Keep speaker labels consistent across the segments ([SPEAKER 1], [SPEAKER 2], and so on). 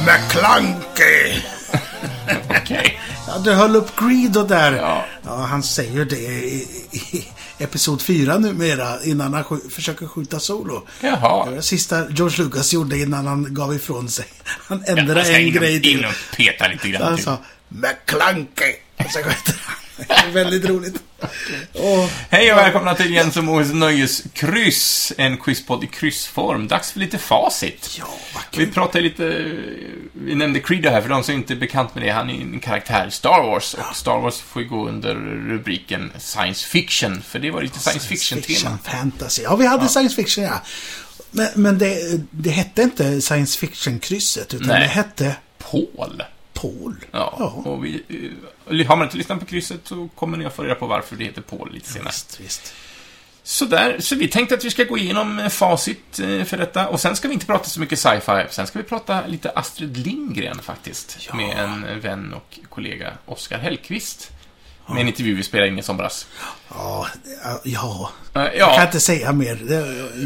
[SPEAKER 1] McClunky.
[SPEAKER 2] Okej.
[SPEAKER 3] Ja, du höll upp Greedo där.
[SPEAKER 2] Ja.
[SPEAKER 3] han säger det i, i Episod 4 numera, innan han skj- försöker skjuta Solo.
[SPEAKER 2] Jaha.
[SPEAKER 3] Det var det sista George Lucas gjorde innan han gav ifrån sig. Han ändrade
[SPEAKER 2] Jag ska
[SPEAKER 3] en
[SPEAKER 2] in och-
[SPEAKER 3] grej till.
[SPEAKER 2] In och peta lite grann. typ.
[SPEAKER 3] Han
[SPEAKER 2] till.
[SPEAKER 3] sa
[SPEAKER 1] McClunky.
[SPEAKER 3] och så sköt han. Det är Väldigt roligt. Och,
[SPEAKER 2] Hej och välkomna till Jens och Moes Nöjeskryss. En quizpodd i kryssform. Dags för lite facit.
[SPEAKER 3] ja, vad
[SPEAKER 2] Vi
[SPEAKER 3] kul.
[SPEAKER 2] pratade lite, vi nämnde Creed här för de som inte är bekant med det. Han är ju en karaktär i Star Wars och Star Wars får ju gå under rubriken science fiction. För det var lite science fiction-tema.
[SPEAKER 3] fantasy. Ja, vi hade science fiction, ja. Men, men det, det hette inte science fiction-krysset, utan
[SPEAKER 2] Nej.
[SPEAKER 3] det hette
[SPEAKER 2] Paul.
[SPEAKER 3] Paul.
[SPEAKER 2] Ja, och vi, eh, har man inte lyssnat på krysset så kommer ni att få reda på varför det heter Paul lite senare.
[SPEAKER 3] Visst, visst.
[SPEAKER 2] Sådär, så vi tänkte att vi ska gå igenom eh, facit eh, för detta. Och sen ska vi inte prata så mycket sci-fi. Sen ska vi prata lite Astrid Lindgren faktiskt. Med en vän och kollega, Oskar Hellqvist. Med en intervju vi spelade in i somras.
[SPEAKER 3] Ja, ja.
[SPEAKER 2] Eh,
[SPEAKER 3] Jag kan
[SPEAKER 2] Ja,
[SPEAKER 3] inte säga mer.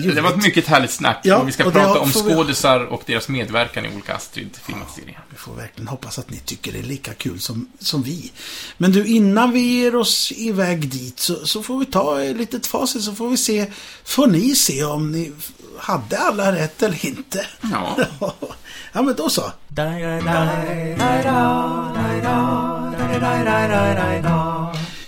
[SPEAKER 3] Det,
[SPEAKER 2] det var ett mycket härligt snack.
[SPEAKER 3] Ja,
[SPEAKER 2] och vi ska
[SPEAKER 3] och det
[SPEAKER 2] prata
[SPEAKER 3] har-
[SPEAKER 2] om
[SPEAKER 3] får vi-
[SPEAKER 2] skådisar och deras medverkan i olika Astrid-filmatiseringar.
[SPEAKER 3] Vi får verkligen hoppas att ni tycker det är lika kul som, som vi. Men du, innan vi ger oss iväg dit så, så får vi ta ett litet facit så får vi se, får ni se om ni f- hade alla rätt eller inte.
[SPEAKER 2] Ja.
[SPEAKER 3] ja men då så.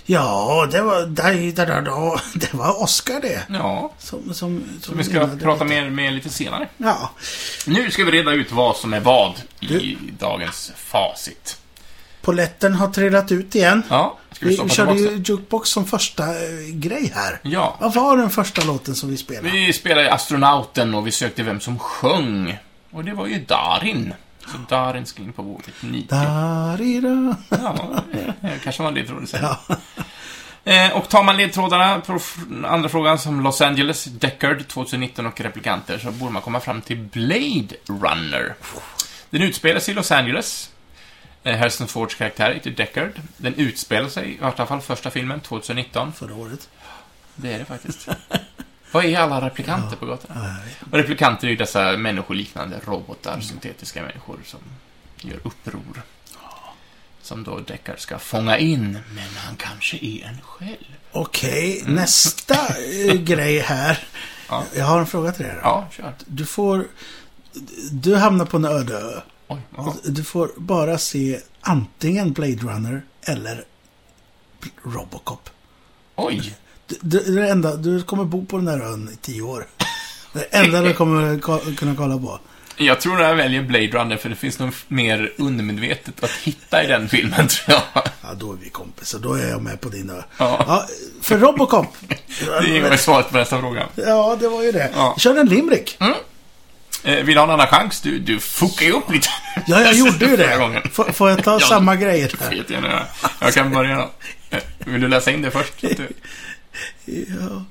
[SPEAKER 3] Ja, det var, daj, da, da, da. det var Oscar det.
[SPEAKER 2] Ja,
[SPEAKER 3] Som, som, som,
[SPEAKER 2] vi ska
[SPEAKER 3] vinnade.
[SPEAKER 2] prata mer med lite senare.
[SPEAKER 3] Ja,
[SPEAKER 2] Nu ska vi reda ut vad som är vad i dagens facit.
[SPEAKER 3] poletten har trillat ut igen.
[SPEAKER 2] Ja, ska vi
[SPEAKER 3] Vi,
[SPEAKER 2] stoppa
[SPEAKER 3] körde
[SPEAKER 2] tillbaka
[SPEAKER 3] ju
[SPEAKER 2] den?
[SPEAKER 3] Jukebox som första eh, grej här.
[SPEAKER 2] Ja.
[SPEAKER 3] Vad var den första låten som vi spelade?
[SPEAKER 2] Vi spelade Astronauten och vi sökte vem som sjöng. Och det var ju Darin. Så Darin ska in på våget 9.
[SPEAKER 3] Da-di-da.
[SPEAKER 2] Ja, eh, kanske var det trodde sen. Eh, Och tar man ledtrådarna på f- andra frågan som Los Angeles, Deckard 2019 och Replikanter så borde man komma fram till Blade Runner. Den utspelar sig i Los Angeles. Eh, Harrison Fords karaktär heter Deckard. Den utspelar sig, i alla fall första filmen, 2019.
[SPEAKER 3] Förra året.
[SPEAKER 2] Det är det faktiskt. Vad är alla replikanter på gatorna? Och replikanter är ju dessa människoliknande robotar, syntetiska människor som gör uppror. Som då Deckard ska fånga in, men han kanske är en själv.
[SPEAKER 3] Okej, nästa eh, grej här.
[SPEAKER 2] Ja.
[SPEAKER 3] Jag har en fråga till dig. då.
[SPEAKER 2] Ja, kör.
[SPEAKER 3] Du får... Du hamnar på en öde ö.
[SPEAKER 2] Oj, ja.
[SPEAKER 3] Du får bara se antingen Blade Runner eller Robocop.
[SPEAKER 2] Oj!
[SPEAKER 3] Du, du, det enda, du kommer bo på den här ön i tio år. Det enda du kommer ko- kunna kolla på.
[SPEAKER 2] Jag tror jag väljer Blade Runner, för det finns nog mer undermedvetet att hitta i den filmen, tror jag.
[SPEAKER 3] Ja, då är vi kompisar. Då är jag med på din ö.
[SPEAKER 2] Ja.
[SPEAKER 3] för Robocop.
[SPEAKER 2] Det är ju svaret på nästa fråga.
[SPEAKER 3] ja, det var ju det.
[SPEAKER 2] Ja.
[SPEAKER 3] Kör en limrik.
[SPEAKER 2] Eh, vill du ha en annan chans? Du, du fuckar ju upp lite.
[SPEAKER 3] Ja, jag gjorde ju
[SPEAKER 2] Mm. Förra
[SPEAKER 3] det.
[SPEAKER 2] gången.
[SPEAKER 3] Får, får jag ta
[SPEAKER 2] Ja.
[SPEAKER 3] samma grejer här?
[SPEAKER 2] Skit gärna i det här. Jag kan börja då. Eh, Vill du läsa in det först? Så att du-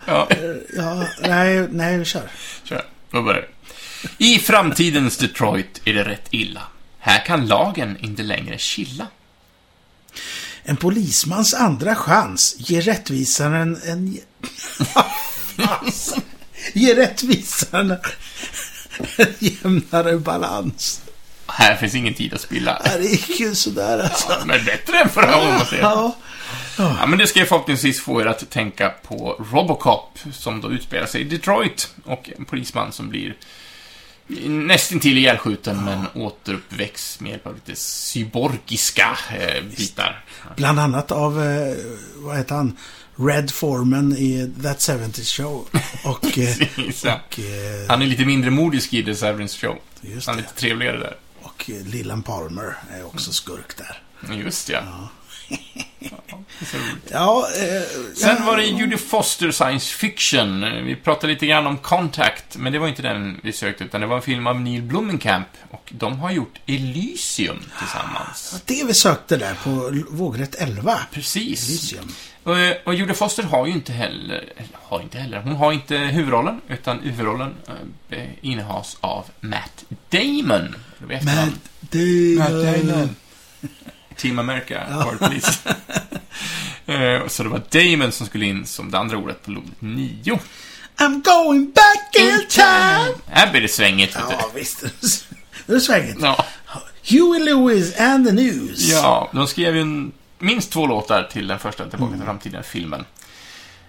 [SPEAKER 2] Ja,
[SPEAKER 3] Ja, nej, nej, vi kör.
[SPEAKER 2] kör. Då börjar vi. I framtidens Detroit är det rätt illa. Här kan lagen inte längre chilla.
[SPEAKER 3] En polismans andra chans ger rättvisaren en... Alltså, ger rättvisaren en jämnare balans.
[SPEAKER 2] Här finns ingen tid att spilla.
[SPEAKER 3] Det gick ju sådär alltså.
[SPEAKER 2] Men bättre än förra gången, måste jag säga.
[SPEAKER 3] Ja,
[SPEAKER 2] Ja, men det ska ju förhoppningsvis få er att tänka på Robocop, som då utspelar sig i Detroit. Och en polisman som blir nästintill ihjälskjuten, men återuppväcks med hjälp av lite cyborgiska eh, bitar.
[SPEAKER 3] bland annat av, eh, vad heter han, Red Foreman i That 70's Show. Och... Eh,
[SPEAKER 2] Precis, ja.
[SPEAKER 3] och eh,
[SPEAKER 2] Han är lite mindre modisk i The Severance Show.
[SPEAKER 3] Just
[SPEAKER 2] han är
[SPEAKER 3] det.
[SPEAKER 2] lite trevligare där.
[SPEAKER 3] Och eh, Lillan Palmer är också skurk där.
[SPEAKER 2] Just ja. Ja, det är så roligt.
[SPEAKER 3] Ja, eh,
[SPEAKER 2] Sen var det Judy Foster Science Fiction. Vi pratade lite grann om Contact, men det var inte den vi sökte, utan det var en film av Neil Blomkamp. Och de har gjort Elysium tillsammans.
[SPEAKER 3] det vi sökte där på l- vågrätt 11.
[SPEAKER 2] Precis.
[SPEAKER 3] Elysium.
[SPEAKER 2] Och, eh, och Judy Foster har ju inte heller, eller har inte heller, hon har inte huvudrollen, utan huvudrollen eh, innehas av Matt Damon. Det var i
[SPEAKER 3] Men
[SPEAKER 2] efternamn.
[SPEAKER 3] det...
[SPEAKER 2] Team America, Hard Police. Eh, Så det var Damon som skulle in som det andra ordet på lodet 9.
[SPEAKER 3] I'm going back in time!
[SPEAKER 2] Här blir det svängigt, vet du.
[SPEAKER 3] Ja, visst. Nu är det svängigt.
[SPEAKER 2] Ja.
[SPEAKER 3] Huey Lewis and the News.
[SPEAKER 2] Ja, de skrev ju en, minst två låtar till den första Tillbaka till framtiden-filmen.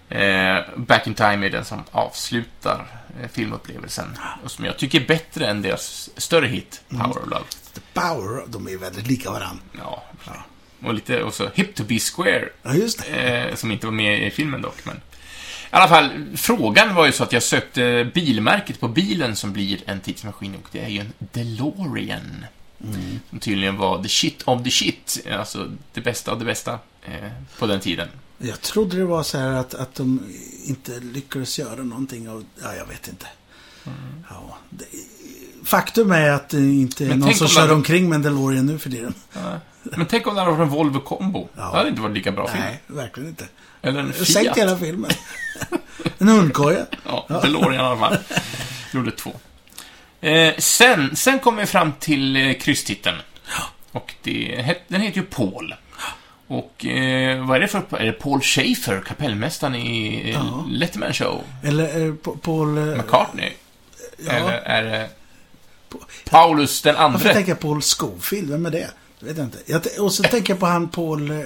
[SPEAKER 2] Eh, Back in Time är den som avslutar eh, filmupplevelsen. Och som jag tycker är bättre än deras större hit, Power of Love.
[SPEAKER 3] The Power, de är väldigt lika varandra.
[SPEAKER 2] Ja. Och lite, och så Hip to be square,
[SPEAKER 3] Ja, just det.
[SPEAKER 2] eh, som inte var med i filmen dock, men... I alla fall, frågan var ju så att jag sökte bilmärket på bilen som blir en tidsmaskin och det är ju en DeLorean.
[SPEAKER 3] Mm.
[SPEAKER 2] Som tydligen var the shit of the shit, alltså det bästa av det bästa eh, på den tiden.
[SPEAKER 3] Jag trodde det var så här att, att de inte lyckades göra någonting av... Ja, jag vet inte.
[SPEAKER 2] Mm.
[SPEAKER 3] Ja, det, faktum är att det inte är
[SPEAKER 2] Men
[SPEAKER 3] någon
[SPEAKER 2] tänk
[SPEAKER 3] som
[SPEAKER 2] om
[SPEAKER 3] kör
[SPEAKER 2] man-
[SPEAKER 3] omkring med en DeLorean nu för tiden.
[SPEAKER 2] Men tänk om det hade varit en Volvo Combo.
[SPEAKER 3] Ja.
[SPEAKER 2] Det hade inte varit lika bra film.
[SPEAKER 3] Nej, verkligen inte.
[SPEAKER 2] Eller en Fiat.
[SPEAKER 3] Sänkt hela filmen. en hundkoja.
[SPEAKER 2] Ja, DeLorean i alla fall. Gjorde två. Eh, sen, sen kom vi fram till eh, krysstiteln. Och det, het- den heter ju Paul. Och eh, vad är det för... Är det Paul Schaefer, kapellmästaren i eh,
[SPEAKER 3] Ja.
[SPEAKER 2] Letterman Show?
[SPEAKER 3] Eller eh, Pa- Paul... eh,
[SPEAKER 2] McCartney?
[SPEAKER 3] ja.
[SPEAKER 2] Eller är det... Paulus den
[SPEAKER 3] Varför
[SPEAKER 2] andre?
[SPEAKER 3] tänker jag Paul Scofield? Vem är det? Det vet jag inte. Jag, t- och så tänker jag på han Paul eh,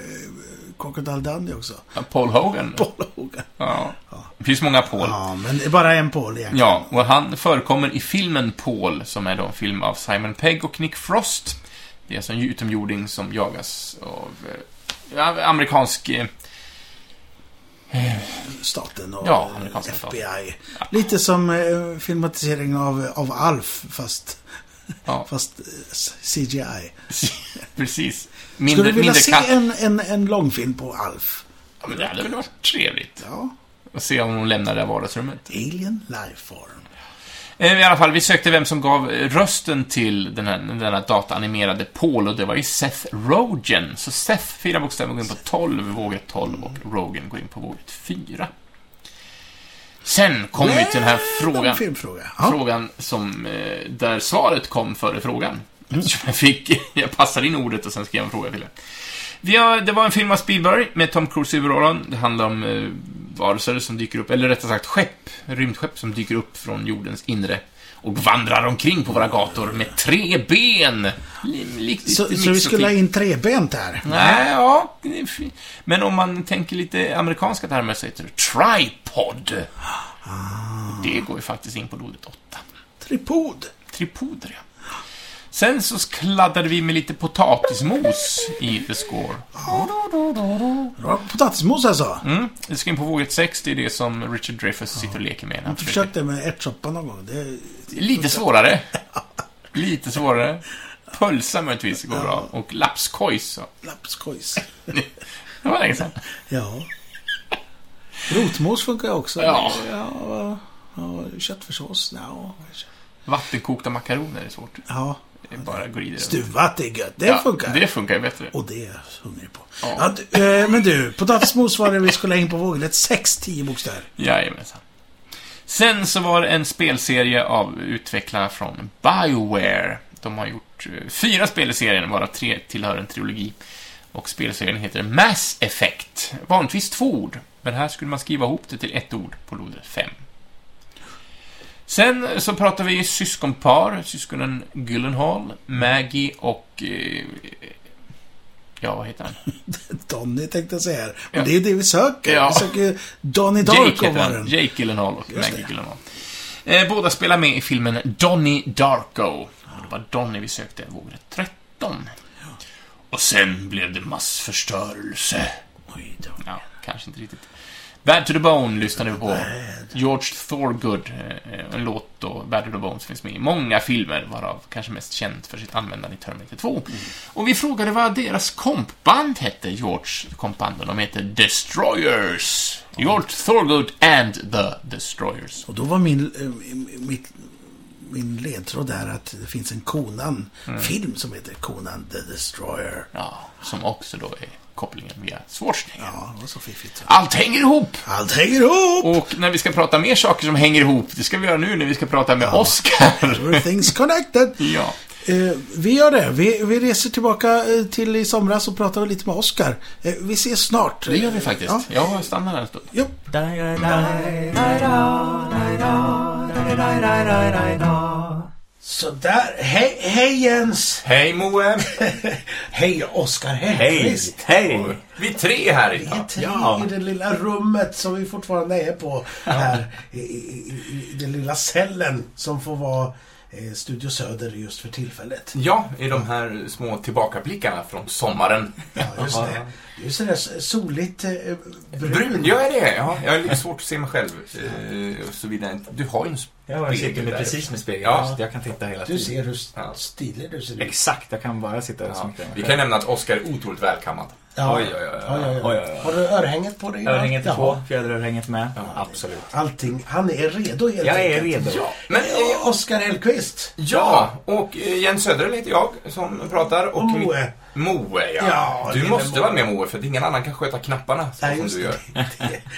[SPEAKER 3] Crocodile Dundee också.
[SPEAKER 2] Paul Hogan?
[SPEAKER 3] Paul Hogan.
[SPEAKER 2] Ja. Det finns många Paul.
[SPEAKER 3] Ja, men det är bara en Paul egentligen.
[SPEAKER 2] Ja, och han förekommer i filmen Paul, som är då en film av Simon Pegg och Nick Frost. Det är alltså en utomjording som jagas av eh, ja, amerikansk... Eh,
[SPEAKER 3] Staten och
[SPEAKER 2] Ja,
[SPEAKER 3] eh,
[SPEAKER 2] amerikanska staten.
[SPEAKER 3] FBI. Lite som eh, filmatiseringen av, av Alf, fast,
[SPEAKER 2] ja,
[SPEAKER 3] fast eh, s- CGI.
[SPEAKER 2] precis.
[SPEAKER 3] Skulle
[SPEAKER 2] Mindre,
[SPEAKER 3] du vilja
[SPEAKER 2] mindre
[SPEAKER 3] se
[SPEAKER 2] katt.
[SPEAKER 3] en, en, en långfilm på Alf?
[SPEAKER 2] Ja, men det hade väl varit trevligt.
[SPEAKER 3] Ja.
[SPEAKER 2] Att se om hon lämnar det här vardagsrummet.
[SPEAKER 3] Alien Lifeform.
[SPEAKER 2] Eh, I alla fall, vi sökte vem som gav eh, rösten till den här, den här dataanimerade Paul och det var ju Seth Rogen. Så Seth, fyra bokstäver, går in på 12, våget 12 och Rogen går in på våget 4. Sen kom vi till den här
[SPEAKER 3] En
[SPEAKER 2] frågan.
[SPEAKER 3] filmfråga. Ja.
[SPEAKER 2] Frågan som, eh, där svaret kom före frågan.
[SPEAKER 3] Mm.
[SPEAKER 2] Eftersom jag fick, jag passade in ordet och sen skrev jag en fråga till det. Vi har, det var en film av Spielberg med Tom Cruise i huvudrollen. Det handlar om eh, varelser som dyker upp, eller rättare sagt skepp, rymdskepp som dyker upp från jordens inre. Och vandrar omkring på våra gator med tre ben. Li- likt-
[SPEAKER 3] Så,
[SPEAKER 2] lite
[SPEAKER 3] så vi
[SPEAKER 2] mix och
[SPEAKER 3] skulle ha
[SPEAKER 2] ting.
[SPEAKER 3] in trebent här.
[SPEAKER 2] Nej, ja. det är fi- Men om man tänker lite amerikanska termer så heter det tripod.
[SPEAKER 3] Ah.
[SPEAKER 2] Och Det går ju faktiskt in på ordet åtta.
[SPEAKER 3] Tripod.
[SPEAKER 2] Tripoder, ja. Sen så kladdade vi med lite potatismos i The Score.
[SPEAKER 3] Ja, Potatismos alltså.
[SPEAKER 2] Mm. Det ska in på våget 6, det är det som Richard Dreyfuss sitter och leker med. när Han
[SPEAKER 3] Jag
[SPEAKER 2] försöker.
[SPEAKER 3] försökte med ärtsoppa någon gång. Det,
[SPEAKER 2] Lite svårare. Lite svårare. Pölsa möjligtvis går bra. Och lapskojs. så.
[SPEAKER 3] lapskojs.
[SPEAKER 2] Det var länge sedan.
[SPEAKER 3] Ja. Rotmos funkar ju också.
[SPEAKER 2] Ja.
[SPEAKER 3] ja, ja köttfärssås? Ja.
[SPEAKER 2] Vattenkokta makaroner är svårt.
[SPEAKER 3] ja.
[SPEAKER 2] Det är bara glider över.
[SPEAKER 3] Stuvat är gött. Det
[SPEAKER 2] Ja,
[SPEAKER 3] funkar.
[SPEAKER 2] Det funkar ju bättre.
[SPEAKER 3] Och det är jag hungrig på. Ja.
[SPEAKER 2] Ja.
[SPEAKER 3] du, eh, men du, potatismos var det vi skulle ha in på våglet. 6-10 bokstäver.
[SPEAKER 2] Jajamensan. Sen så var det en spelserie av utvecklarna från Bioware. De har gjort eh, fyra spel i serien, varav tre tillhör en trilogi. Och spelserien heter Mass Effect. Vanligtvis två ord, men här skulle man skriva ihop det till ett ord på lodrätt 5. Sen så pratar vi syskonpar, syskonen Gyllenhaal, Maggie och... eh, Ja, vad heter han?
[SPEAKER 3] Donny tänkte jag säga här. Och
[SPEAKER 2] Ja.
[SPEAKER 3] det är det vi söker.
[SPEAKER 2] Ja.
[SPEAKER 3] Vi söker Donny Darko
[SPEAKER 2] Jake
[SPEAKER 3] var
[SPEAKER 2] heter han.
[SPEAKER 3] den.
[SPEAKER 2] Jake Gyllenhaal och
[SPEAKER 3] Just
[SPEAKER 2] Maggie
[SPEAKER 3] det.
[SPEAKER 2] Gyllenhaal. Eh, båda spelar med i filmen Donnie Darko. Och Det var Donnie vi sökte, vågade 13. Och sen blev det massförstörelse.
[SPEAKER 3] Oj då.
[SPEAKER 2] Ja, kanske inte riktigt. Bad to the Bone lyssnade vi på. George Thorogood, eh, en låt då, Bad to the Bone, som finns med i många filmer, varav kanske mest känd för sitt användande i Terminator 2. Och vi frågade vad deras kompband hette, George kompbanden. De heter Destroyers. George Thorogood and the Destroyers.
[SPEAKER 3] Och då var min, eh, mitt, min ledtråd där att det finns en
[SPEAKER 2] Mm.
[SPEAKER 3] Conan-film som heter Conan the Destroyer.
[SPEAKER 2] Ja, som också då är kopplingen via Schwarzenegger.
[SPEAKER 3] Ja, det var så fiffigt. Så.
[SPEAKER 2] Allt hänger ihop!
[SPEAKER 3] Allt hänger ihop!
[SPEAKER 2] Och när vi ska prata mer saker som hänger ihop, det ska vi göra nu när vi ska prata med Oscar.
[SPEAKER 3] Everything's connected.
[SPEAKER 2] ja.
[SPEAKER 3] Eh, vi gör det. Vi, vi reser tillbaka eh, till i somras och pratar lite med Oscar. Eh, vi ses snart.
[SPEAKER 2] Det gör vi faktiskt.
[SPEAKER 3] Ja.
[SPEAKER 2] Jag stannar här en stund.
[SPEAKER 3] Ja. Sådär. Hej, hej Jens!
[SPEAKER 2] Hej Moe!
[SPEAKER 3] hej Oskar
[SPEAKER 4] Hej!
[SPEAKER 3] Hellqvist!
[SPEAKER 4] Hej!
[SPEAKER 2] Vi är tre här
[SPEAKER 3] Vi är
[SPEAKER 2] idag.
[SPEAKER 3] tre
[SPEAKER 4] Ja.
[SPEAKER 3] i det lilla rummet som vi fortfarande är på här. I, i, i- I den lilla cellen som får vara eh, Studio Söder just för tillfället.
[SPEAKER 2] Ja, i de här små tillbakablickarna från sommaren.
[SPEAKER 3] Ja, just det. Du är sådär soligt eh, brun.
[SPEAKER 2] Brun, jag är det. Ja, jag har lite svårt att se mig själv. eh, och så vidare. Du har ju en... sp-
[SPEAKER 4] Ja, jag sitter med
[SPEAKER 2] där.
[SPEAKER 4] precis med spegeln.
[SPEAKER 2] Ja.
[SPEAKER 4] så Jag kan titta hela
[SPEAKER 3] Du
[SPEAKER 4] tiden.
[SPEAKER 3] ser hur
[SPEAKER 2] Ja.
[SPEAKER 3] stilig du ser ut.
[SPEAKER 4] Exakt, jag kan bara sitta och
[SPEAKER 2] Ja.
[SPEAKER 4] sminka mig
[SPEAKER 2] Vi
[SPEAKER 4] själv.
[SPEAKER 2] kan nämna att Oscar är otroligt välkammad. Oj, oj, oj, oj.
[SPEAKER 3] Ja, ja, ja.
[SPEAKER 4] Oj, oj, oj.
[SPEAKER 3] Har du örhänget på dig?
[SPEAKER 4] Örhänget är
[SPEAKER 3] Jaha.
[SPEAKER 4] på, fjäderörhänget med. Absolut.
[SPEAKER 3] Allting. Han är redo helt
[SPEAKER 4] Jag är
[SPEAKER 3] enkelt.
[SPEAKER 4] redo.
[SPEAKER 2] Men, eh,
[SPEAKER 3] Ja, Oskar Hellqvist.
[SPEAKER 2] Ja, och eh, Jens Söderlund heter jag som pratar. Och
[SPEAKER 3] Och
[SPEAKER 2] mitt-
[SPEAKER 3] Moe.
[SPEAKER 2] Moe, ja.
[SPEAKER 3] Ja,
[SPEAKER 2] du
[SPEAKER 3] lille
[SPEAKER 2] måste
[SPEAKER 3] Moe.
[SPEAKER 2] vara med Moe, för att ingen annan kan sköta knapparna så
[SPEAKER 3] Nej,
[SPEAKER 2] som
[SPEAKER 3] just
[SPEAKER 2] du gör.
[SPEAKER 3] det.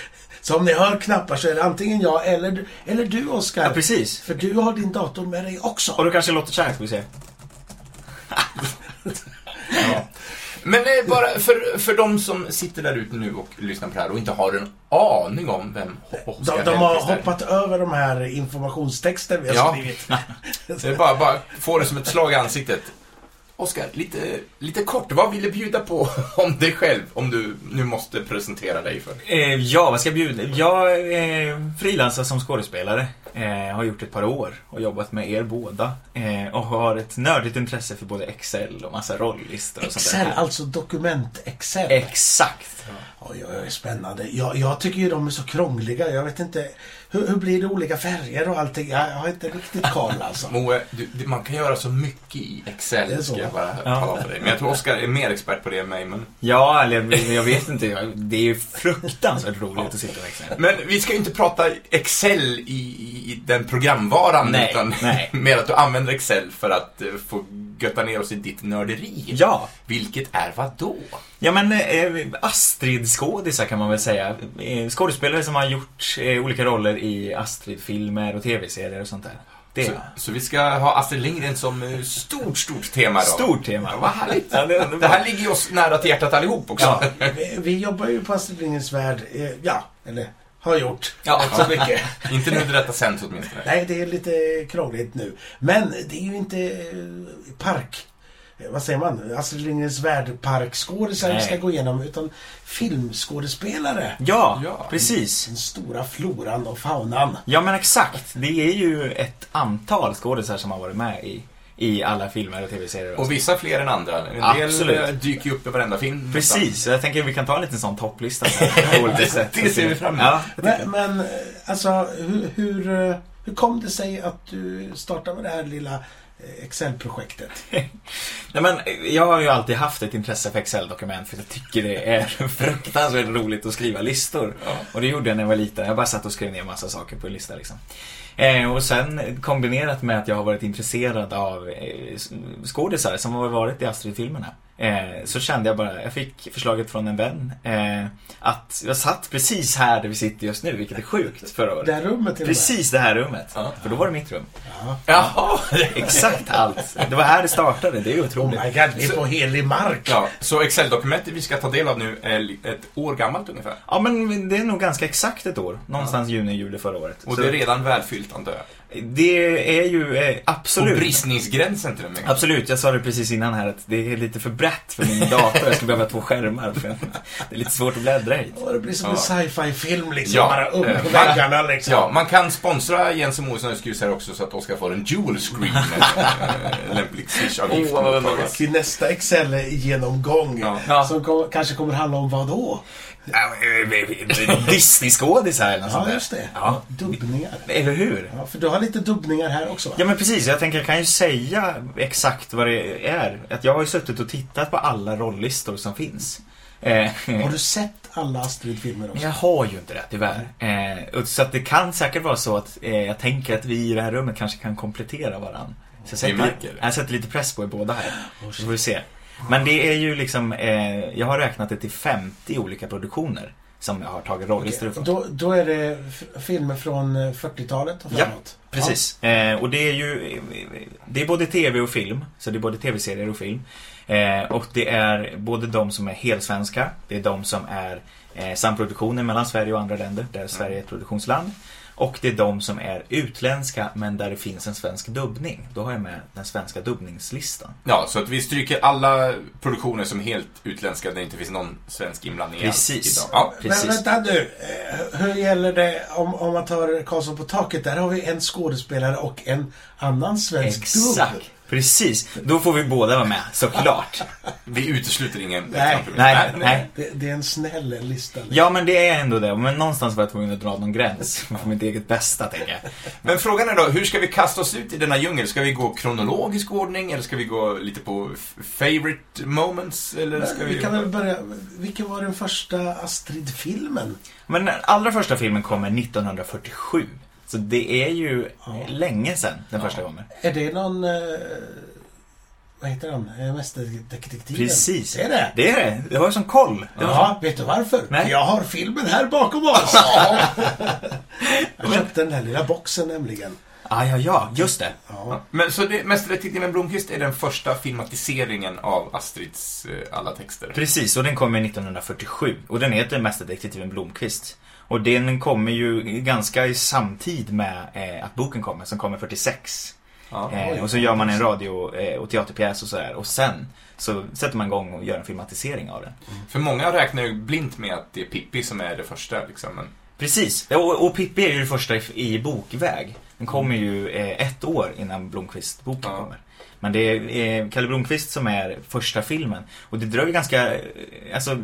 [SPEAKER 3] Så om ni hör knappar så är det antingen jag eller du, eller du Oskar.
[SPEAKER 4] Ja, precis.
[SPEAKER 3] För du har din dator med dig
[SPEAKER 4] Och
[SPEAKER 3] också.
[SPEAKER 4] då kanske det låter så här, ska vi se.
[SPEAKER 2] Men eh, bara för, för de som sitter där ute nu och lyssnar på det här och inte har en aning om vem Ho- Oscar
[SPEAKER 3] De, de har
[SPEAKER 2] Hellqvist är.
[SPEAKER 3] hoppat över de här informationstexter vi har
[SPEAKER 2] Ja.
[SPEAKER 3] skrivit.
[SPEAKER 2] Så det är bara, bara få det som ett slag i ansiktet. Oskar, lite, lite kort, vad vill du bjuda på om dig själv? Om du nu måste presentera dig för.
[SPEAKER 4] Eh, ja, vad ska jag bjuda? Jag eh, frilansar som skådespelare. Eh, har gjort ett par år och jobbat med er båda. Eh, och har ett nördigt intresse för både Excel och massa rolllistor och
[SPEAKER 3] Excel,
[SPEAKER 4] sånt där. Eh.
[SPEAKER 3] alltså dokument-Excel.
[SPEAKER 4] Exakt!
[SPEAKER 3] Oj, oj, oj, spännande. Jag, jag tycker ju de är så krångliga. Jag vet inte. Hur, hur blir det olika färger och allting? Jag har inte riktigt koll alltså.
[SPEAKER 2] Moe, du, du, man kan göra så mycket i Excel,
[SPEAKER 3] Det är så.
[SPEAKER 2] ska jag bara
[SPEAKER 4] Ja.
[SPEAKER 2] tala om för dig. Men jag tror Oskar är mer expert på det än mig. Men...
[SPEAKER 4] Ja, eller jag vet inte. Jag- Det är ju fruktansvärt roligt att sitta med Excel.
[SPEAKER 2] Men vi ska ju inte prata Excel i, i i den programvaran,
[SPEAKER 4] Nej,
[SPEAKER 2] utan
[SPEAKER 4] nej.
[SPEAKER 2] mer att du använder Excel för att eh, få götta ner oss i ditt nörderi.
[SPEAKER 4] Ja,
[SPEAKER 2] Vilket är vad då?
[SPEAKER 4] Ja men eh, Astrid-skådisar kan man väl säga. Eh, skådespelare som har gjort eh, olika roller i Astrid-filmer och tv-serier och sånt där. Det
[SPEAKER 2] Så,
[SPEAKER 4] är
[SPEAKER 2] så vi ska ha Astrid Lindgren som eh, stort, stort tema då.
[SPEAKER 4] stort tema.
[SPEAKER 2] Ja, Vad härligt.
[SPEAKER 4] Ja, det är underbart.
[SPEAKER 2] Det här ligger ju oss nära till hjärtat allihop också.
[SPEAKER 4] Ja.
[SPEAKER 3] Vi, vi jobbar ju på Astrid Lindgrens Värld. eh, Ja, eller har gjort.
[SPEAKER 4] Ja.
[SPEAKER 3] Så mycket.
[SPEAKER 2] Inte nu det detta sänds åtminstone.
[SPEAKER 3] Nej, det är lite krångligt nu. Men det är ju inte eh, park... eh, Vad säger man? Astrid Lindgrens Värld-parkskådisar vi
[SPEAKER 4] Nej.
[SPEAKER 3] ska gå igenom. Utan filmskådespelare.
[SPEAKER 4] Ja,
[SPEAKER 2] Ja.
[SPEAKER 4] precis.
[SPEAKER 3] Den stora floran och faunan.
[SPEAKER 4] Ja men exakt. Det är ju ett antal skådisar som har varit med i, i alla filmer och tv-serier.
[SPEAKER 2] Och vissa fler än andra. En
[SPEAKER 4] Absolut.
[SPEAKER 2] del eh, dyker ju upp i varenda film.
[SPEAKER 4] Precis, så jag tänker vi kan ta en liten sån topplista sen, på olika sätt.
[SPEAKER 2] det ser vi fram emot.
[SPEAKER 4] Ja,
[SPEAKER 3] Men, men eh, alltså, hur, hur, eh, hur kom det sig att du startade med det här lilla eh, Excel-projektet?
[SPEAKER 4] Nej, men jag har ju alltid haft ett intresse för Excel-dokument för jag tycker det är fruktansvärt roligt att skriva listor. Och det gjorde jag när jag var liten. Jag bara satt och skrev ner massa saker på en lista liksom. Eh, och sen kombinerat med att jag har varit intresserad av eh, s- skådisar som har varit i Astrid-filmerna. Eh, så kände jag bara, jag fick förslaget från en vän eh, att jag satt precis här där vi sitter just nu, vilket är sjukt förra
[SPEAKER 3] Det
[SPEAKER 4] året.
[SPEAKER 3] här rummet till och med.
[SPEAKER 4] Precis det här rummet.
[SPEAKER 2] Ja.
[SPEAKER 4] För då var det mitt rum.
[SPEAKER 2] Jaha!
[SPEAKER 4] Exakt allt. Det var här det startade, det är
[SPEAKER 3] Oh
[SPEAKER 4] otroligt.
[SPEAKER 3] my god, vi är på helig mark.
[SPEAKER 2] Ja, så Excel-dokumentet vi ska ta del av nu är li- ett år gammalt ungefär.
[SPEAKER 4] Ja men det är nog ganska exakt ett år. Någonstans juni, juli förra året.
[SPEAKER 2] Och
[SPEAKER 4] Så
[SPEAKER 2] det är redan välfyllt antar jag.
[SPEAKER 4] det är ju eh,
[SPEAKER 2] Och
[SPEAKER 4] absolut.
[SPEAKER 2] bristningsgränsen till och med.
[SPEAKER 4] Absolut, jag sa det precis innan här att det är lite för brett för min dator. Jag skulle behöva två skärmar. För det är lite svårt att bläddra i.
[SPEAKER 3] Och det blir som
[SPEAKER 2] Ja.
[SPEAKER 3] en sci-fi-film liksom.
[SPEAKER 2] Ja,
[SPEAKER 3] Bara upp
[SPEAKER 2] eh,
[SPEAKER 3] på
[SPEAKER 2] man-
[SPEAKER 3] väggarna liksom.
[SPEAKER 2] Ja, man kan sponsra Jens och Moes nöjesgrus här också så att Oskar får en dual screen. eh, Lämplig swish-avgift.
[SPEAKER 4] Åh, vad underbart.
[SPEAKER 3] Till nästa Excel-genomgång.
[SPEAKER 2] Ja.
[SPEAKER 4] Ja.
[SPEAKER 3] Som kom, kanske kommer handla om vad då?
[SPEAKER 4] eh, Disney-skådisar eller något sånt
[SPEAKER 3] Ja,
[SPEAKER 4] där.
[SPEAKER 3] just det.
[SPEAKER 4] Ja.
[SPEAKER 3] Dubbningar.
[SPEAKER 4] Eller hur?
[SPEAKER 3] Ja, för du har lite dubbningar här också va?
[SPEAKER 4] Ja men precis, jag tänker jag kan ju säga exakt vad det är. Att jag har ju suttit och tittat på alla rolllistor som finns. Eh,
[SPEAKER 3] Har du sett alla Astrid-filmer också?
[SPEAKER 4] Men jag har ju inte det tyvärr. Eh, och så att det kan säkert vara så att eh, jag tänker att vi i det här rummet kanske kan komplettera varandra. Så
[SPEAKER 2] Vi
[SPEAKER 4] jag sätter,
[SPEAKER 2] märker det.
[SPEAKER 4] jag sätter lite press på er båda här. Så
[SPEAKER 3] shit.
[SPEAKER 4] får vi se. Men det är ju liksom, eh, jag har räknat det till 50 olika produktioner som jag har tagit rolllistor ifrån.
[SPEAKER 3] Då, då är det f- filmer från eh, 40-talet och
[SPEAKER 4] Ja,
[SPEAKER 3] framåt?
[SPEAKER 4] Precis. Eh, och det är ju eh, det är både tv och film. Så det är både tv-serier och film. Eh, och det är både de som är helsvenska, det är de som är eh, samproduktionen mellan Sverige och andra länder där Sverige är ett produktionsland. Och det är de som är utländska men där det finns en svensk dubbning. Då har jag med den svenska dubbningslistan.
[SPEAKER 2] Ja, så att vi stryker alla produktioner som är helt utländska där det inte finns någon svensk inblandning
[SPEAKER 4] Precis.
[SPEAKER 2] alls. idag. Ja.
[SPEAKER 4] Precis.
[SPEAKER 3] Men vänta nu. eh, Hur gäller det om, om man tar Karlsson på taket? Där har vi en skådespelare och en annan svensk dubb.
[SPEAKER 4] Exakt, precis. Då får vi båda vara med, såklart.
[SPEAKER 2] Vi utesluter ingen.
[SPEAKER 3] Nej.
[SPEAKER 2] utanför-
[SPEAKER 4] Nej, nej.
[SPEAKER 3] Det, det är en snäll lista.
[SPEAKER 4] Ja, men det är ändå det. Men någonstans var jag tvungen att dra någon gräns för mitt eget bästa, tänker jag.
[SPEAKER 2] Men frågan är då, hur ska vi kasta oss ut i denna djungel? Ska vi gå kronologisk ordning eller ska vi gå lite på f- favorite moments? Eller ska vi...
[SPEAKER 3] Eh, Vi kan väl börja. Vilken var den första Astrid-filmen?
[SPEAKER 4] Men den allra första filmen kommer 1947. Så det är ju
[SPEAKER 3] Ja.
[SPEAKER 4] länge sedan den första gången.
[SPEAKER 3] Är det någon... Eh, vad heter han? Eh, Mästerdetektiven?
[SPEAKER 4] Precis.
[SPEAKER 3] Är det?
[SPEAKER 4] Det är det. Det var ju som koll. Det var
[SPEAKER 3] Ja, vet du varför?
[SPEAKER 4] Nej.
[SPEAKER 3] För Jag har filmen här bakom oss! jag köpte den här lilla boxen nämligen.
[SPEAKER 4] Ja, ja, ja. Just det.
[SPEAKER 3] Ja.
[SPEAKER 2] Men så det, Mästerdetektiven Blomkvist är den första filmatiseringen av Astrids eh, alla texter.
[SPEAKER 4] Precis, och den kommer 1947. Och den heter Mästerdetektiven Blomkvist. Och den kommer ju ganska i samtid med eh, att boken kommer, som kommer 46.
[SPEAKER 2] Ja.
[SPEAKER 4] Eh, och så gör man en radio eh, och teaterpjäs och sådär. Och sen så sätter man igång och gör en filmatisering av den.
[SPEAKER 2] För många räknar ju blint med att det är Pippi som är det första liksom. Men...
[SPEAKER 4] Precis, och, och Pippi är ju det första i, i bokväg. Den kommer ju eh, ett år innan Blomkvist-boken
[SPEAKER 2] Ja.
[SPEAKER 4] kommer. Men det är eh, Kalle Blomkvist som är första filmen. Och det dröjer ganska, eh, alltså... eh,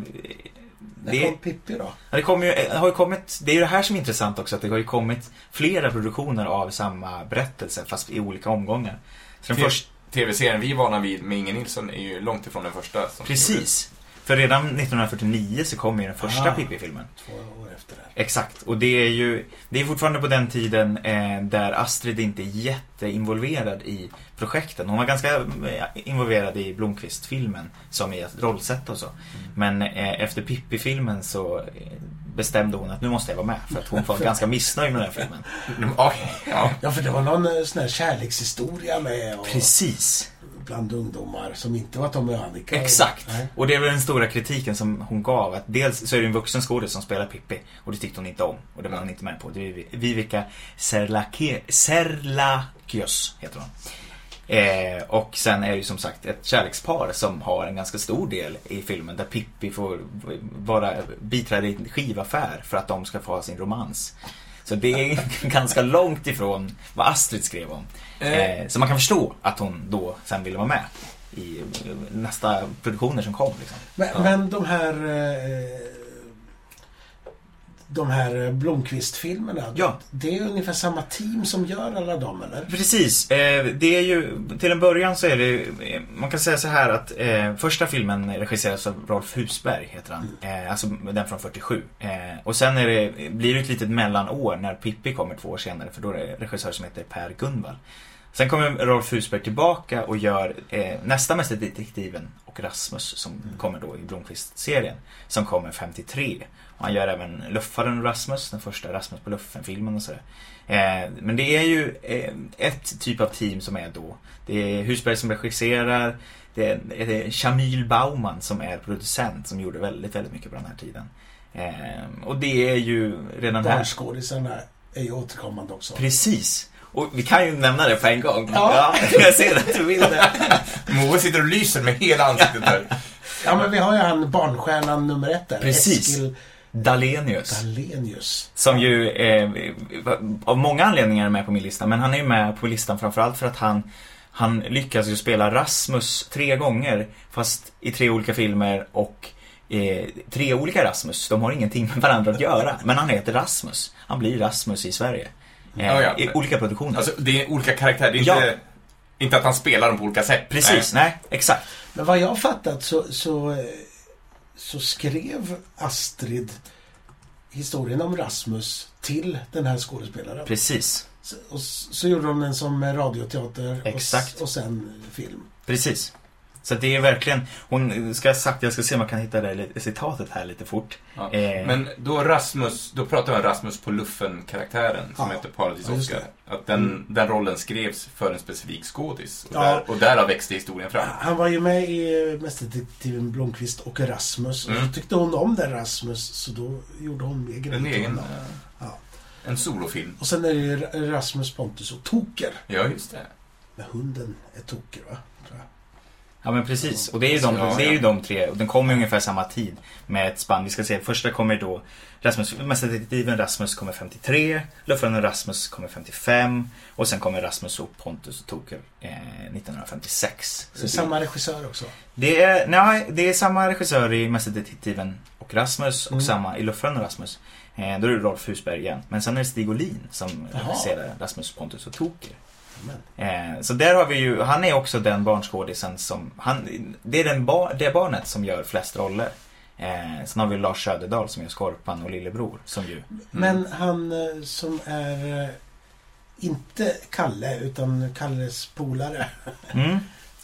[SPEAKER 3] När
[SPEAKER 4] Det,
[SPEAKER 3] kom Pippi då?
[SPEAKER 4] ja, det, kommer ju, eh, har ju kommit, det är ju det här som är intressant också, att det har ju kommit flera produktioner av samma berättelse, fast i olika omgångar. Så den
[SPEAKER 2] Tre-
[SPEAKER 4] första,
[SPEAKER 2] TV-serien vi är vana vid med Inge Nilsson är ju långt ifrån den första. Som
[SPEAKER 4] precis. För redan 1949 så kom ju den första
[SPEAKER 3] Ah.
[SPEAKER 4] Pippi-filmen.
[SPEAKER 3] Två år efter det.
[SPEAKER 4] Exakt, och det är ju det är fortfarande på den tiden eh, där Astrid inte är jätteinvolverad i projekten. Hon var ganska eh, involverad i Blomkvist-filmen, som i att rollsätta och så. Men eh, efter Pippi-filmen så eh, bestämde hon att nu måste jag vara med, för att hon var ganska missnöjd med den här filmen.
[SPEAKER 2] gjorde- Okej, ja.
[SPEAKER 3] Ja, för det var någon eh, sån här kärlekshistoria med och
[SPEAKER 4] Precis,
[SPEAKER 3] bland ungdomar som inte var Tommy och Annika.
[SPEAKER 4] exakt.
[SPEAKER 3] Nej.
[SPEAKER 4] Och det är väl den stora kritiken som hon gav, att dels så är det en vuxen skådespelare som spelar Pippi, och det tyckte hon inte om. Och det var hon inte med på. Det är Vi- Vivica Serlake- Serlakios, heter hon. Eh, och sen är det ju som sagt ett kärlekspar som har en ganska stor del i filmen där Pippi får vara biträde i en skivaffär för att de ska få ha sin romans. Så det är ganska långt ifrån vad Astrid skrev om. Eh, så man kan förstå att hon då sen ville vara med i nästa produktioner som kom. Liksom.
[SPEAKER 3] Men, men de här... eh, De här Blomkvist-filmerna.
[SPEAKER 4] Ja.
[SPEAKER 3] Det är ungefär samma team som gör alla dem, eller?
[SPEAKER 4] Precis. Eh, det är ju, till en början så är det, eh, man kan säga så här att eh, första filmen regisseras av Rolf Husberg, heter han. Eh, alltså den från 47. Eh, och sen är det, blir det ett litet mellanår när Pippi kommer två år senare, för då är det en regissör som heter Per Gunvall. Sen kommer Rolf Husberg tillbaka och gör eh, nästa Mästerdetektiven och Rasmus som kommer då i Blomkvist-serien. Som kommer 53. Och han gör även Luffaren och Rasmus, den första Rasmus på luffen-filmen och sådär. Eh, men det är ju eh, ett typ av team som är då. Det är Husberg som regisserar, det är, det är Shamil Bauman som är producent som gjorde väldigt, väldigt mycket på den här tiden. Eh, och det är ju redan här...
[SPEAKER 3] Barnskådisarna är ju återkommande också.
[SPEAKER 4] Precis! Och vi kan ju nämna det på en gång.
[SPEAKER 3] Ja.
[SPEAKER 4] jag ser att du vill det.
[SPEAKER 2] Moa sitter och lyser med hela ansiktet där.
[SPEAKER 3] Ja, men vi har ju han barnstjärnan nummer ett där.
[SPEAKER 4] Precis.
[SPEAKER 3] Eskil
[SPEAKER 4] Dalenius.
[SPEAKER 3] Dahlenius.
[SPEAKER 4] Som ju eh, av många anledningar är med på min lista, men han är ju med på listan framförallt för att han han lyckas ju spela Rasmus tre gånger, fast i tre olika filmer och eh, tre olika Rasmus. De har ingenting med varandra att göra, men han heter Rasmus. Han blir Rasmus i Sverige. Eh,
[SPEAKER 2] Ja, ja.
[SPEAKER 4] I olika produktioner.
[SPEAKER 2] Alltså, det är olika karaktärer. Det är inte,
[SPEAKER 4] Ja.
[SPEAKER 2] inte att han spelar dem på olika sätt.
[SPEAKER 4] Precis, nej, exakt.
[SPEAKER 3] Men vad jag har fattat så, så, eh, så skrev Astrid historien om Rasmus till den här skådespelaren.
[SPEAKER 4] Precis.
[SPEAKER 3] Så, och s- så gjorde de den som eh, radioteater och s-
[SPEAKER 4] Exakt.
[SPEAKER 3] och sen film.
[SPEAKER 4] Precis. Så att det är verkligen, hon ska sagt, jag ska se om jag kan hitta det här li- citatet här lite fort.
[SPEAKER 2] Ja.
[SPEAKER 4] Eh,
[SPEAKER 2] Men då Rasmus, då pratar vi om Rasmus på luffen-karaktären som
[SPEAKER 3] Ja.
[SPEAKER 2] heter Paradis
[SPEAKER 3] Ja, just
[SPEAKER 2] Oscar. Att den, den rollen skrevs för en specifik skådis. Och,
[SPEAKER 3] Ja.
[SPEAKER 2] där, och därav växte historien fram.
[SPEAKER 3] Han var ju med i eh, Mästerdetektiven Blomkvist och Rasmus. Och
[SPEAKER 2] Mm.
[SPEAKER 3] så tyckte hon om den Rasmus, så då gjorde hon mer grejer
[SPEAKER 2] En
[SPEAKER 3] till
[SPEAKER 2] egen...
[SPEAKER 3] honom.
[SPEAKER 2] eh,
[SPEAKER 3] Ja.
[SPEAKER 2] En solofilm.
[SPEAKER 3] Och sen är det ju Ra- Rasmus, Pontus och Toker.
[SPEAKER 2] Ja, just det.
[SPEAKER 3] Med hunden är Toker, va? Tror jag.
[SPEAKER 4] Ja men precis, och det är ju de,
[SPEAKER 2] Ja,
[SPEAKER 4] det är ju
[SPEAKER 2] ja.
[SPEAKER 4] de tre. Och den kommer ungefär samma tid med ett spann. Vi ska se, första kommer då Rasmus, Mästerdetektiven Rasmus kommer 53, Luffaren Rasmus kommer 55 och sen kommer Rasmus och Pontus och Toker eh, 1956.
[SPEAKER 3] Så
[SPEAKER 4] Så det-
[SPEAKER 3] samma regissör också.
[SPEAKER 4] Det är, nej, det är samma regissör i Mästerdetektiven och Rasmus och
[SPEAKER 3] Mm.
[SPEAKER 4] samma i Luffaren och Rasmus. Eh, då är det Rolf Husberg igen. Men sen är det Stig Olin som
[SPEAKER 3] Jaha.
[SPEAKER 4] regisserar Rasmus, Pontus och Toker.
[SPEAKER 3] Amen.
[SPEAKER 4] Eh, så där har vi ju, han är också den barnskådisen som, han, det är den bar, det barnet som gör flest roller. Eh, sen har vi Lars Söderdahl som gör Skorpan och Lillebror som ju,
[SPEAKER 3] Men han eh, som är eh, inte Kalle, utan Kalles polare.
[SPEAKER 4] mm.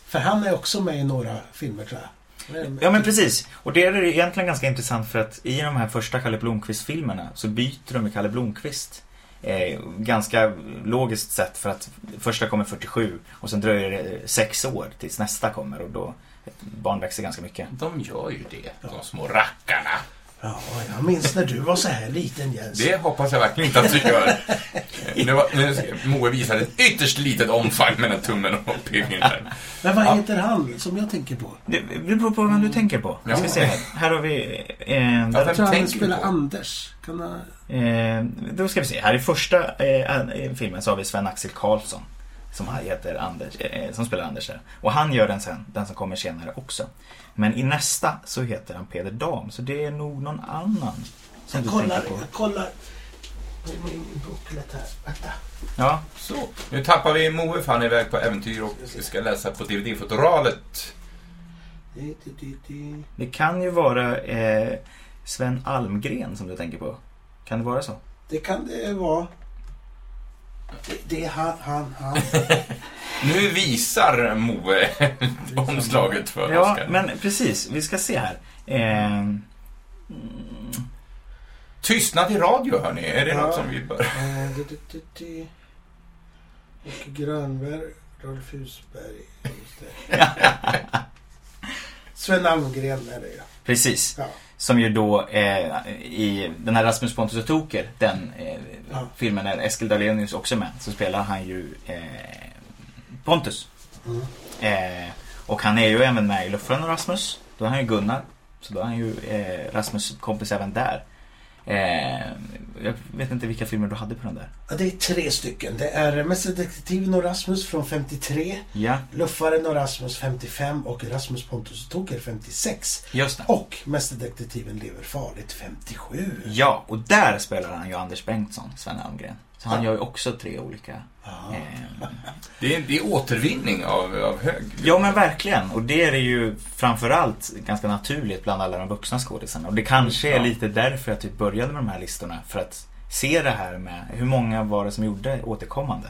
[SPEAKER 3] För han är också med i några filmer, tror jag. Men-
[SPEAKER 4] Ja men precis. Och det är det egentligen ganska intressant för att i de här första Kalle Blomkvist-filmerna så byter de med Kalle Blomkvist. Eh, ganska logiskt sett för att första kommer 47 och sen dröjer det sex år tills nästa kommer och då ett barn växer ganska mycket.
[SPEAKER 2] De gör ju det, de små rackarna.
[SPEAKER 3] Ja, jag minns när du var så här liten, Jens.
[SPEAKER 2] Det hoppas jag verkligen inte att du gör. Nu, var, nu ska- Moe visar ett ytterst litet omfang mellan tummen och pekfingret.
[SPEAKER 3] Men vad heter han som jag tänker på?
[SPEAKER 4] Det, det beror på vem du tänker på. Jag ska
[SPEAKER 2] Ja.
[SPEAKER 4] se här. Här har vi... Eh,
[SPEAKER 2] Ja,
[SPEAKER 4] där,
[SPEAKER 2] Vem
[SPEAKER 3] Jag tror han
[SPEAKER 2] tänker du
[SPEAKER 3] spelar
[SPEAKER 2] på?
[SPEAKER 3] Anders. Kan han...
[SPEAKER 4] eh, då ska vi se. Här i första eh, eh, filmen så har vi Sven-Axel Karlsson. Som, han heter Anders, eh, som spelar Anders där. Och han gör den sen, den som kommer senare också. Men i nästa så heter han Peder Dam. Så det är nog någon annan som
[SPEAKER 3] Jag
[SPEAKER 4] du
[SPEAKER 3] kollar,
[SPEAKER 4] tänker på.
[SPEAKER 3] jag kollar. I min boklet här. Vänta.
[SPEAKER 4] Ja,
[SPEAKER 2] Så, nu tappar vi Moe för han är iväg på äventyr och ska läsa på DVD-fotoralet.
[SPEAKER 3] Di, di, di, di.
[SPEAKER 4] det kan ju vara eh, Sven Almgren som du tänker på. Kan det vara så?
[SPEAKER 3] Det kan det vara. Det, det är han, han, han.
[SPEAKER 2] Nu visar Moe omslaget för
[SPEAKER 4] Liksom. Ja,
[SPEAKER 2] Oscar.
[SPEAKER 4] men precis. Vi ska se här. Eh,
[SPEAKER 2] Tystnad i radio hörni, är det
[SPEAKER 3] Ja.
[SPEAKER 2] något som vi bör...
[SPEAKER 3] Eh, di, di, di, di. Åke Grönberg, Rolf Husberg. just det. Sven Almgren är det ju.
[SPEAKER 4] precis.
[SPEAKER 3] Ja.
[SPEAKER 4] Som ju då eh, i den här Rasmus Pontus och Toker, den eh,
[SPEAKER 3] Ja.
[SPEAKER 4] filmen där Eskil Dahlenius också är med, så spelar han ju eh, Pontus.
[SPEAKER 3] Mm.
[SPEAKER 4] Eh, och han är ju även med i Luffaren och Rasmus. Då är han ju Gunnar. Så då är han ju eh, Rasmus kompis även där. Eh, jag vet inte vilka filmer du hade på den där.
[SPEAKER 3] Ja, det är tre stycken. Det är Mästerdetektiven och Rasmus från 53,
[SPEAKER 4] Ja,
[SPEAKER 3] Luffaren och Rasmus 55 och Rasmus Pontus och Toker 56.
[SPEAKER 4] just det.
[SPEAKER 3] Och Mästerdetektiven lever farligt 57.
[SPEAKER 4] Ja, och där spelar han ju Anders Bengtsson, Sven Almgren. Så han
[SPEAKER 3] Ja.
[SPEAKER 4] gör ju också tre olika
[SPEAKER 3] Ja.
[SPEAKER 4] eh,
[SPEAKER 2] Det är, det är återvinning av, av hög.
[SPEAKER 4] Ja men verkligen och det är det ju framförallt ganska naturligt bland alla de vuxna skådisarna. Och det kanske är
[SPEAKER 2] Ja.
[SPEAKER 4] lite därför jag typ började med de här listorna. För att se det här med hur många var det som gjorde återkommande.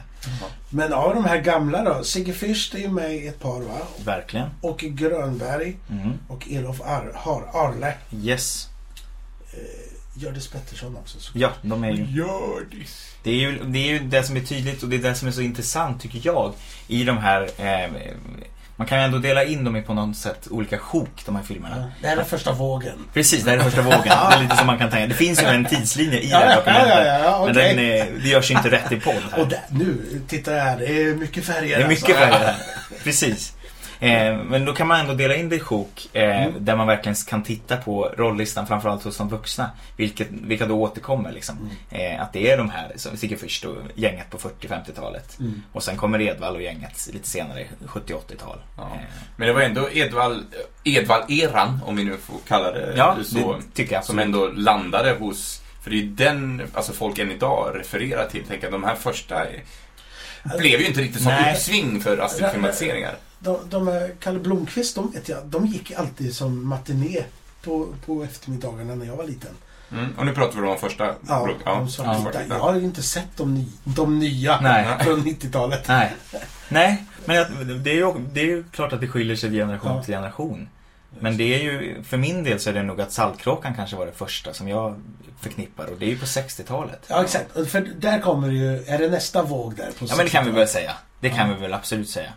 [SPEAKER 3] Men av de här gamla då, Sigge Fürst är ju med i ett par va?
[SPEAKER 4] Verkligen.
[SPEAKER 3] Och Grönberg
[SPEAKER 4] Mm.
[SPEAKER 3] och Elof Ar- Har- Arle.
[SPEAKER 4] Yes.
[SPEAKER 3] Gördis Pettersson också. Så.
[SPEAKER 4] Ja, de är ju...
[SPEAKER 2] Hjördis.
[SPEAKER 4] Mm. Det är, ju, det är ju det som är tydligt och det är det som är så intressant tycker jag i de här... Eh, man kan ju ändå dela in dem i på något sätt olika sjok, de här filmerna.
[SPEAKER 3] Ja. Det här är första vågen.
[SPEAKER 4] Precis, det här är första vågen. Det är lite som man kan tänka. Det finns ju en tidslinje i det här
[SPEAKER 3] Ja, ja,
[SPEAKER 4] dokumentet.
[SPEAKER 3] ja, ja,
[SPEAKER 4] Men
[SPEAKER 3] okej.
[SPEAKER 4] den, eh, det görs ju inte rätt i podd här.
[SPEAKER 3] Och där, nu, titta här. Det är mycket färger
[SPEAKER 4] Det är mycket
[SPEAKER 3] alltså.
[SPEAKER 4] färger. Precis. Eh, men då kan man ändå dela in det i sjok eh, där man verkligen kan titta på rollistan framförallt hos de vuxna. Vilket, vilka då återkommer liksom. Eh, att det är de här, som Sigge Fürst och gänget på 40-50-talet.
[SPEAKER 3] Mm.
[SPEAKER 4] Och sen kommer Edvall och gänget lite senare, 70-80-tal.
[SPEAKER 2] Ja.
[SPEAKER 4] Eh,
[SPEAKER 2] Men det var ändå Edvall- Edvall-eran, om vi nu får kalla det
[SPEAKER 4] ja,
[SPEAKER 2] så.
[SPEAKER 4] det tycker jag
[SPEAKER 2] Som
[SPEAKER 4] absolut.
[SPEAKER 2] ändå landade hos, för det är ju den alltså folk än idag refererar till. Tänker att de här första är, blev ju inte riktigt som
[SPEAKER 4] Nej.
[SPEAKER 2] uppsving för Astrid-filmatiseringar.
[SPEAKER 3] De, de här Kalle Blomkvist, de vet jag, de gick alltid som matiné på, på eftermiddagarna när jag var liten.
[SPEAKER 2] Mm. Och nu pratar vi då om första
[SPEAKER 3] Ja,
[SPEAKER 2] block-
[SPEAKER 3] de svartvita. Jag har ju inte sett de, ny, de nya
[SPEAKER 4] Nej.
[SPEAKER 3] från 90-talet.
[SPEAKER 4] Nej. Nej, Men jag, det, är ju, det är ju klart att det skiljer sig generation
[SPEAKER 3] Ja.
[SPEAKER 4] till generation. Men det är ju, för min del så är det nog att Saltkråkan kanske var det första som jag förknippar och det är ju på 60-talet.
[SPEAKER 3] Ja, exakt. Och För där kommer ju... Är det nästa våg där? På
[SPEAKER 4] Ja men det kan vi väl säga. Det kan vi väl absolut säga.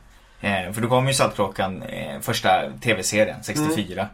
[SPEAKER 4] Eh, för då kom ju Saltkråkan, eh, första tv-serien, 64.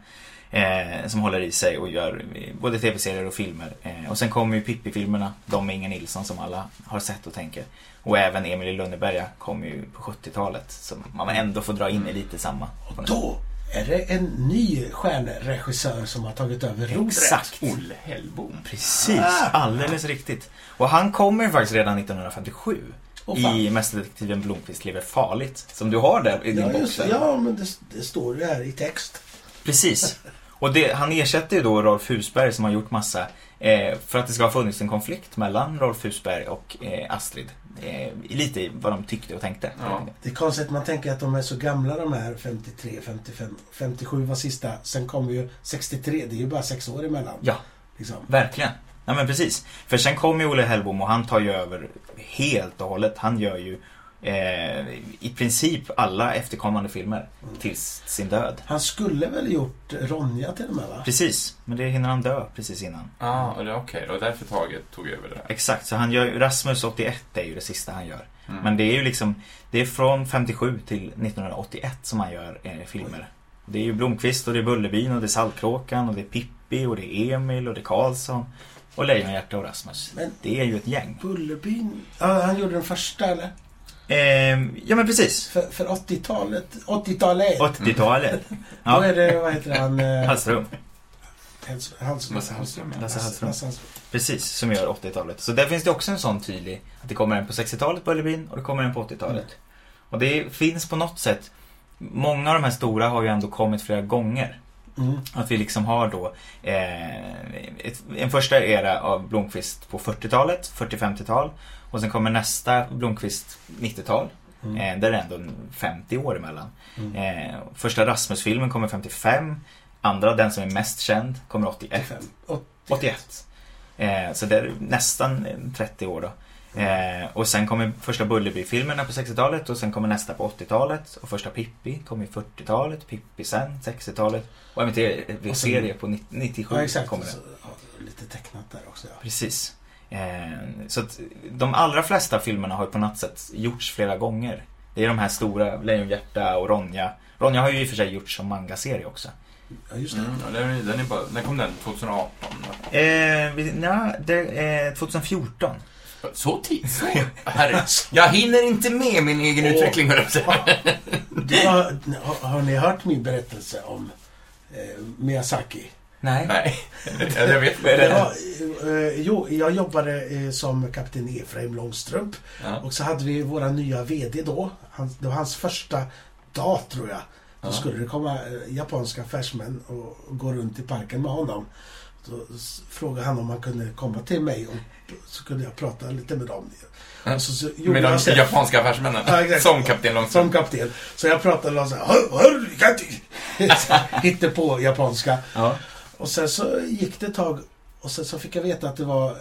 [SPEAKER 4] Eh, som håller i sig och gör eh, både tv-serier och filmer. Eh, och sen kommer ju Pippi-filmerna, de med Inger Nilsson som alla har sett och tänker. Och även Emil i Lönneberga kom ju på 70-talet. Så man ändå får dra in i lite samma.
[SPEAKER 3] Då är det en ny stjärnregissör som har tagit över rodret.
[SPEAKER 4] Exakt.
[SPEAKER 5] Olle Hellbom.
[SPEAKER 4] Precis,
[SPEAKER 3] Ah.
[SPEAKER 4] alldeles riktigt. Och han kommer ju faktiskt redan 1957
[SPEAKER 3] Åh, fan.
[SPEAKER 4] i Mästerdetektiven Blomkvist lever farligt. Som du har där i din
[SPEAKER 3] Ja,
[SPEAKER 4] box.
[SPEAKER 3] just det.
[SPEAKER 4] där.
[SPEAKER 3] Ja, men det, det står ju här i text.
[SPEAKER 4] Precis. Och det, han ersätter ju då Rolf Husberg som har gjort massa eh, för att det ska ha funnits en konflikt mellan Rolf Husberg och eh, Astrid. Eh, lite i vad de tyckte och tänkte.
[SPEAKER 5] Ja.
[SPEAKER 3] Det är konstigt, man tänker att de är så gamla de här 53, 55, 57 var sista. Sen kommer ju 63, det är ju bara sex år emellan.
[SPEAKER 4] Ja.
[SPEAKER 3] Liksom.
[SPEAKER 4] Verkligen. Ja men precis. För sen kom ju Olle Hellbom och han tar ju över helt och hållet. Han gör ju eh, i princip alla efterkommande filmer tills sin död.
[SPEAKER 3] Han skulle väl gjort Ronja till och med va?
[SPEAKER 4] Precis, men det hinner han dö precis innan.
[SPEAKER 5] Ah, och det är okej. Och därför taget tog över det där.
[SPEAKER 4] Exakt, så han gör Rasmus 81 är ju det sista han gör.
[SPEAKER 2] Mm.
[SPEAKER 4] Men det är ju liksom, det är från 57 till 1981 som han gör eh, filmer. Det är ju Blomkvist och det är Bullerbyn och det är Saltkråkan och det är Pippi och det är Emil och det är Karlsson. Och Lejonhjärta och Rasmus.
[SPEAKER 3] Men-
[SPEAKER 4] Det är ju ett gäng.
[SPEAKER 3] Bullerbyn? Ja, han gjorde den första eller?
[SPEAKER 4] Ehm, ja men precis.
[SPEAKER 3] För, för 80-talet? 80-talet?
[SPEAKER 4] 80-talet.
[SPEAKER 3] Då
[SPEAKER 4] Ja,
[SPEAKER 3] är det, vad heter han? eh,
[SPEAKER 4] Hallström.
[SPEAKER 3] Hals- Hals-
[SPEAKER 5] Lasse Hallström, ja.
[SPEAKER 4] Lasse Hallström.
[SPEAKER 3] Lasse Hallström.
[SPEAKER 4] Precis, som gör 80-talet. Så där finns det också en sån tydlig, att det kommer en på 60-talet på Ullerbyn och det kommer en på 80-talet. Och det finns på något sätt, många av de här stora har ju ändå kommit flera gånger.
[SPEAKER 3] Mm.
[SPEAKER 4] Att vi liksom har då eh, ett, en första era av Blomkvist på 40-talet, 40-50-tal. Och sen kommer nästa Blomkvist 90-tal.
[SPEAKER 3] Mm.
[SPEAKER 4] Eh, där är det ändå en 50 år emellan.
[SPEAKER 3] Mm.
[SPEAKER 4] Eh, första Rasmus-filmen kommer 55. Andra, den som är mest känd, kommer 81.
[SPEAKER 3] 85. Och
[SPEAKER 4] 81. Eh, så det är nästan eh, 30 år då. Eh, och sen kommer första Bullerby-filmerna på 60-talet och sen kommer nästa på 80-talet. Och första Pippi kommer i 40-talet, Pippi sen, 60-talet. Och även
[SPEAKER 3] Och sen-
[SPEAKER 4] tv-serie på 90- 97
[SPEAKER 3] ja, exakt.
[SPEAKER 4] kommer det.
[SPEAKER 3] Så, ja, lite tecknat där också. Ja.
[SPEAKER 4] Precis. Eh, så att de allra flesta filmerna har ju på något sätt gjorts flera gånger. Det är de här stora, Lejonhjärta och Ronja. Ronja har ju i och för sig gjorts som manga-serie också.
[SPEAKER 3] ja, just det.
[SPEAKER 5] Mm, och den, är- den är bara, när kom den? 2018?
[SPEAKER 4] Eh, vi- nja, det, eh, 2014.
[SPEAKER 5] Så tid? Så? Herre,
[SPEAKER 3] Alltså,
[SPEAKER 5] jag hinner inte med min egen
[SPEAKER 3] Åh.
[SPEAKER 5] utveckling, höll jag på att säga.
[SPEAKER 3] Det var, har, har ni hört min berättelse om eh, Miyazaki?
[SPEAKER 4] Nej.
[SPEAKER 5] Nej, jag jag vet
[SPEAKER 4] Är
[SPEAKER 5] inte.
[SPEAKER 4] det-
[SPEAKER 3] Det var, eh, jo, jag jobbade eh, som kapten Efraim Långstrump.
[SPEAKER 5] Ja.
[SPEAKER 3] Och så hade vi våra nya VD då. Han, det var hans första dag tror jag. Då skulle det komma eh, japanska affärsmän och gå runt i parken med honom. Då s- frågade han om han kunde komma till mig och p- så kunde jag prata lite med dem. Och så, så gjorde
[SPEAKER 5] Med
[SPEAKER 3] jag så
[SPEAKER 5] de
[SPEAKER 3] här-
[SPEAKER 5] japanska
[SPEAKER 3] Ja,
[SPEAKER 5] affärsmännen.
[SPEAKER 3] exakt.
[SPEAKER 5] Som kapten Långstrump.
[SPEAKER 3] som kapten. Så jag pratade med honom så här, hör, hör, jag kan inte-" Så hittade på japanska.
[SPEAKER 4] Ja.
[SPEAKER 3] Och sen så gick det ett tag och sen så fick jag veta att det var eh,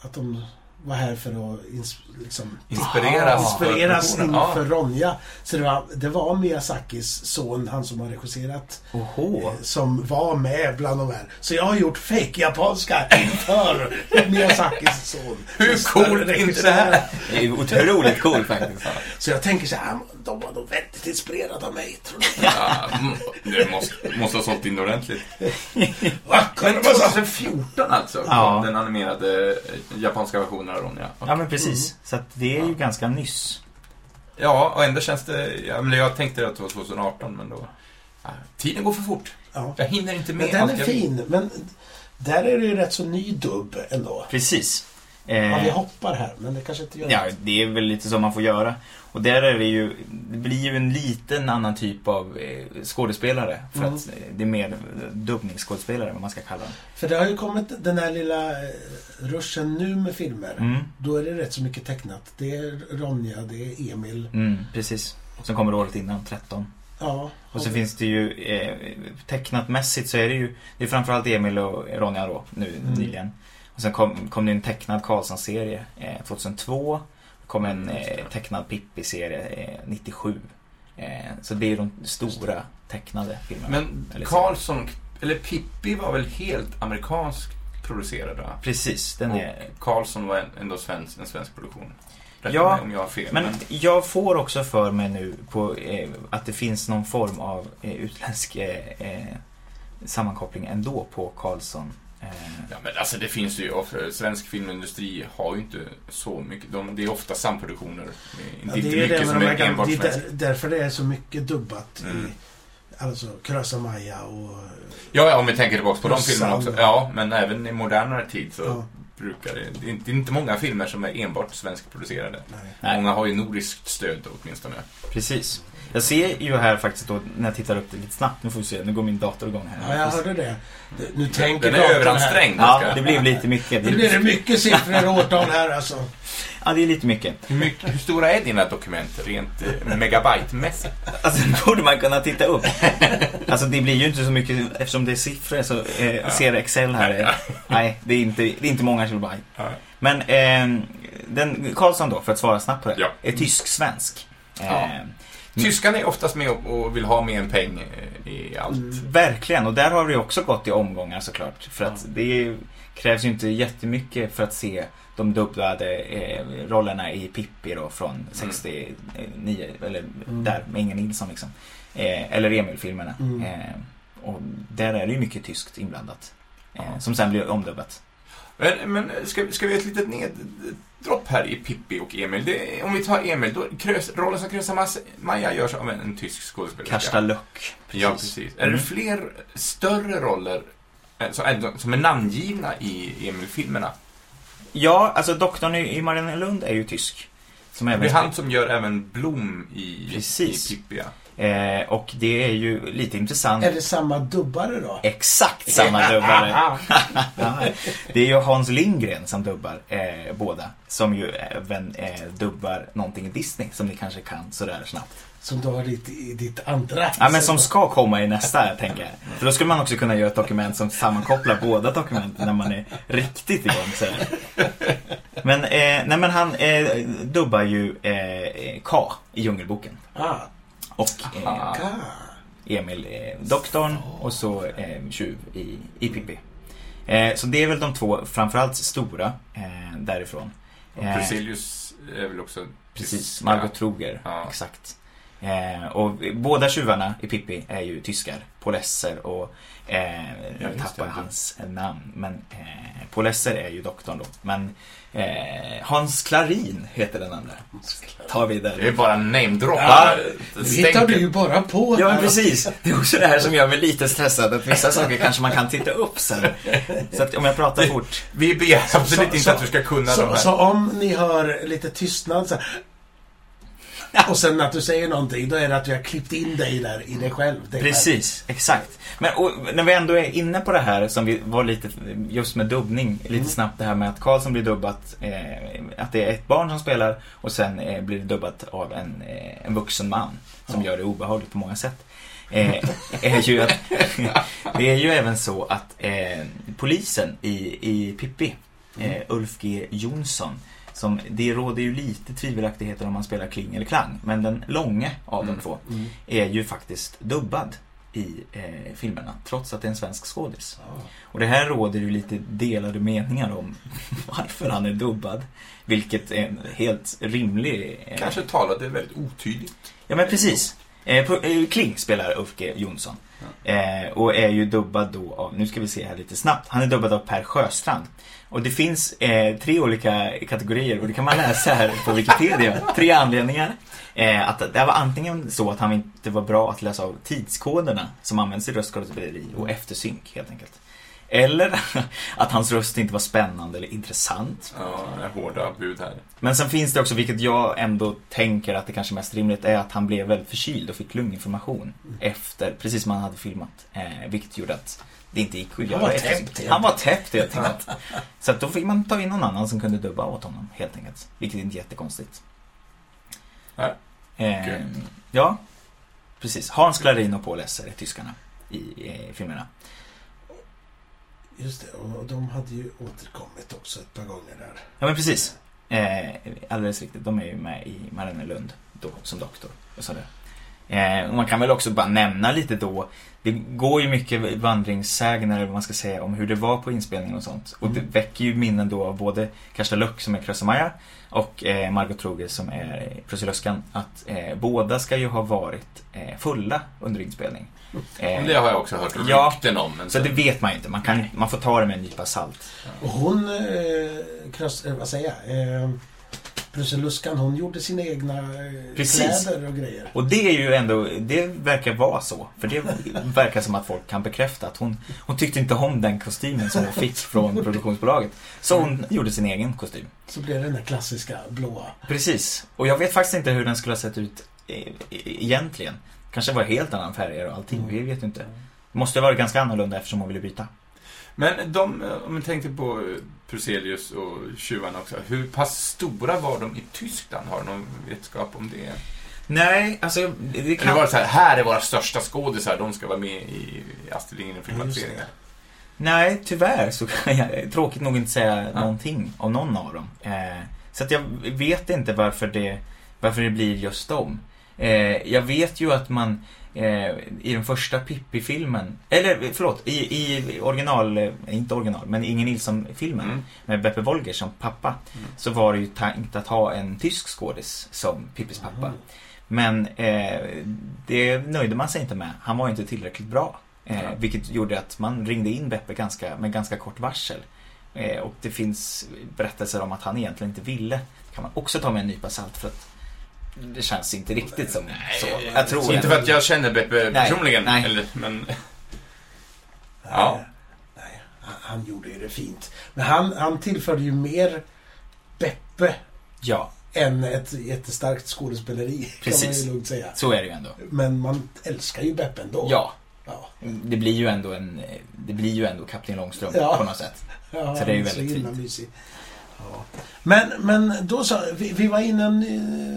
[SPEAKER 3] att de var här för att ins- liksom,
[SPEAKER 5] Inspireras.
[SPEAKER 3] inspireras
[SPEAKER 5] Ja.
[SPEAKER 3] inför Ronja. Så det var, det var Miyazakis son, han som har regisserat, eh,
[SPEAKER 4] Oho.
[SPEAKER 3] som var med bland de här. Så jag har gjort fake japanska inför Miyazakis son.
[SPEAKER 5] Hur coolt är inte det här?
[SPEAKER 4] Det är ju otroligt cool faktiskt.
[SPEAKER 3] Så jag tänker så här, "Ah, de var nog väldigt inspirerade av mig. Tror du?
[SPEAKER 5] Ja, m- det måste, måste ha sålt in ordentligt.
[SPEAKER 3] Va? Kan
[SPEAKER 5] Men
[SPEAKER 3] det vara så?
[SPEAKER 5] 2014 alltså?
[SPEAKER 4] Ja.
[SPEAKER 5] Den animerade eh, japanska versionen av Ronja.
[SPEAKER 4] Ja men precis. Så att det är ju ganska nyss.
[SPEAKER 5] Ja, och ändå känns det... Ja, men jag tänkte att det var 2018, men då... Ja, tiden går för fort.
[SPEAKER 3] Ja.
[SPEAKER 5] Jag hinner inte med
[SPEAKER 3] Men den
[SPEAKER 5] allt
[SPEAKER 3] är
[SPEAKER 5] jag-
[SPEAKER 3] fin, men där är det ju rätt så ny dubb ändå.
[SPEAKER 4] Precis.
[SPEAKER 3] Ja, vi
[SPEAKER 5] Mm.
[SPEAKER 4] Eh,
[SPEAKER 3] hoppar här, men det kanske inte gör
[SPEAKER 4] ja,
[SPEAKER 3] något.
[SPEAKER 4] det är väl lite så man får göra. Och där är det ju, det blir ju en liten annan typ av eh, skådespelare. För
[SPEAKER 3] Mm.
[SPEAKER 4] att eh, det är mer eh, dubbningsskådespelare, vad man ska kalla dem.
[SPEAKER 3] För det har ju kommit den här lilla eh, ruschen nu med filmer.
[SPEAKER 4] Mm.
[SPEAKER 3] Då är det rätt så mycket tecknat. Det är Ronja, det är Emil.
[SPEAKER 4] Mm, precis. Som kommer året innan, 13.
[SPEAKER 3] Ja.
[SPEAKER 4] Och så finns det ju, eh, tecknat mässigt så är det ju, det är framförallt Emil och Ronja Mm. då, nu nyligen. Och sen kom, kom det en tecknad Karlsson-serie eh, 2002. Det kom en eh, tecknad Pippi-serie eh, 97. Eh, så det är de stora tecknade filmerna.
[SPEAKER 2] Men
[SPEAKER 4] Eller så.
[SPEAKER 2] Karlsson, eller Pippi var väl helt amerikansk producerad? va?
[SPEAKER 4] Precis, den är...
[SPEAKER 2] Och Karlsson var ändå svensk, en svensk produktion. Rätta
[SPEAKER 4] Ja,
[SPEAKER 2] mig om jag har fel.
[SPEAKER 4] Men jag får också för mig nu på, eh, att det finns någon form av eh, utländsk eh, eh, sammankoppling ändå på Karlsson. Eh,
[SPEAKER 2] Ja, men alltså det finns ju, of- svensk filmindustri har ju inte så mycket, de, det är ofta samproduktioner. Det är
[SPEAKER 3] Ja,
[SPEAKER 2] inte
[SPEAKER 3] det är
[SPEAKER 2] mycket
[SPEAKER 3] det med
[SPEAKER 2] som
[SPEAKER 3] de
[SPEAKER 2] är
[SPEAKER 3] här gamla,
[SPEAKER 2] enbart
[SPEAKER 3] det är
[SPEAKER 2] svenskt.
[SPEAKER 3] där, därför det är så mycket dubbat
[SPEAKER 2] Mm.
[SPEAKER 3] i alltså Krösa-Maja och...
[SPEAKER 2] Ja, ja, om vi tänker tillbaka på de
[SPEAKER 3] Och
[SPEAKER 2] filmerna också.
[SPEAKER 3] Sand.
[SPEAKER 2] Ja, men även i modernare tid så
[SPEAKER 3] Ja,
[SPEAKER 2] brukar det, det är inte- det är inte många filmer som är enbart svenskproducerade.
[SPEAKER 3] nej.
[SPEAKER 4] Nej.
[SPEAKER 2] Många har ju nordiskt stöd åtminstone.
[SPEAKER 4] Precis. Jag ser ju här faktiskt då, när jag tittar upp det lite snabbt, nu får vi se, nu går min dator igång
[SPEAKER 3] Ja,
[SPEAKER 4] här.
[SPEAKER 3] jag hörde det. Det- Nu tänker
[SPEAKER 2] Den är
[SPEAKER 3] datorn här.
[SPEAKER 2] överansträngd.
[SPEAKER 4] Ja,
[SPEAKER 2] ganska.
[SPEAKER 4] det blev lite mycket.
[SPEAKER 3] Nu blir det mycket siffror och årtal här alltså.
[SPEAKER 4] Ja, det är lite mycket.
[SPEAKER 2] Hur, mycket, hur stora är dina dokument rent eh, megabytemässigt?
[SPEAKER 4] Alltså det borde man kunna titta upp. Alltså det blir ju inte så mycket, eftersom det är siffror så eh, ser Excel här. Eh, nej, det är inte, det är inte många kilobyte.
[SPEAKER 2] Nej.
[SPEAKER 4] Men eh, den, Karlsson då, för att svara snabbt på det,
[SPEAKER 2] Ja.
[SPEAKER 4] är tysk-svensk. Eh,
[SPEAKER 2] Ja. Tyskarna är oftast med och, och vill ha med en peng eh, i allt.
[SPEAKER 3] Mm.
[SPEAKER 4] Verkligen, och där har det ju också gått i omgångar såklart. För att det är ju- krävs ju inte jättemycket för att se de dubblade eh, rollerna i Pippi då
[SPEAKER 2] Mm.
[SPEAKER 4] från 69, eller
[SPEAKER 3] Mm.
[SPEAKER 4] där, med Inge Nilsson liksom. Eh, eller Emil-filmerna.
[SPEAKER 3] Mm.
[SPEAKER 4] Eh, och där är det ju mycket tyskt inblandat. Eh,
[SPEAKER 2] Ja.
[SPEAKER 4] Som sen blir omdubbat.
[SPEAKER 2] Men, men ska, ska vi ha ett litet neddropp här i Pippi och Emil? Det, är- om vi tar Emil, då, krös, rollen som Krösa-Maja görs av en, en tysk skådespelerska.
[SPEAKER 4] Karsta Löck.
[SPEAKER 2] Ja, precis. Är
[SPEAKER 4] Mm.
[SPEAKER 2] det fler större roller eh, som är, som är namngivna i Emil-filmerna?
[SPEAKER 4] Ja, alltså doktorn i i Mariannelund är ju tysk. Som
[SPEAKER 2] Det
[SPEAKER 4] även
[SPEAKER 2] är han som gör även Blom i,
[SPEAKER 4] Precis.
[SPEAKER 2] i Pippi, ja.
[SPEAKER 4] eh, och det är ju lite intressant.
[SPEAKER 3] Är det samma dubbare då?
[SPEAKER 4] Exakt samma dubbare. det är ju Hans Lindgren som dubbar eh, båda. Som ju även eh, dubbar någonting i Disney som ni kanske kan sådär snabbt.
[SPEAKER 3] Som du har ditt, i ditt andra.
[SPEAKER 4] Ja men som ska komma i nästa tänker jag. För då skulle man också kunna göra ett dokument som sammankopplar båda dokumenten när man är riktigt igång sådär. Men, eh, nej, men han eh, dubbar ju eh, K i Djungelboken.
[SPEAKER 3] Ah,
[SPEAKER 4] Och eh,
[SPEAKER 3] ah.
[SPEAKER 4] Emil, eh, doktorn och så eh, tjuv i, i Pippi. Eh, så det är väl de två framförallt stora eh, därifrån.
[SPEAKER 2] Och
[SPEAKER 4] Eh,
[SPEAKER 2] Priscillus är väl också...
[SPEAKER 4] Precis,
[SPEAKER 2] tyska.
[SPEAKER 4] Margot Troger.
[SPEAKER 2] Ja.
[SPEAKER 4] Exakt. Eh, och båda tjuvarna i Pippi är ju tyskar. Polesser och... Eh,
[SPEAKER 2] Ja,
[SPEAKER 4] jag
[SPEAKER 2] just
[SPEAKER 4] tappar
[SPEAKER 2] det.
[SPEAKER 4] hans namn. Men eh, Polesser är ju doktorn då. Men eh, Hans Klarin heter den andra. Tar vi
[SPEAKER 2] Det är
[SPEAKER 4] där.
[SPEAKER 2] bara namedropp.
[SPEAKER 4] Ja,
[SPEAKER 3] Det hittar du ju bara på.
[SPEAKER 4] Ja men
[SPEAKER 3] här.
[SPEAKER 4] precis. Det är också det här som gör mig lite stressad. Att vissa saker kanske man kan titta upp sen. Så att om jag pratar fort.
[SPEAKER 2] Vi begär absolut
[SPEAKER 3] så-
[SPEAKER 2] inte att du ska kunna de
[SPEAKER 3] Så,
[SPEAKER 2] här.
[SPEAKER 3] så om ni hör lite tystnad så här, och sen att du säger någonting, då är det att vi har klippt in dig där i dig själv. Dig själv.
[SPEAKER 4] Precis, exakt. Men och, när vi ändå är inne på det här som vi var lite, just med dubbning, lite
[SPEAKER 3] Mm.
[SPEAKER 4] snabbt det här med att Karlsson blir dubbat, eh, att det är ett barn som spelar och sen eh, blir det dubbat av en, eh, en vuxen man som
[SPEAKER 3] Ja.
[SPEAKER 4] gör det obehagligt på många sätt. Eh, är ju att, det är ju även så att eh, polisen i, i Pippi,
[SPEAKER 3] Mm.
[SPEAKER 4] eh, Ulf G Jonsson, som, det råder ju lite tvivelaktigheter om man spelar kling eller klang, men den långe av de
[SPEAKER 2] Mm.
[SPEAKER 4] två
[SPEAKER 3] Mm.
[SPEAKER 4] är ju faktiskt dubbad i eh, filmerna, trots att det är en svensk skådis.
[SPEAKER 3] Ja.
[SPEAKER 4] Och det här råder ju lite delade meningar om varför han är dubbad. Vilket är en helt rimlig... Eh,
[SPEAKER 2] Kanske talade väldigt otydligt.
[SPEAKER 4] Ja men precis. Eh, på, eh, Kling spelar Ulf G Jonsson. Eh, och är ju dubbad då av, nu ska vi se här lite snabbt, han är dubbad av Per Sjöstrand. Och det finns eh, tre olika kategorier och det kan man läsa här på Wikipedia. Tre anledningar. Eh, att det var antingen så att han inte var bra att läsa av tidskoderna som används i röstskådespeleri och eftersynk helt enkelt. Eller att hans röst inte var spännande eller intressant.
[SPEAKER 2] Ja, det är hårda bud här.
[SPEAKER 4] Men sen finns det också, vilket jag ändå tänker att det kanske mest rimligt är, att han blev väldigt förkyld och fick lunginflammation efter, precis som han hade filmat. Eh, vilket gjorde att det inte gick att göra.
[SPEAKER 3] var
[SPEAKER 4] efter-
[SPEAKER 3] täppt, helt
[SPEAKER 4] Han var täppt helt enkelt. Så att då fick man ta in någon annan som kunde dubba åt honom helt enkelt. Vilket inte är jättekonstigt.
[SPEAKER 2] Nej.
[SPEAKER 4] Eh,
[SPEAKER 2] Okej.
[SPEAKER 4] ja, precis. Hans Klarin och Paul Esser är tyskarna i eh, filmerna.
[SPEAKER 3] Just det, och de hade ju återkommit också ett par gånger där.
[SPEAKER 4] Ja men precis. Eh, Eh, alldeles riktigt, de är ju med i Mariannelund då, som doktor. Och sådär. Eh, och man kan väl också bara nämna lite då, det går ju mycket vandringssägner eller vad man ska säga om hur det var på inspelningen och sånt. Och det väcker ju minnen då av både Karsta Luck som är Krösa-Maja och eh, Margot Troger som är Prussiluskan. Att eh, båda ska ju ha varit eh, fulla under inspelning.
[SPEAKER 2] Om
[SPEAKER 4] Eh,
[SPEAKER 2] det har jag också hört
[SPEAKER 4] Ja.
[SPEAKER 2] rykten om. Men
[SPEAKER 4] så det vet man ju inte, man, kan, man får ta det med en nypa salt.
[SPEAKER 3] Och hon, eh, krös, eh, vad säger jag, eh, Prussiluskan, hon gjorde sina egna eh,
[SPEAKER 4] Precis.
[SPEAKER 3] kläder och grejer.
[SPEAKER 4] Och det är ju ändå, det verkar vara så. För det verkar som att folk kan bekräfta att hon, hon tyckte inte om den kostymen som hon fick från produktionsbolaget. Så hon gjorde sin egen kostym.
[SPEAKER 3] Så blev det den där klassiska blåa.
[SPEAKER 4] Precis. Och jag vet faktiskt inte hur den skulle ha sett ut eh, e- egentligen. Kanske var helt annan färger och allting, vi vet ju inte. Måste ha varit ganska annorlunda eftersom hon ville byta.
[SPEAKER 2] Men de, eh, om vi tänkte på eh, Pruselius och tjuvarna också. Hur pass stora var de i Tyskland? Har du någon vetskap om det?
[SPEAKER 4] Nej, alltså det
[SPEAKER 2] Eller
[SPEAKER 4] kan...
[SPEAKER 2] var det så här, här är våra största skådisar, de ska vara med i Astrid Lindgren-filmatiseringar.
[SPEAKER 4] Nej, tyvärr så kan jag tråkigt nog inte säga
[SPEAKER 2] Ja.
[SPEAKER 4] någonting om någon av dem. Eh, så att jag vet inte varför det, varför det blir just dem. Eh, jag vet ju att man eh, i den första Pippi-filmen, eller förlåt, i, i original, eh, inte original, men Inger Nilsson-filmen
[SPEAKER 2] Mm.
[SPEAKER 4] med Beppe Wolger som pappa,
[SPEAKER 2] Mm.
[SPEAKER 4] så var det ju tänkt att ha en tysk skådis som Pippis
[SPEAKER 2] Ah.
[SPEAKER 4] pappa.
[SPEAKER 3] Mm.
[SPEAKER 4] Men eh, det nöjde man sig inte med. Han var ju inte tillräckligt bra. Eh,
[SPEAKER 2] Ja.
[SPEAKER 4] Vilket gjorde att man ringde in Beppe ganska, med ganska kort varsel. Eh, och det finns berättelser om att han egentligen inte ville. Det kan man också ta med en nypa salt för att det känns inte riktigt som så. Jag tror
[SPEAKER 2] Så inte för att jag känner Beppe
[SPEAKER 4] Nej,
[SPEAKER 2] personligen,
[SPEAKER 4] nej.
[SPEAKER 2] Eller, men... Ja.
[SPEAKER 3] Eh, Nej, han, han gjorde ju det fint. Men han, han tillförde ju mer Beppe
[SPEAKER 4] Ja,
[SPEAKER 3] än ett jättestarkt skådespeleri. Kan man
[SPEAKER 4] Precis.
[SPEAKER 3] ju lugnt säga.
[SPEAKER 4] så är det ju ändå.
[SPEAKER 3] Men man älskar ju Beppe ändå.
[SPEAKER 4] Ja,
[SPEAKER 3] Ja,
[SPEAKER 4] det blir ju ändå en... Det blir ju ändå Kapten Långstrump
[SPEAKER 3] Ja.
[SPEAKER 4] på något sätt.
[SPEAKER 3] ja
[SPEAKER 4] Så det är
[SPEAKER 3] han
[SPEAKER 4] ju väldigt
[SPEAKER 3] så himla
[SPEAKER 4] fint.
[SPEAKER 3] mysig. Ja. Men, men då så, vi, vi var inne och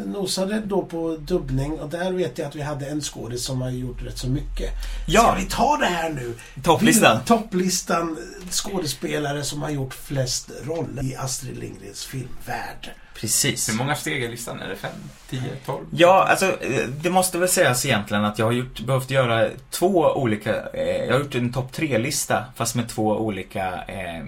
[SPEAKER 3] nosade då på dubbning och där vet jag att vi hade en skådis som har gjort rätt så mycket.
[SPEAKER 4] Ja,
[SPEAKER 3] Ska vi ta det här nu?
[SPEAKER 4] topplistan.
[SPEAKER 2] Mm.
[SPEAKER 3] Vi- Topplistan skådespelare som har gjort flest roller i Astrid Lindgrens filmvärld.
[SPEAKER 4] Precis.
[SPEAKER 2] Hur många steg i listan? Är det fem, tio, tolv?
[SPEAKER 4] Ja, alltså eh, det måste väl sägas egentligen att jag har gjort, behövt göra två olika, eh, jag har gjort en topp tre-lista fast med två olika eh,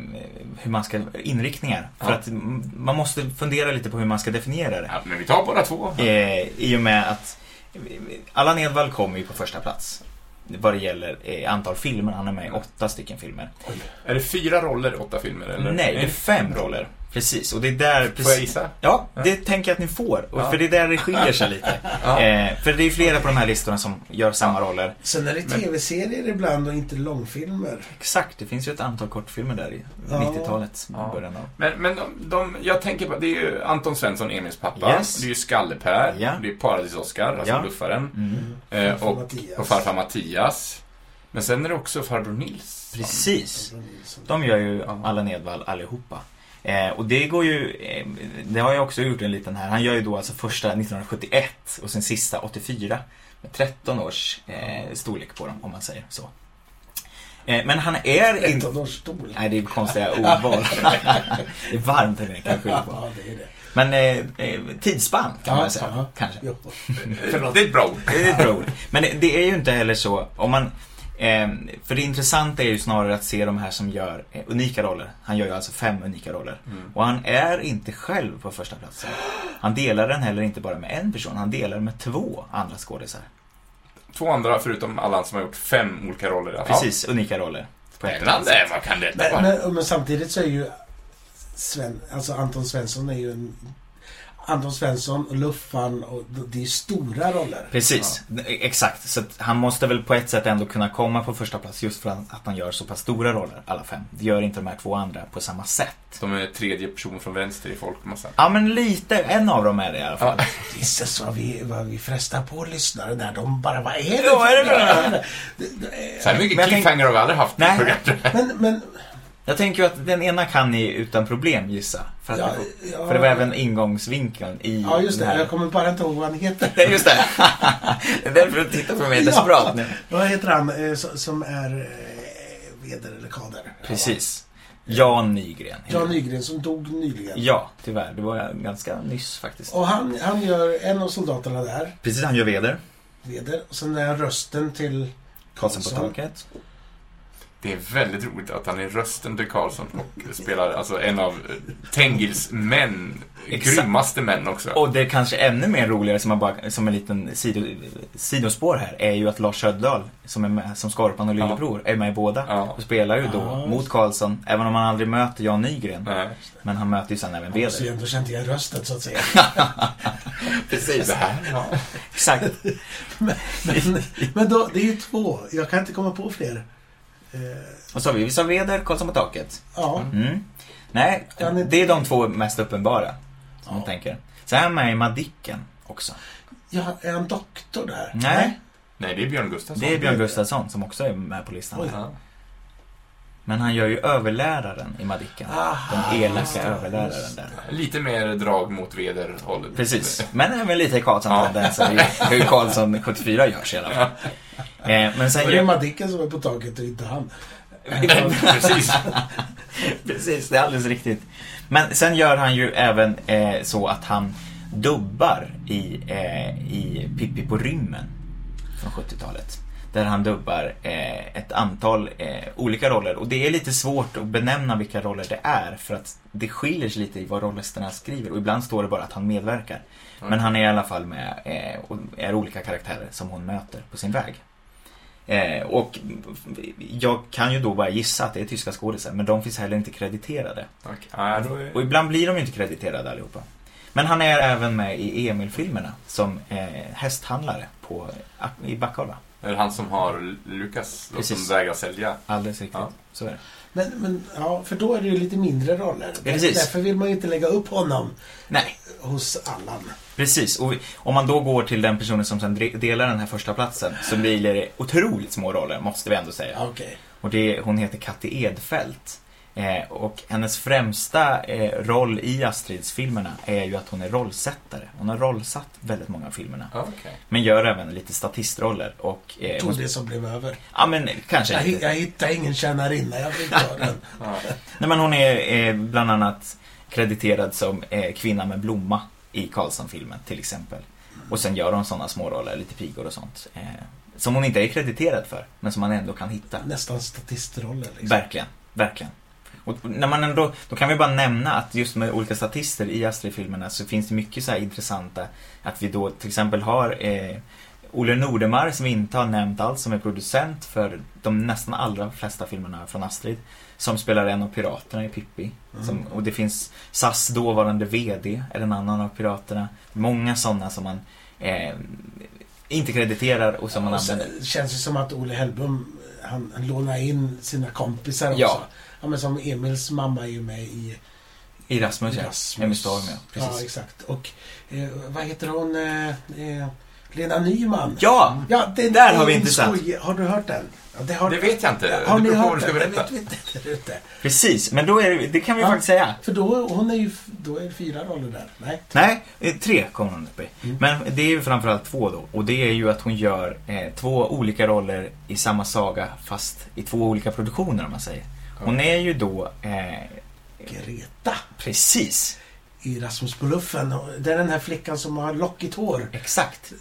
[SPEAKER 4] hur man ska, inriktningar. För
[SPEAKER 2] Ja.
[SPEAKER 4] att mm, man måste fundera lite på hur man ska definiera det.
[SPEAKER 2] Ja, men vi tar båda två.
[SPEAKER 4] Eh, I och med att eh, Allan Edwall kommer ju på första plats vad det gäller eh, antal filmer. Han är med i åtta stycken filmer.
[SPEAKER 2] Är det fyra roller, åtta filmer? Eller?
[SPEAKER 4] Nej, det är fem roller. Precis, och det är där...
[SPEAKER 2] Får jag
[SPEAKER 4] Precis,
[SPEAKER 2] gissa?
[SPEAKER 4] ja, det tänker jag att ni får. Och
[SPEAKER 2] Ja.
[SPEAKER 4] För det är där det skiljer sig lite.
[SPEAKER 2] Ja.
[SPEAKER 4] Eh, för det är flera på de här listorna som gör samma roller.
[SPEAKER 3] Sen är det tv-serier ibland och inte långfilmer.
[SPEAKER 4] Exakt, det finns ju ett antal kortfilmer där i
[SPEAKER 3] Ja.
[SPEAKER 4] 90-talet.
[SPEAKER 2] Ja.
[SPEAKER 4] Början av.
[SPEAKER 2] Men, men de, de, jag tänker på, det är ju Anton Svensson, Emils pappa.
[SPEAKER 4] Yes.
[SPEAKER 2] Det är ju Skalle-Per.
[SPEAKER 4] Ja.
[SPEAKER 2] Det är Paradis-Oskar, alltså
[SPEAKER 4] Ja.
[SPEAKER 2] bluffaren.
[SPEAKER 4] Mm.
[SPEAKER 2] Eh,
[SPEAKER 3] Farfar
[SPEAKER 2] och,
[SPEAKER 3] Mattias.
[SPEAKER 2] och farfar Mattias. Men sen är det också farbror Nils.
[SPEAKER 4] Precis.
[SPEAKER 3] Alltså,
[SPEAKER 4] De gör ju alla Edwall allihopa. Eh, och det går ju, eh, det har jag också gjort en liten här. Han gör ju då alltså första 1971 och sen sista 84. Med 13 års eh, storlek på dem, om man säger så. Eh, men han är inte...
[SPEAKER 3] 13 års stol.
[SPEAKER 4] Nej, det är konstiga ordval. det är varmt här inne, kan jag skylla på.
[SPEAKER 3] Ja, det är det.
[SPEAKER 4] Men eh, eh, tidsspann kan man
[SPEAKER 3] Ja,
[SPEAKER 4] säga,
[SPEAKER 3] ja.
[SPEAKER 4] kanske.
[SPEAKER 3] Jo.
[SPEAKER 2] Eh, Förlåt. Det är ett bra ord.
[SPEAKER 4] Det är ett bra ord. Men det- det är ju inte heller så, om man eh, för det intressanta är ju snarare att se de här som gör eh, unika roller. Han gör ju alltså fem unika roller.
[SPEAKER 2] Mm.
[SPEAKER 4] Och han är inte själv på första platsen. Han delar den heller inte bara med en person, han delar med två andra skådisar.
[SPEAKER 2] Två andra förutom Allan som har gjort fem olika roller. Ja.
[SPEAKER 4] Precis, unika roller. På ett eller annat
[SPEAKER 2] Spännande,
[SPEAKER 4] sätt.
[SPEAKER 2] vad kan detta
[SPEAKER 3] Men,
[SPEAKER 2] vara?
[SPEAKER 3] men, men samtidigt så är ju Sven, alltså Anton Svensson är ju en... Anton Svensson, Luffan och det är stora roller.
[SPEAKER 4] Precis, eh, exakt. Så att han måste väl på ett sätt ändå kunna komma på första plats just för att han gör så pass stora roller, alla fem. Det gör inte de här två andra på samma sätt.
[SPEAKER 2] De är tredje person från vänster i folkmassan.
[SPEAKER 4] Ja men lite, en av dem är det i alla fall.
[SPEAKER 2] Ja.
[SPEAKER 3] Gisses vad vi, vad vi frestar på lyssnare där. De bara, vad är det
[SPEAKER 4] Ja, vad är det för
[SPEAKER 2] Så här mycket
[SPEAKER 4] Men jag
[SPEAKER 2] cliffhanger har vi aldrig haft i
[SPEAKER 4] Nej.
[SPEAKER 2] programmet.
[SPEAKER 3] Men, men...
[SPEAKER 4] Jag tänker ju att den ena kan ni utan problem gissa. För, att
[SPEAKER 3] Ja,
[SPEAKER 4] det,
[SPEAKER 3] ja.
[SPEAKER 4] för det var även ingångsvinkeln i
[SPEAKER 3] Ja, just det.
[SPEAKER 4] den här.
[SPEAKER 3] Jag kommer bara inte ihåg vad han heter.
[SPEAKER 4] Nej, just det. det är därför du tittar på mig desperat nu.
[SPEAKER 3] Vad heter han eh, so- som är eh, veder eller kader?
[SPEAKER 4] Precis. Jan Nygren.
[SPEAKER 3] Jan Nygren som dog nyligen.
[SPEAKER 4] Ja, tyvärr. Det var ganska nyss faktiskt.
[SPEAKER 3] Och han, han gör en av soldaterna där,
[SPEAKER 4] Precis, han gör Veder.
[SPEAKER 3] leder. Och sen är han rösten till...
[SPEAKER 4] Karlsson på
[SPEAKER 3] Så.
[SPEAKER 4] taket.
[SPEAKER 2] Det är väldigt roligt att han är rösten till Karlsson och spelar alltså en av eh, Tengils män,
[SPEAKER 4] Exakt.
[SPEAKER 2] grymmaste män också.
[SPEAKER 4] Och det är kanske ännu mer roligare som, man bara, som en liten sido, sidospår här är ju att Lars Söderdahl som är med som Skorpan och Lillebror är med i båda.
[SPEAKER 2] Ja.
[SPEAKER 4] Och spelar ju då
[SPEAKER 3] Ja.
[SPEAKER 4] mot Karlsson, även om han aldrig möter Jan Nygren.
[SPEAKER 2] Nej.
[SPEAKER 4] Men han möter ju sen även
[SPEAKER 3] Jag måste ju
[SPEAKER 4] Veder.
[SPEAKER 3] ändå känna igen rösten så att säga.
[SPEAKER 2] Precis. Det här, ja.
[SPEAKER 4] Exakt.
[SPEAKER 3] Men, men då, det är ju två. Jag kan inte komma på fler. Eh,
[SPEAKER 4] Och så har vi, vi sa Veder, Karlsson på taket.
[SPEAKER 3] ja.
[SPEAKER 4] Mm. Nej,
[SPEAKER 3] Kan inte-
[SPEAKER 4] det är de två mest uppenbara. Som man
[SPEAKER 3] Ja.
[SPEAKER 4] tänker. Sen är han med i Madicken också.
[SPEAKER 3] ja, är han doktor där?
[SPEAKER 4] Nej,
[SPEAKER 2] Nej, det är Björn Gustafsson.
[SPEAKER 4] det är Björn Gustafsson som också är med på listan.
[SPEAKER 3] Oj.
[SPEAKER 2] Ja.
[SPEAKER 4] Men han gör ju överläraren i Madicken.
[SPEAKER 3] Aha,
[SPEAKER 4] Den
[SPEAKER 3] Ah, just
[SPEAKER 4] elaka
[SPEAKER 3] det,
[SPEAKER 4] överläraren
[SPEAKER 3] just
[SPEAKER 4] där.
[SPEAKER 2] Lite mer drag mot Veder-hållet.
[SPEAKER 4] Precis, men även lite
[SPEAKER 2] Ja.
[SPEAKER 4] Karlsson-tendenser. Ja. Hur Karlsson 74 görs i alla fall. Eh, Men
[SPEAKER 3] Och
[SPEAKER 4] sen
[SPEAKER 3] det är
[SPEAKER 4] gör...
[SPEAKER 3] Madicken som är på taket och inte han.
[SPEAKER 2] Precis.
[SPEAKER 4] Precis, det är alldeles riktigt. Men sen gör han ju även eh, så att han dubbar i, eh, i Pippi på rymmen från 70-talet. Där han dubbar eh, ett antal eh, olika roller och det är lite svårt att benämna vilka roller det är för att det skiljer sig lite i vad rollisterna skriver och ibland står det bara att han medverkar. Men han är i alla fall med eh, och är olika karaktärer som hon möter på sin väg. Eh, och jag kan ju då bara gissa att det är tyska skådisar, men de finns heller inte krediterade.
[SPEAKER 2] Tack. Ja, då är...
[SPEAKER 4] Och ibland blir de ju inte krediterade allihopa. Men han är även med i Emil-filmerna som eh, hästhandlare på, eh, i Backala.
[SPEAKER 2] är det han som har Lukas då,
[SPEAKER 4] Precis.
[SPEAKER 2] som vägrar sälja?
[SPEAKER 4] Alldeles riktigt,
[SPEAKER 2] Ja.
[SPEAKER 4] så är det.
[SPEAKER 3] Men, men, ja, för då är det ju lite mindre roller.
[SPEAKER 4] Ja, precis.
[SPEAKER 3] Därför vill man ju inte lägga upp honom
[SPEAKER 4] Nej,
[SPEAKER 3] hos Allan.
[SPEAKER 4] precis. Och vi- om man då går till den personen som sen dre- delar den här första platsen så blir det otroligt små roller, måste vi ändå säga.
[SPEAKER 3] Ja, Okej.
[SPEAKER 4] Och det, hon heter Katti Edfeldt. Eh, och hennes främsta eh, roll i Astrids-filmerna är ju att hon är rollsättare. Hon har rollsatt väldigt många av filmerna.
[SPEAKER 2] Ja, okej.
[SPEAKER 4] Men gör även lite statistroller och... Eh,
[SPEAKER 3] Tog
[SPEAKER 4] hon,
[SPEAKER 3] det som blev över.
[SPEAKER 4] ja men
[SPEAKER 3] Jag,
[SPEAKER 4] kanske
[SPEAKER 3] hi-
[SPEAKER 4] lite.
[SPEAKER 3] jag hittade ingen tjänarinna, jag fick ta den.
[SPEAKER 2] Ja.
[SPEAKER 4] Nej men hon är eh, bland annat krediterad som eh, kvinna med blomma i Karlsson-filmen till exempel. Och sen gör hon sådana småroller, lite pigor och sånt. Eh, som hon inte är krediterad för, men som man ändå kan hitta.
[SPEAKER 3] Nästan statistroller liksom.
[SPEAKER 4] Verkligen, verkligen. Och när man ändå, då kan vi bara nämna att just med olika statister i Astrid-filmerna så finns det mycket så här intressanta, att vi då till exempel har eh, Olle Nordemar som vi inte har nämnt alls, som är producent för de nästan allra flesta filmerna från Astrid. Som spelar en av piraterna i Pippi.
[SPEAKER 3] Mm.
[SPEAKER 4] Som, och det finns SAS dåvarande VD, är en annan av piraterna. Många sådana som man eh, inte krediterar och som man
[SPEAKER 3] Och
[SPEAKER 4] använder.
[SPEAKER 3] sen, känns det som att Olle Hellbom, han, han lånar in sina kompisar också.
[SPEAKER 4] Ja.
[SPEAKER 3] ja men som Emils mamma är ju med i
[SPEAKER 4] I Rasmus,
[SPEAKER 3] Rasmus.
[SPEAKER 4] ja. Emmy Storm, ja.
[SPEAKER 3] Ja,
[SPEAKER 4] Precis.
[SPEAKER 3] exakt. Och eh, vad heter hon? Eh, eh, Lena Nyman.
[SPEAKER 4] Ja!
[SPEAKER 3] Ja, det,
[SPEAKER 4] Där har
[SPEAKER 3] det-
[SPEAKER 4] vi
[SPEAKER 3] det-
[SPEAKER 4] inte satt.
[SPEAKER 3] skoj. Har du hört den? Ja, det, har,
[SPEAKER 2] Det vet jag inte.
[SPEAKER 3] Har
[SPEAKER 2] det
[SPEAKER 3] ni
[SPEAKER 2] beror på vad
[SPEAKER 3] hört
[SPEAKER 2] du ska
[SPEAKER 3] den? Det
[SPEAKER 2] berätta.
[SPEAKER 3] vet vi inte där ute.
[SPEAKER 4] Precis, men då är det, det kan vi
[SPEAKER 3] Ja.
[SPEAKER 4] faktiskt säga.
[SPEAKER 3] För då, hon är ju, f- då är det fyra roller där. Nej.
[SPEAKER 4] Nej, eh, tre kommer hon upp i. Men det är ju framförallt två då. Och det är ju att hon gör eh, två olika roller i samma saga fast i två olika produktioner om man säger. Hon är ju då, eh,
[SPEAKER 3] Greta
[SPEAKER 4] precis,
[SPEAKER 3] i Rasmus på luffen. Och Det är den här flickan som har lockigt hår.
[SPEAKER 4] exakt.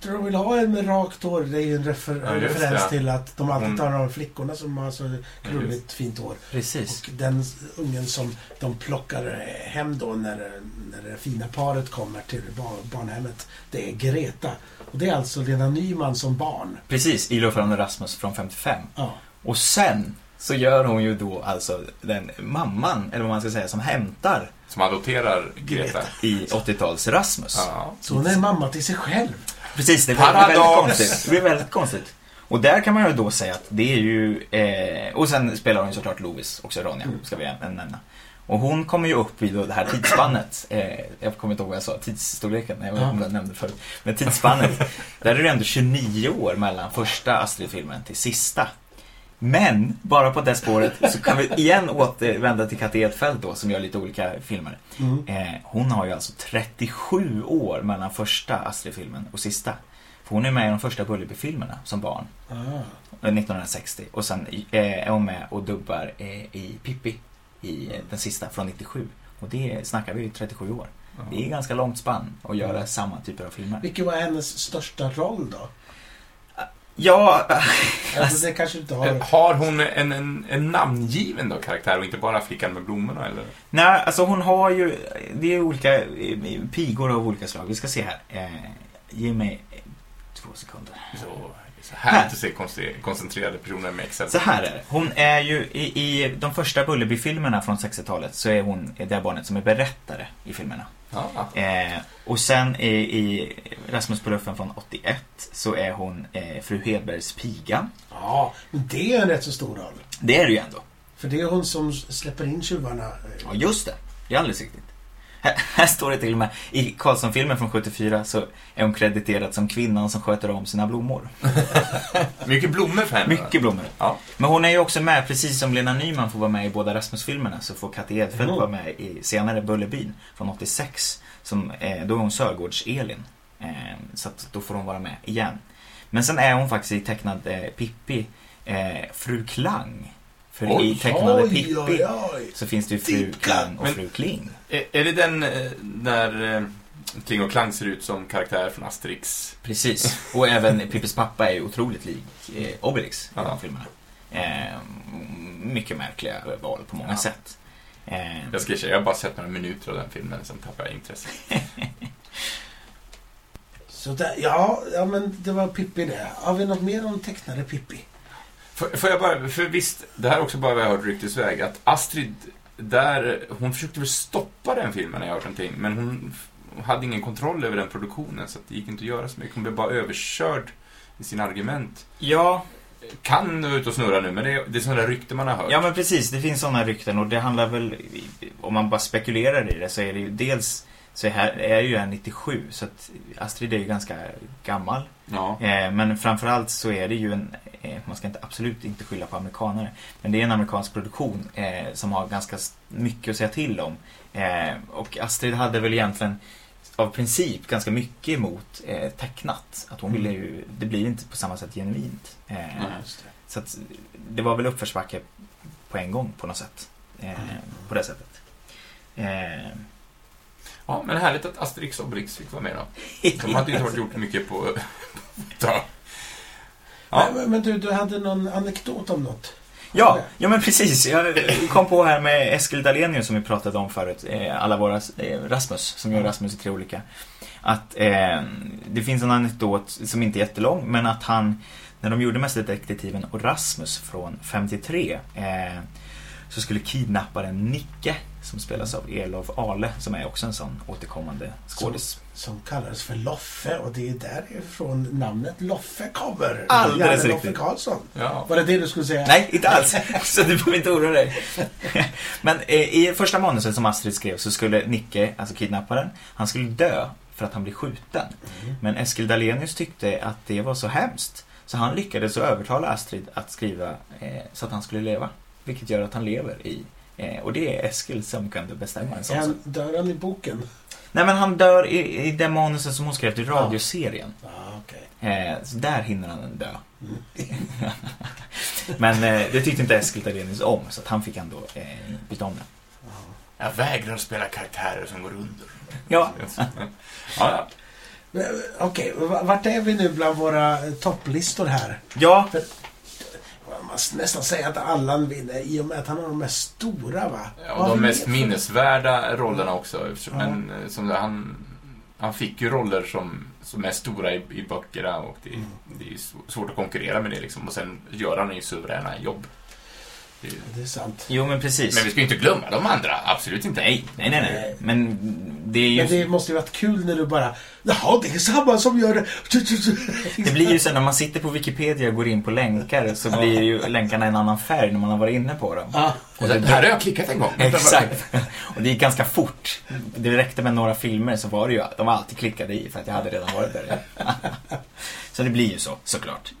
[SPEAKER 3] Tror du vill ha en med rakt hår? Det är ju en refer-
[SPEAKER 2] Ja, just
[SPEAKER 3] referens
[SPEAKER 2] det.
[SPEAKER 3] till att de alltid
[SPEAKER 2] Hon-
[SPEAKER 3] talar om flickorna som har så krulligt fint hår.
[SPEAKER 4] Precis.
[SPEAKER 3] Och den ungen som de plockar hem då när, när det fina paret kommer till bar- barnhemmet, det är Greta. Och det är alltså Lena Nyman som barn.
[SPEAKER 4] Precis, i Lofran och Rasmus från 55.
[SPEAKER 3] Ja.
[SPEAKER 4] Och sen så gör hon ju då alltså den mamman, eller vad man ska säga, som hämtar
[SPEAKER 2] Som adopterar Greta.
[SPEAKER 4] i 80-tals-Rasmus.
[SPEAKER 2] Ja.
[SPEAKER 3] Så hon är mamma till sig själv.
[SPEAKER 4] Precis, det blir det blir väldigt
[SPEAKER 2] Paradox!
[SPEAKER 4] konstigt. Det blir väldigt konstigt. Och där kan man ju då säga att det är ju... Eh, och sen spelar hon ju såklart Lovis, också Ronja, ska vi även nämna. Och hon kommer ju upp i då det här tidsspannet. Eh, jag kommer inte ihåg vad jag sa, tidsstorleken, nej, jag vet inte om jag nämnde förut. Men tidsspannet, där är det ändå 29 år mellan första Astrid-filmen till sista. Men, bara på det spåret, så kan vi igen återvända till Kati Edfeldt då, som gör lite olika filmer.
[SPEAKER 3] Mm.
[SPEAKER 4] Eh, hon har ju alltså 37 år mellan första Astrid-filmen och sista. För hon är med i de första Bullerby-filmerna som barn.
[SPEAKER 3] Ah.
[SPEAKER 4] 1960 och sen eh, är hon med och dubbar eh, i Pippi i eh, den sista från 97. Och det snackar vi ju 37 år. Det är ganska långt spann att göra samma typer av filmer.
[SPEAKER 3] Vilken var hennes största roll då?
[SPEAKER 4] Ja, eh,
[SPEAKER 3] Alltså, det kanske inte
[SPEAKER 2] Eh,
[SPEAKER 3] har...
[SPEAKER 2] Har hon en, en, en namngiven då karaktär och inte bara flickan med blommorna eller?
[SPEAKER 4] nej alltså hon har ju, det är olika eh, pigor av olika slag. Vi ska se här. Eh, ge mig eh, två sekunder.
[SPEAKER 2] Så, så
[SPEAKER 4] Här.
[SPEAKER 2] här att se konce- koncentrerade personer med exempel.
[SPEAKER 4] Så här är det. Hon är ju i, i de första Bullerby-filmerna från 60-talet så är hon det barnet som är berättare i filmerna.
[SPEAKER 2] Ja.
[SPEAKER 4] Eh, och sen i, i Rasmus på luffen från 81 så är hon eh, fru Hedbergs piga.
[SPEAKER 3] Ja, men det är en rätt så stor roll.
[SPEAKER 4] Det är det ju ändå.
[SPEAKER 3] För det är hon som släpper in tjuvarna. eh,
[SPEAKER 4] Ja, just det. Det är alldeles riktigt. Här, här står det till och med, i Karlsson-filmen från 74 så är hon krediterad som kvinnan som sköter om sina blommor.
[SPEAKER 2] Mycket blommor för henne.
[SPEAKER 4] Mycket blommor.
[SPEAKER 2] Ja.
[SPEAKER 4] Men hon är ju också med, precis som Lena Nyman får vara med i båda Rasmus-filmerna, så får Katte Edfeldt
[SPEAKER 3] Mm.
[SPEAKER 4] vara med i senare Bullerbyn från 86. Som, eh, då är hon Sörgårds-Elin. Eh, så att då får hon vara med igen. Men sen är hon faktiskt i tecknad eh, Pippi, eh, Fru Klang. För i tecknade Pippi
[SPEAKER 3] oj.
[SPEAKER 4] så finns det ju Fru
[SPEAKER 3] Titta.
[SPEAKER 4] Klang och
[SPEAKER 2] Men-
[SPEAKER 4] Fru Kling.
[SPEAKER 2] Är, är det den eh, där eh, Kling och Klang ser ut som karaktär från Asterix?
[SPEAKER 4] Precis. Och även Pippis pappa är ju otroligt lik eh, Obelix i
[SPEAKER 2] Ja.
[SPEAKER 4] de filmerna. Eh, mycket märkliga val på många
[SPEAKER 2] Ja.
[SPEAKER 4] sätt. Eh,
[SPEAKER 2] Jag ska erkänna, jag har bara sett några minuter av den filmen, sen tappade jag intresset.
[SPEAKER 3] Så där, ja, ja, men det var Pippi det. Har vi något mer om tecknade Pippi?
[SPEAKER 2] Får, får jag bara, för visst, det här är också bara vad jag har hört ryktesväg, att Astrid, där, hon försökte väl stoppa den filmen när jag hört någonting, men hon f- hade ingen kontroll över den produktionen, så att det gick inte att göra så mycket. Hon blev bara överkörd i sina argument.
[SPEAKER 4] ja,
[SPEAKER 2] Kan vara ute och snurra nu, men det är, det är sådana där rykten man har hört.
[SPEAKER 4] Ja men precis, det finns sådana rykten och det handlar väl, om man bara spekulerar i det så är det ju dels så är här är ju en 97 så att Astrid är ju ganska gammal.
[SPEAKER 2] Ja.
[SPEAKER 4] Eh, men framförallt så är det ju en, eh, man ska inte, absolut inte skylla på amerikanare, men det är en amerikansk produktion eh, som har ganska s- mycket att säga till om. Eh, och Astrid hade väl egentligen av princip ganska mycket emot eh, tecknat. Att hon ville ju, det blir inte på samma sätt genuint. Eh, så att det var väl uppförsbacke på en gång på något sätt. Eh, På det sättet. Eh,
[SPEAKER 2] ja, men härligt att Asterix och Obelix fick vara med då. De hade inte varit gjort mycket på... på
[SPEAKER 3] Ja.
[SPEAKER 2] ja.
[SPEAKER 3] Men, men du, du hade någon anekdot om något?
[SPEAKER 4] ja, ja, men precis. Jag kom på här med Eskil Dahlenius som vi pratade om förut. Eh, alla våra eh, Rasmus, som gör Rasmus i tre olika. Att eh, det finns en anekdot som inte är jättelång, men att han, när de gjorde Mästerdetektiven och Rasmus från 53, eh, så skulle kidnapparen Nicke, som spelas av Elof Ale, som är också en sån återkommande skådis.
[SPEAKER 3] Som kallades för Loffe och det är därifrån namnet Loffe kommer.
[SPEAKER 4] Alldeles
[SPEAKER 3] Janne Loffe
[SPEAKER 4] riktigt.
[SPEAKER 3] Karlsson.
[SPEAKER 2] ja.
[SPEAKER 3] Var det det du skulle säga?
[SPEAKER 4] Nej, inte alls. Så du behöver inte oroa dig. Men eh, i första manuset som Astrid skrev så skulle Nicke, alltså kidnapparen, han skulle dö för att han blev skjuten.
[SPEAKER 3] Mm.
[SPEAKER 4] Men Eskil Dahlenius tyckte att det var så hemskt. Så han lyckades att övertala Astrid att skriva eh, så att han skulle leva. Vilket gör att han lever i eh, och det är Eskil som kunde bestämma en sån sak.
[SPEAKER 3] Han, dör han i boken?
[SPEAKER 4] Nej men han dör i, i det manuset som hon skrev till radioserien.
[SPEAKER 3] Ah, okej. Mm.
[SPEAKER 4] Eh, så där hinner han dö. Men eh, det tyckte inte Eskil Dahlenius om, så att han fick ändå eh, byta om det.
[SPEAKER 2] Jag vägrar spela karaktärer som går under.
[SPEAKER 4] Ja,
[SPEAKER 2] Ja,
[SPEAKER 3] Men, eh, Okej, v- vart är vi nu bland våra eh, topplistor här?
[SPEAKER 4] ja,
[SPEAKER 3] Man måste nästan säga att Allan vinner i och med att han har de mest stora va?
[SPEAKER 2] ja.
[SPEAKER 3] Vad
[SPEAKER 2] Och
[SPEAKER 3] har
[SPEAKER 2] de
[SPEAKER 3] vi
[SPEAKER 2] mest
[SPEAKER 3] mer för-
[SPEAKER 2] minnesvärda rollerna också. eftersom-
[SPEAKER 3] Ja.
[SPEAKER 2] Men eh, som det, han, han fick ju roller som, som är stora i, i böckerna och det,
[SPEAKER 3] Mm.
[SPEAKER 2] det är ju sv- svårt att konkurrera med det liksom. Och sen gör han ju suveräna jobb. Det är ju-
[SPEAKER 3] Det är sant.
[SPEAKER 4] jo men precis.
[SPEAKER 2] Men vi ska ju inte glömma de andra, absolut inte.
[SPEAKER 4] Nej, nej, nej, nej. Men det är
[SPEAKER 3] Men
[SPEAKER 4] ju...
[SPEAKER 3] det måste ju varit kul när du bara Jaha, det är samma som gör det.
[SPEAKER 4] Det blir ju så när man sitter på Wikipedia och går in på länkar så blir ju länkarna en annan färg när man har varit inne på dem.
[SPEAKER 3] Ja,
[SPEAKER 2] Och det, det här har jag klickat en gång.
[SPEAKER 4] Exakt. Och det gick ganska fort. Det räckte med några filmer så var det ju, de var alltid klickade i för att jag hade redan varit där. så det blir ju så, såklart.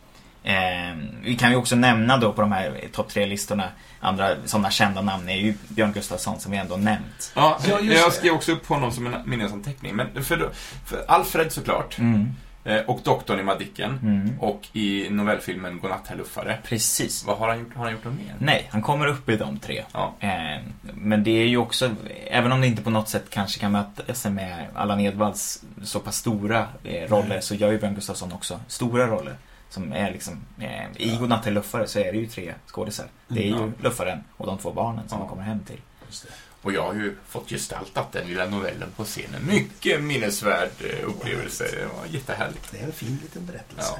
[SPEAKER 4] Eh, vi kan ju också nämna då på de här topp tre listorna andra sådana kända namn är ju Björn Gustafsson som vi ändå nämnt.
[SPEAKER 2] Ja,
[SPEAKER 3] Ja, just
[SPEAKER 2] jag
[SPEAKER 3] det.
[SPEAKER 2] skrev också upp honom som en minnesanteckning. Men för, då, för Alfred såklart.
[SPEAKER 4] Mm.
[SPEAKER 2] Eh, Eh, Och doktorn i Madicken.
[SPEAKER 4] Mm.
[SPEAKER 2] Och i novellfilmen Godnattherrluffare.
[SPEAKER 4] Precis.
[SPEAKER 2] Vad har han gjort? Har han gjort något mer?
[SPEAKER 4] Nej, han kommer upp i de tre.
[SPEAKER 2] Ja.
[SPEAKER 4] Eh, Men det är ju också, även om det inte på något sätt kanske kan mäta sig med E, Allan Edwalls så pass stora eh, roller
[SPEAKER 6] Nej.
[SPEAKER 4] så gör ju Björn Gustafsson också stora roller. Som är liksom, eh, i
[SPEAKER 6] Ja.
[SPEAKER 4] Godnatt till luffare så är det ju tre skådisar. Det är ju
[SPEAKER 2] Mm. Ja.
[SPEAKER 4] luffaren och de två barnen som
[SPEAKER 2] Ja.
[SPEAKER 4] man kommer hem till.
[SPEAKER 3] Just det.
[SPEAKER 2] Och jag har ju fått gestaltat den lilla novellen på scenen. Mycket minnesvärd eh, upplevelse. Det var jättehärligt.
[SPEAKER 3] Det är en fin liten berättelse.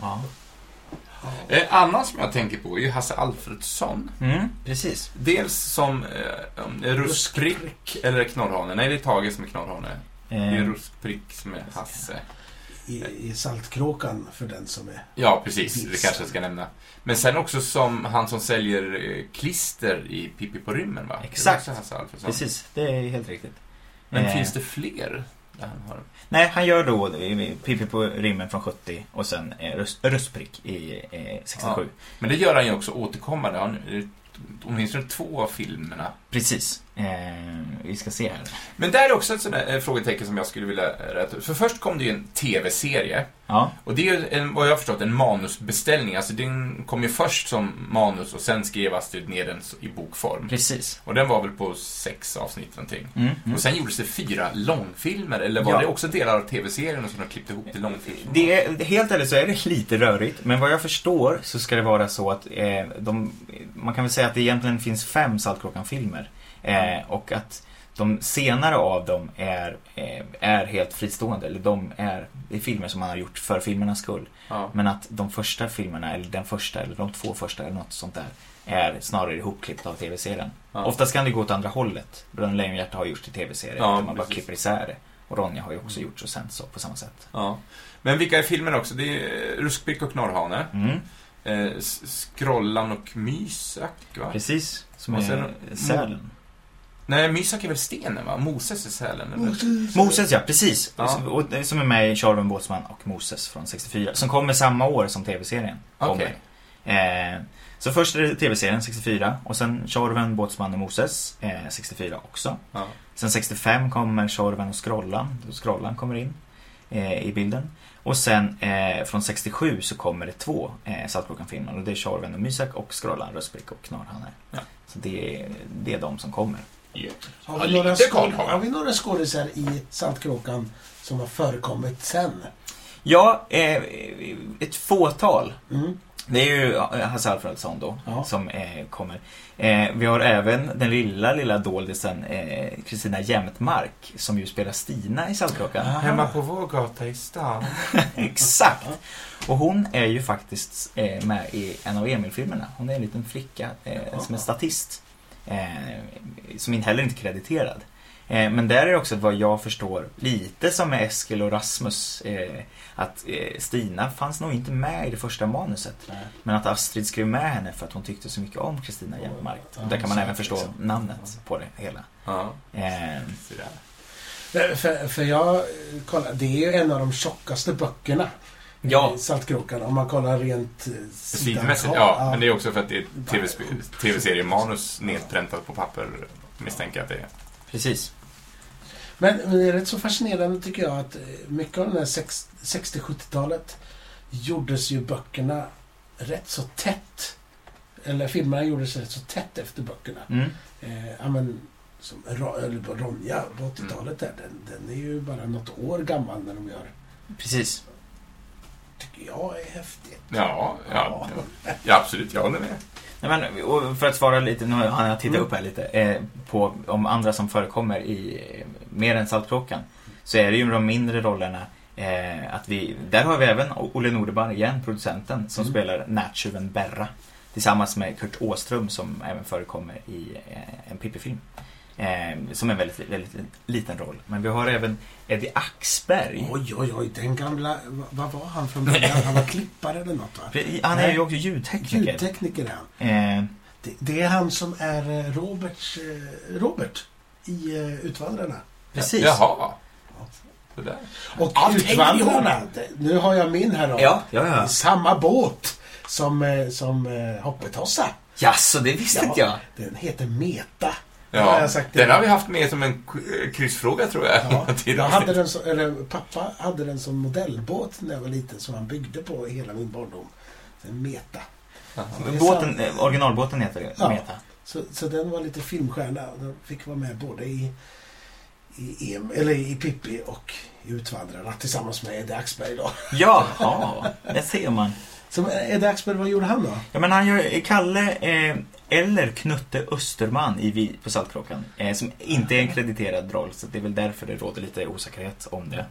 [SPEAKER 2] Ja.
[SPEAKER 4] Ja.
[SPEAKER 2] Eh, Annan som jag tänker på är ju Hasse Alfredsson.
[SPEAKER 4] Mm, precis.
[SPEAKER 2] Dels som eh, om det är Ruskprick eller Knorrhane. Nej, det är Tage som är Knorrhane. Det är
[SPEAKER 4] Eh,
[SPEAKER 2] Ruskprick som är Hasse.
[SPEAKER 3] I, I Saltkråkan för den som är...
[SPEAKER 2] Ja, precis. Det kanske jag ska nämna. Men sen också som han som säljer eh, klister i Pippi på rymmen, va? Det är
[SPEAKER 4] Exakt.
[SPEAKER 2] också Hasse Alfredsson.
[SPEAKER 4] Precis, det är helt riktigt.
[SPEAKER 2] Men
[SPEAKER 4] Eh,
[SPEAKER 2] finns det fler? Där han har...
[SPEAKER 4] Nej, han gör då eh, Pippi på rymmen från 70 och sen eh, Röst- Röstprick i eh, 67.
[SPEAKER 2] Men det gör han ju också återkommande. Han, eh, åtminstone två av filmerna.
[SPEAKER 4] Precis. Eh, vi ska se här.
[SPEAKER 2] Men där är också ett sånt där eh, frågetecken som jag skulle vilja eh, rätta ut. För först kom det ju en TV-serie.
[SPEAKER 4] Ja,
[SPEAKER 2] Och det är ju, en, vad jag har förstått, en manusbeställning. Alltså den kom ju först som manus och sen skrev Astrid ner den i bokform.
[SPEAKER 4] precis.
[SPEAKER 2] Och den var väl på sex avsnitt någonting.
[SPEAKER 4] Mm. Mm.
[SPEAKER 2] Och sen gjordes det fyra långfilmer, eller var
[SPEAKER 4] Ja.
[SPEAKER 2] det också delar av TV-serien som de klippte ihop till långfilmer?
[SPEAKER 4] Det är, helt ärligt så är det lite rörigt, men vad jag förstår så ska det vara så att eh, de, man kan väl säga att det egentligen finns fem Saltkråkan-filmer. Eh, och att de senare av dem är, eh, är helt fristående, eller de är, det är filmer som man har gjort för filmernas skull.
[SPEAKER 2] Ja.
[SPEAKER 4] Men att de första filmerna, eller den första, eller de två första eller något sånt där, är snarare ihopklippt av TV-serien.
[SPEAKER 2] Ja.
[SPEAKER 4] Oftast kan det gå åt andra hållet. Bröderna Lejonhjärta har gjort till TV-serier,
[SPEAKER 2] Ja,
[SPEAKER 4] där man bara
[SPEAKER 2] precis. Mm.
[SPEAKER 4] klipper isär det. Och Ronja har ju också gjort så sen så, på samma sätt.
[SPEAKER 2] Ja. Men vilka är filmerna också? Det är eh, Ruskprick och Knorrhane,
[SPEAKER 4] Mm.
[SPEAKER 2] eh, S- Skrollan och Mysak, va?
[SPEAKER 4] Precis, som
[SPEAKER 2] Och
[SPEAKER 4] är
[SPEAKER 2] sen-
[SPEAKER 4] Sälen.
[SPEAKER 2] Nej, Mysak är väl stenen, va? Moses är sälen, eller?
[SPEAKER 4] Moses ja, precis.
[SPEAKER 2] Ja.
[SPEAKER 4] Som- och- Som är med i Charlton Båtsman och Moses från 64. Som kommer samma år som tv-serien.
[SPEAKER 2] Okej.
[SPEAKER 4] kommer. Eh, så först är det tv-serien 64 och sen Tjorven, Båtsman och Moses eh, 64 också.
[SPEAKER 2] Ja.
[SPEAKER 4] Sen 65 kommer Tjorven och Skrollan. Då Skrollan kommer in eh, i bilden. Och sen eh, från 67 så kommer det två eh, Saltkråkan-filmer och det är Tjorven och Mysak och Skrollan, Röstprick och Knorrhanne.
[SPEAKER 2] Ja.
[SPEAKER 4] Så det är, det är de som kommer.
[SPEAKER 2] Ja,
[SPEAKER 3] Har vi, några
[SPEAKER 2] lite koll
[SPEAKER 3] skåd-
[SPEAKER 2] har jag.
[SPEAKER 3] har vi några skådisar i Saltkråkan som har förekommit sen?
[SPEAKER 4] Ja, eh, ett fåtal.
[SPEAKER 3] Mm.
[SPEAKER 4] Det är ju Hasse Alfredsson då,
[SPEAKER 3] Ja.
[SPEAKER 4] som eh, kommer. Eh, vi har även den lilla, lilla doldisen eh, Kristina Jämtmark, som ju spelar Stina i Saltkråkan.
[SPEAKER 3] Ah.
[SPEAKER 2] Hemma på vår gata i stan.
[SPEAKER 4] Exakt! Och hon är ju faktiskt eh, med i en av Emil-filmerna. Hon är en liten flicka eh, som är statist. Eh, som inte heller inte är krediterad. Eh, men där är det också vad jag förstår lite som med Eskil och Rasmus. Eh, att eh, Stina fanns nog inte med i det första manuset.
[SPEAKER 3] Nej.
[SPEAKER 4] Men att Astrid skrev med henne för att hon tyckte så mycket om Kristina Hjelmark. Och Där kan man
[SPEAKER 3] Ja,
[SPEAKER 4] även förstå
[SPEAKER 3] liksom.
[SPEAKER 4] namnet på det hela.
[SPEAKER 2] Ja,
[SPEAKER 4] Eh,
[SPEAKER 2] sådär.
[SPEAKER 3] För- För, för jag eh, kollar, det är ju en av de tjockaste böckerna.
[SPEAKER 4] ja,
[SPEAKER 3] i Saltkråkan, om man kollar rent eh,
[SPEAKER 2] Stilmässigt, ja. Men det är också för att det är TV-sp- tv-seriemanus nedpräntat på papper, misstänker jag att det är.
[SPEAKER 4] precis.
[SPEAKER 3] Men det är rätt så fascinerande tycker jag att eh, mycket av den här sex- 60-70-talet gjordes ju böckerna rätt så tätt. Eller filmerna gjordes rätt så tätt efter böckerna.
[SPEAKER 4] Mm.
[SPEAKER 3] Eh, ja, men, som Ra- eller Ronja på 80-talet där, den, den är ju bara något år gammal när de gör.
[SPEAKER 4] Precis.
[SPEAKER 3] Tycker jag är häftigt.
[SPEAKER 2] Ja, ja, ja. ja absolut. Jag håller med.
[SPEAKER 4] Nej, men, och för att svara lite, nu har jag tittat upp här lite, eh, på om andra som förekommer i eh, mer än Saltkråkan. Så är det ju de mindre rollerna. Eh, att vi, där har vi även O- Olle Nordebar igen, producenten, som
[SPEAKER 3] Mm.
[SPEAKER 4] spelar Närtjuven Berra. Tillsammans med Kurt Åström som även förekommer i eh, en Pippi-film. Eh, som en väldigt, väldigt liten roll. Men vi har även Eddie Axberg.
[SPEAKER 3] Oj, oj, oj, den gamla... va- Vad var han från början? Han var klippare eller något va?
[SPEAKER 4] Han är ju också ljudtekniker.
[SPEAKER 3] Ljudtekniker är han.
[SPEAKER 4] Eh,
[SPEAKER 3] Det, det är han som är eh, Roberts, eh, Robert i eh, Utvandrarna.
[SPEAKER 4] precis.
[SPEAKER 2] Jaha. Sådär.
[SPEAKER 3] Och
[SPEAKER 2] Allt hänger
[SPEAKER 3] Utvandrarna,
[SPEAKER 2] ihop.
[SPEAKER 3] det- nu har jag min här då.
[SPEAKER 4] Ja, ja, ja.
[SPEAKER 3] I samma båt som, eh, som eh, Hoppetossa.
[SPEAKER 4] Jaså, det visste inte jag.
[SPEAKER 3] Den heter Meta. har
[SPEAKER 2] Ja,
[SPEAKER 3] jag sagt det.
[SPEAKER 2] den har vi haft med som en k- kryssfråga tror jag.
[SPEAKER 3] Ja,
[SPEAKER 2] Till
[SPEAKER 3] jag hade
[SPEAKER 2] avsnitt.
[SPEAKER 3] den som, eller, pappa hade den som modellbåt när jag var liten som han byggde på i hela min barndom. En Meta. Så det är sant.
[SPEAKER 4] Båten, eh, originalbåten heter
[SPEAKER 3] Ja.
[SPEAKER 4] Meta.
[SPEAKER 3] Så, så den var lite filmstjärna. och Den fick vara med både i, i, em, eller i Pippi och i Utvandrarna tillsammans med Eddie Axberg. Då.
[SPEAKER 4] Ja, ja, det ser man.
[SPEAKER 3] Så eh, Eddie Axberg, vad gjorde han då?
[SPEAKER 4] Ja, men han gör Kalle eh, eller Knutte Österman i Vi på Saltkråkan. Eh, som inte är en krediterad roll, så det är väl därför det råder lite osäkerhet om det.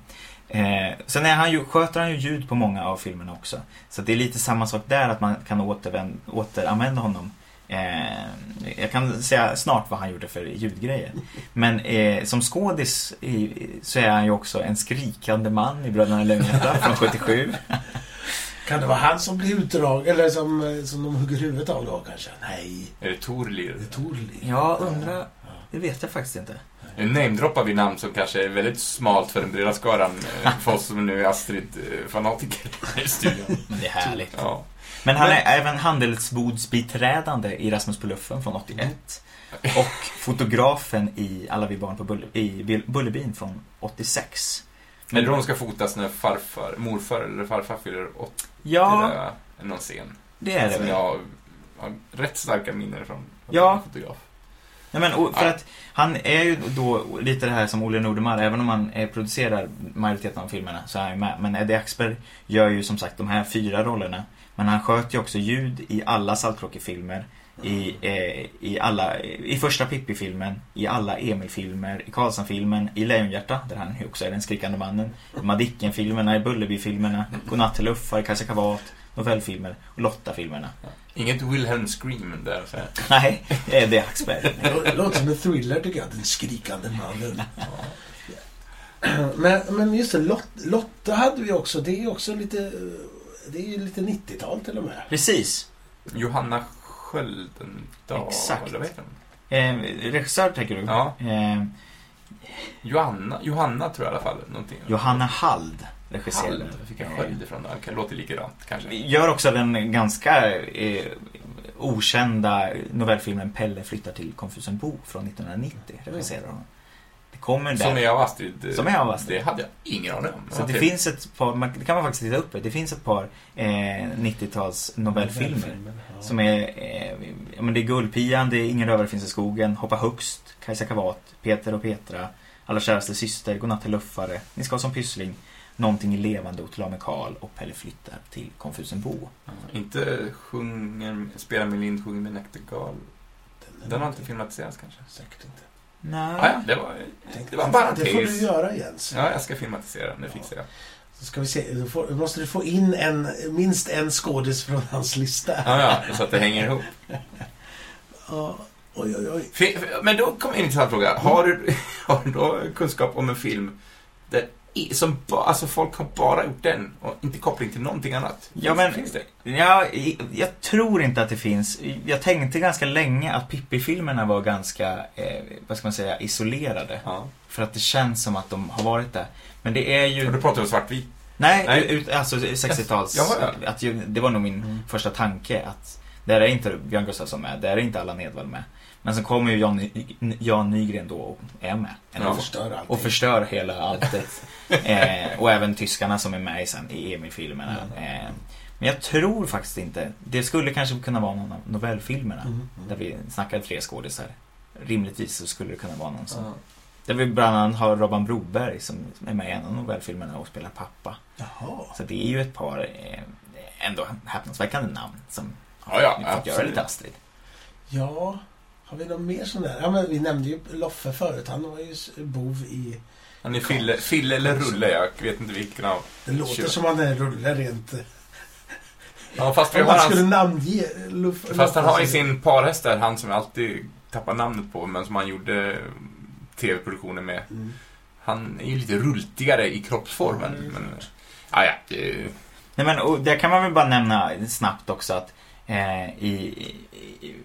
[SPEAKER 4] Eh, sen är han ju, sköter han ju ljud på många av filmerna också. Så det är lite samma sak där, att man kan återvän- återanvända honom. Eh, jag kan säga snart vad han gjorde för ljudgrejer. Men eh, som skådis i, så är han ju också en skrikande man i Bröderna Lejonhjärta från 77.
[SPEAKER 3] Kan det vara han som blir utdrag eller som, eh, som de hugger huvudet av då kanske? Nej,
[SPEAKER 2] Är det Torlir?
[SPEAKER 3] det är Torli.
[SPEAKER 4] Jag undrar, det vet jag faktiskt inte.
[SPEAKER 2] Nu namedroppar vi namn som kanske är väldigt smalt för den breda skaran. eh, För oss som nu är Astrid-fanatiker i studion.
[SPEAKER 4] Men det är härligt.
[SPEAKER 2] Ja.
[SPEAKER 4] Men han är även handelsbodsbiträdande i Rasmus på luffen från 81. Och fotografen i Alla vi barn på Bull i Bull- Bullerbyn från 86.
[SPEAKER 2] Men då de ska fotas när farfar, morfar eller farfar fyller 80.
[SPEAKER 4] Ja,
[SPEAKER 2] Ja. Någon scen.
[SPEAKER 4] det är det
[SPEAKER 2] som
[SPEAKER 4] väl.
[SPEAKER 2] jag har rätt starka minnen från.
[SPEAKER 4] Ja.
[SPEAKER 2] Fotograf.
[SPEAKER 4] Nej, men, och, för att han är ju då lite det här som Olle Nordemar, även om han eh, producerar majoriteten av filmerna så är han ju med. Men Eddie Axberg gör ju som sagt de här fyra rollerna. Men han sköter ju också ljud i alla Saltkråkefilmer, i, eh, i, alla, i första Pippi-filmen, i alla Emil-filmer, i Karlsson-filmen, i Lejonhjärta, där han ju också är den skrikande mannen, i Madicken-filmerna, i Bullerby-filmerna, Godnatt till luffar, i Kajsa Kavat, novellfilmer och Lotta-filmerna.
[SPEAKER 2] Inget Wilhelm Scream där. Så här.
[SPEAKER 4] Nej, Eddie Axberg.
[SPEAKER 3] Det lå- låter som en thriller tycker jag, Den skrikande mannen. Men, men just det, Lot, Lotta hade vi också. Det är ju också lite... eh, Det är ju lite 90-tal till och med.
[SPEAKER 4] Precis.
[SPEAKER 2] Johanna Sköldendal.
[SPEAKER 4] Exakt.
[SPEAKER 2] Eller vad heter hon?
[SPEAKER 4] Eh, regissör tänker du?
[SPEAKER 2] Ja.
[SPEAKER 4] Eh,
[SPEAKER 2] Johanna, Johanna tror jag i alla fall. Någonting.
[SPEAKER 4] Johanna Hald
[SPEAKER 2] Hall.
[SPEAKER 4] regisserade.
[SPEAKER 2] Jag fick en sköld ifrån där. Det låter likadant kanske.
[SPEAKER 4] Gör också den ganska eh, okända novellfilmen Pelle flyttar till Konfusenbo från 1990. Regisserar hon. Det kommer där.
[SPEAKER 2] Som är av Astrid. eh,
[SPEAKER 4] Som är av Astrid.
[SPEAKER 2] Det hade jag ingen aning om.
[SPEAKER 4] Så
[SPEAKER 2] Vad
[SPEAKER 4] det
[SPEAKER 2] trevligt.
[SPEAKER 4] finns ett par, man, det kan man faktiskt titta upp. Det finns ett par eh, 90-tals novellfilmer.
[SPEAKER 3] Ja.
[SPEAKER 4] Som är, eh, ja, men det är Guldpian, det är Ingen rövare finns i skogen, Hoppa högst, Kajsa Kavat, Peter och Petra, Alla käraste syster, Godnatt till luffare, Ni ska som pyssling, Någonting i levande och till med Karl och Pelle flyttar till Konfusenbo.
[SPEAKER 2] Ja, Inte sjunger, spelar med Lind, sjunger med Näktergal. Den har inte filmatiserats kanske.
[SPEAKER 3] Säkert inte.
[SPEAKER 4] Nej.
[SPEAKER 2] Ah, ja, det var...
[SPEAKER 3] Tänk,
[SPEAKER 2] Det var en
[SPEAKER 3] Det får du
[SPEAKER 2] parentes.
[SPEAKER 3] göra Jens.
[SPEAKER 2] Ja, jag ska filmatisera den, det fixar jag.
[SPEAKER 3] Så ska vi se, då får, då måste du få in en, minst en skådis från hans lista.
[SPEAKER 2] Ja, ja, så att det hänger ihop.
[SPEAKER 3] Ja. Oj, oj, oj.
[SPEAKER 2] Fi- Men då kommer en intressant fråga. Har du, har du då kunskap om en film där, i- som ba, alltså folk har bara gjort den och inte koppling till någonting annat?
[SPEAKER 4] Ja,
[SPEAKER 2] Finns-
[SPEAKER 4] men-
[SPEAKER 2] Finns det?
[SPEAKER 4] Ja, i- jag tror inte att det finns. Jag tänkte ganska länge att Pippi-filmerna var ganska, eh, vad ska man säga, isolerade.
[SPEAKER 2] Ja.
[SPEAKER 4] För att det känns som att de har varit där. Men det är ju...
[SPEAKER 2] Och då pratar vi om svartvit.
[SPEAKER 4] Nej,
[SPEAKER 2] Nej.
[SPEAKER 4] Ut, alltså 60-tals...
[SPEAKER 2] Ja, ja,
[SPEAKER 4] Att, ju- det var nog min
[SPEAKER 2] Mm.
[SPEAKER 4] första tanke att där är inte Björn Gustafsson med, där är inte Allan Edwall med. Men sen kommer ju Jan, Ny- Jan Nygren då och är med. Eller,
[SPEAKER 2] Ja.
[SPEAKER 3] Jag förstör allting.
[SPEAKER 4] Och förstör hela alltet. eh, och även tyskarna som är med i, sen, i Emil-filmerna.
[SPEAKER 2] Mm.
[SPEAKER 4] Eh, men jag tror faktiskt inte. Det skulle kanske kunna vara någon av novellfilmerna.
[SPEAKER 3] Mm,
[SPEAKER 4] Där vi snackar tre skådisar. Rimligtvis så skulle det kunna vara någon som...
[SPEAKER 2] Ja.
[SPEAKER 4] Där vi bland annat har Robban Broberg som som är med i en av novellfilmerna och spelar pappa.
[SPEAKER 3] Jaha.
[SPEAKER 4] Så det är ju ett par eh, ändå häpnadsväckande namn som
[SPEAKER 2] Ja, ja,
[SPEAKER 4] fått göra
[SPEAKER 2] absolut.
[SPEAKER 4] lite Astrid.
[SPEAKER 3] Ja, har vi någon mer sån där? Ja, men vi nämnde ju Loffe förut. Han var ju s- bov i...
[SPEAKER 2] Han är Fille, Fille eller Rulle, jag vet inte vilken av.
[SPEAKER 3] Det låter
[SPEAKER 2] Kör.
[SPEAKER 3] som han är en rulle rent...
[SPEAKER 2] Ja, fast, vi
[SPEAKER 3] Om
[SPEAKER 2] har
[SPEAKER 3] man skulle
[SPEAKER 2] hans,
[SPEAKER 3] namnge Loffe...
[SPEAKER 2] fast han har ju
[SPEAKER 3] så-
[SPEAKER 2] sin parhäst där, han som jag alltid tappar namnet på, men som han gjorde tv-produktionen med.
[SPEAKER 3] Mm.
[SPEAKER 2] Han är ju lite rultigare i kroppsformen.
[SPEAKER 3] Ja, det är
[SPEAKER 2] men, ah, ja, det,
[SPEAKER 4] Nej men och där kan man väl bara nämna snabbt också att eh, i, i, i-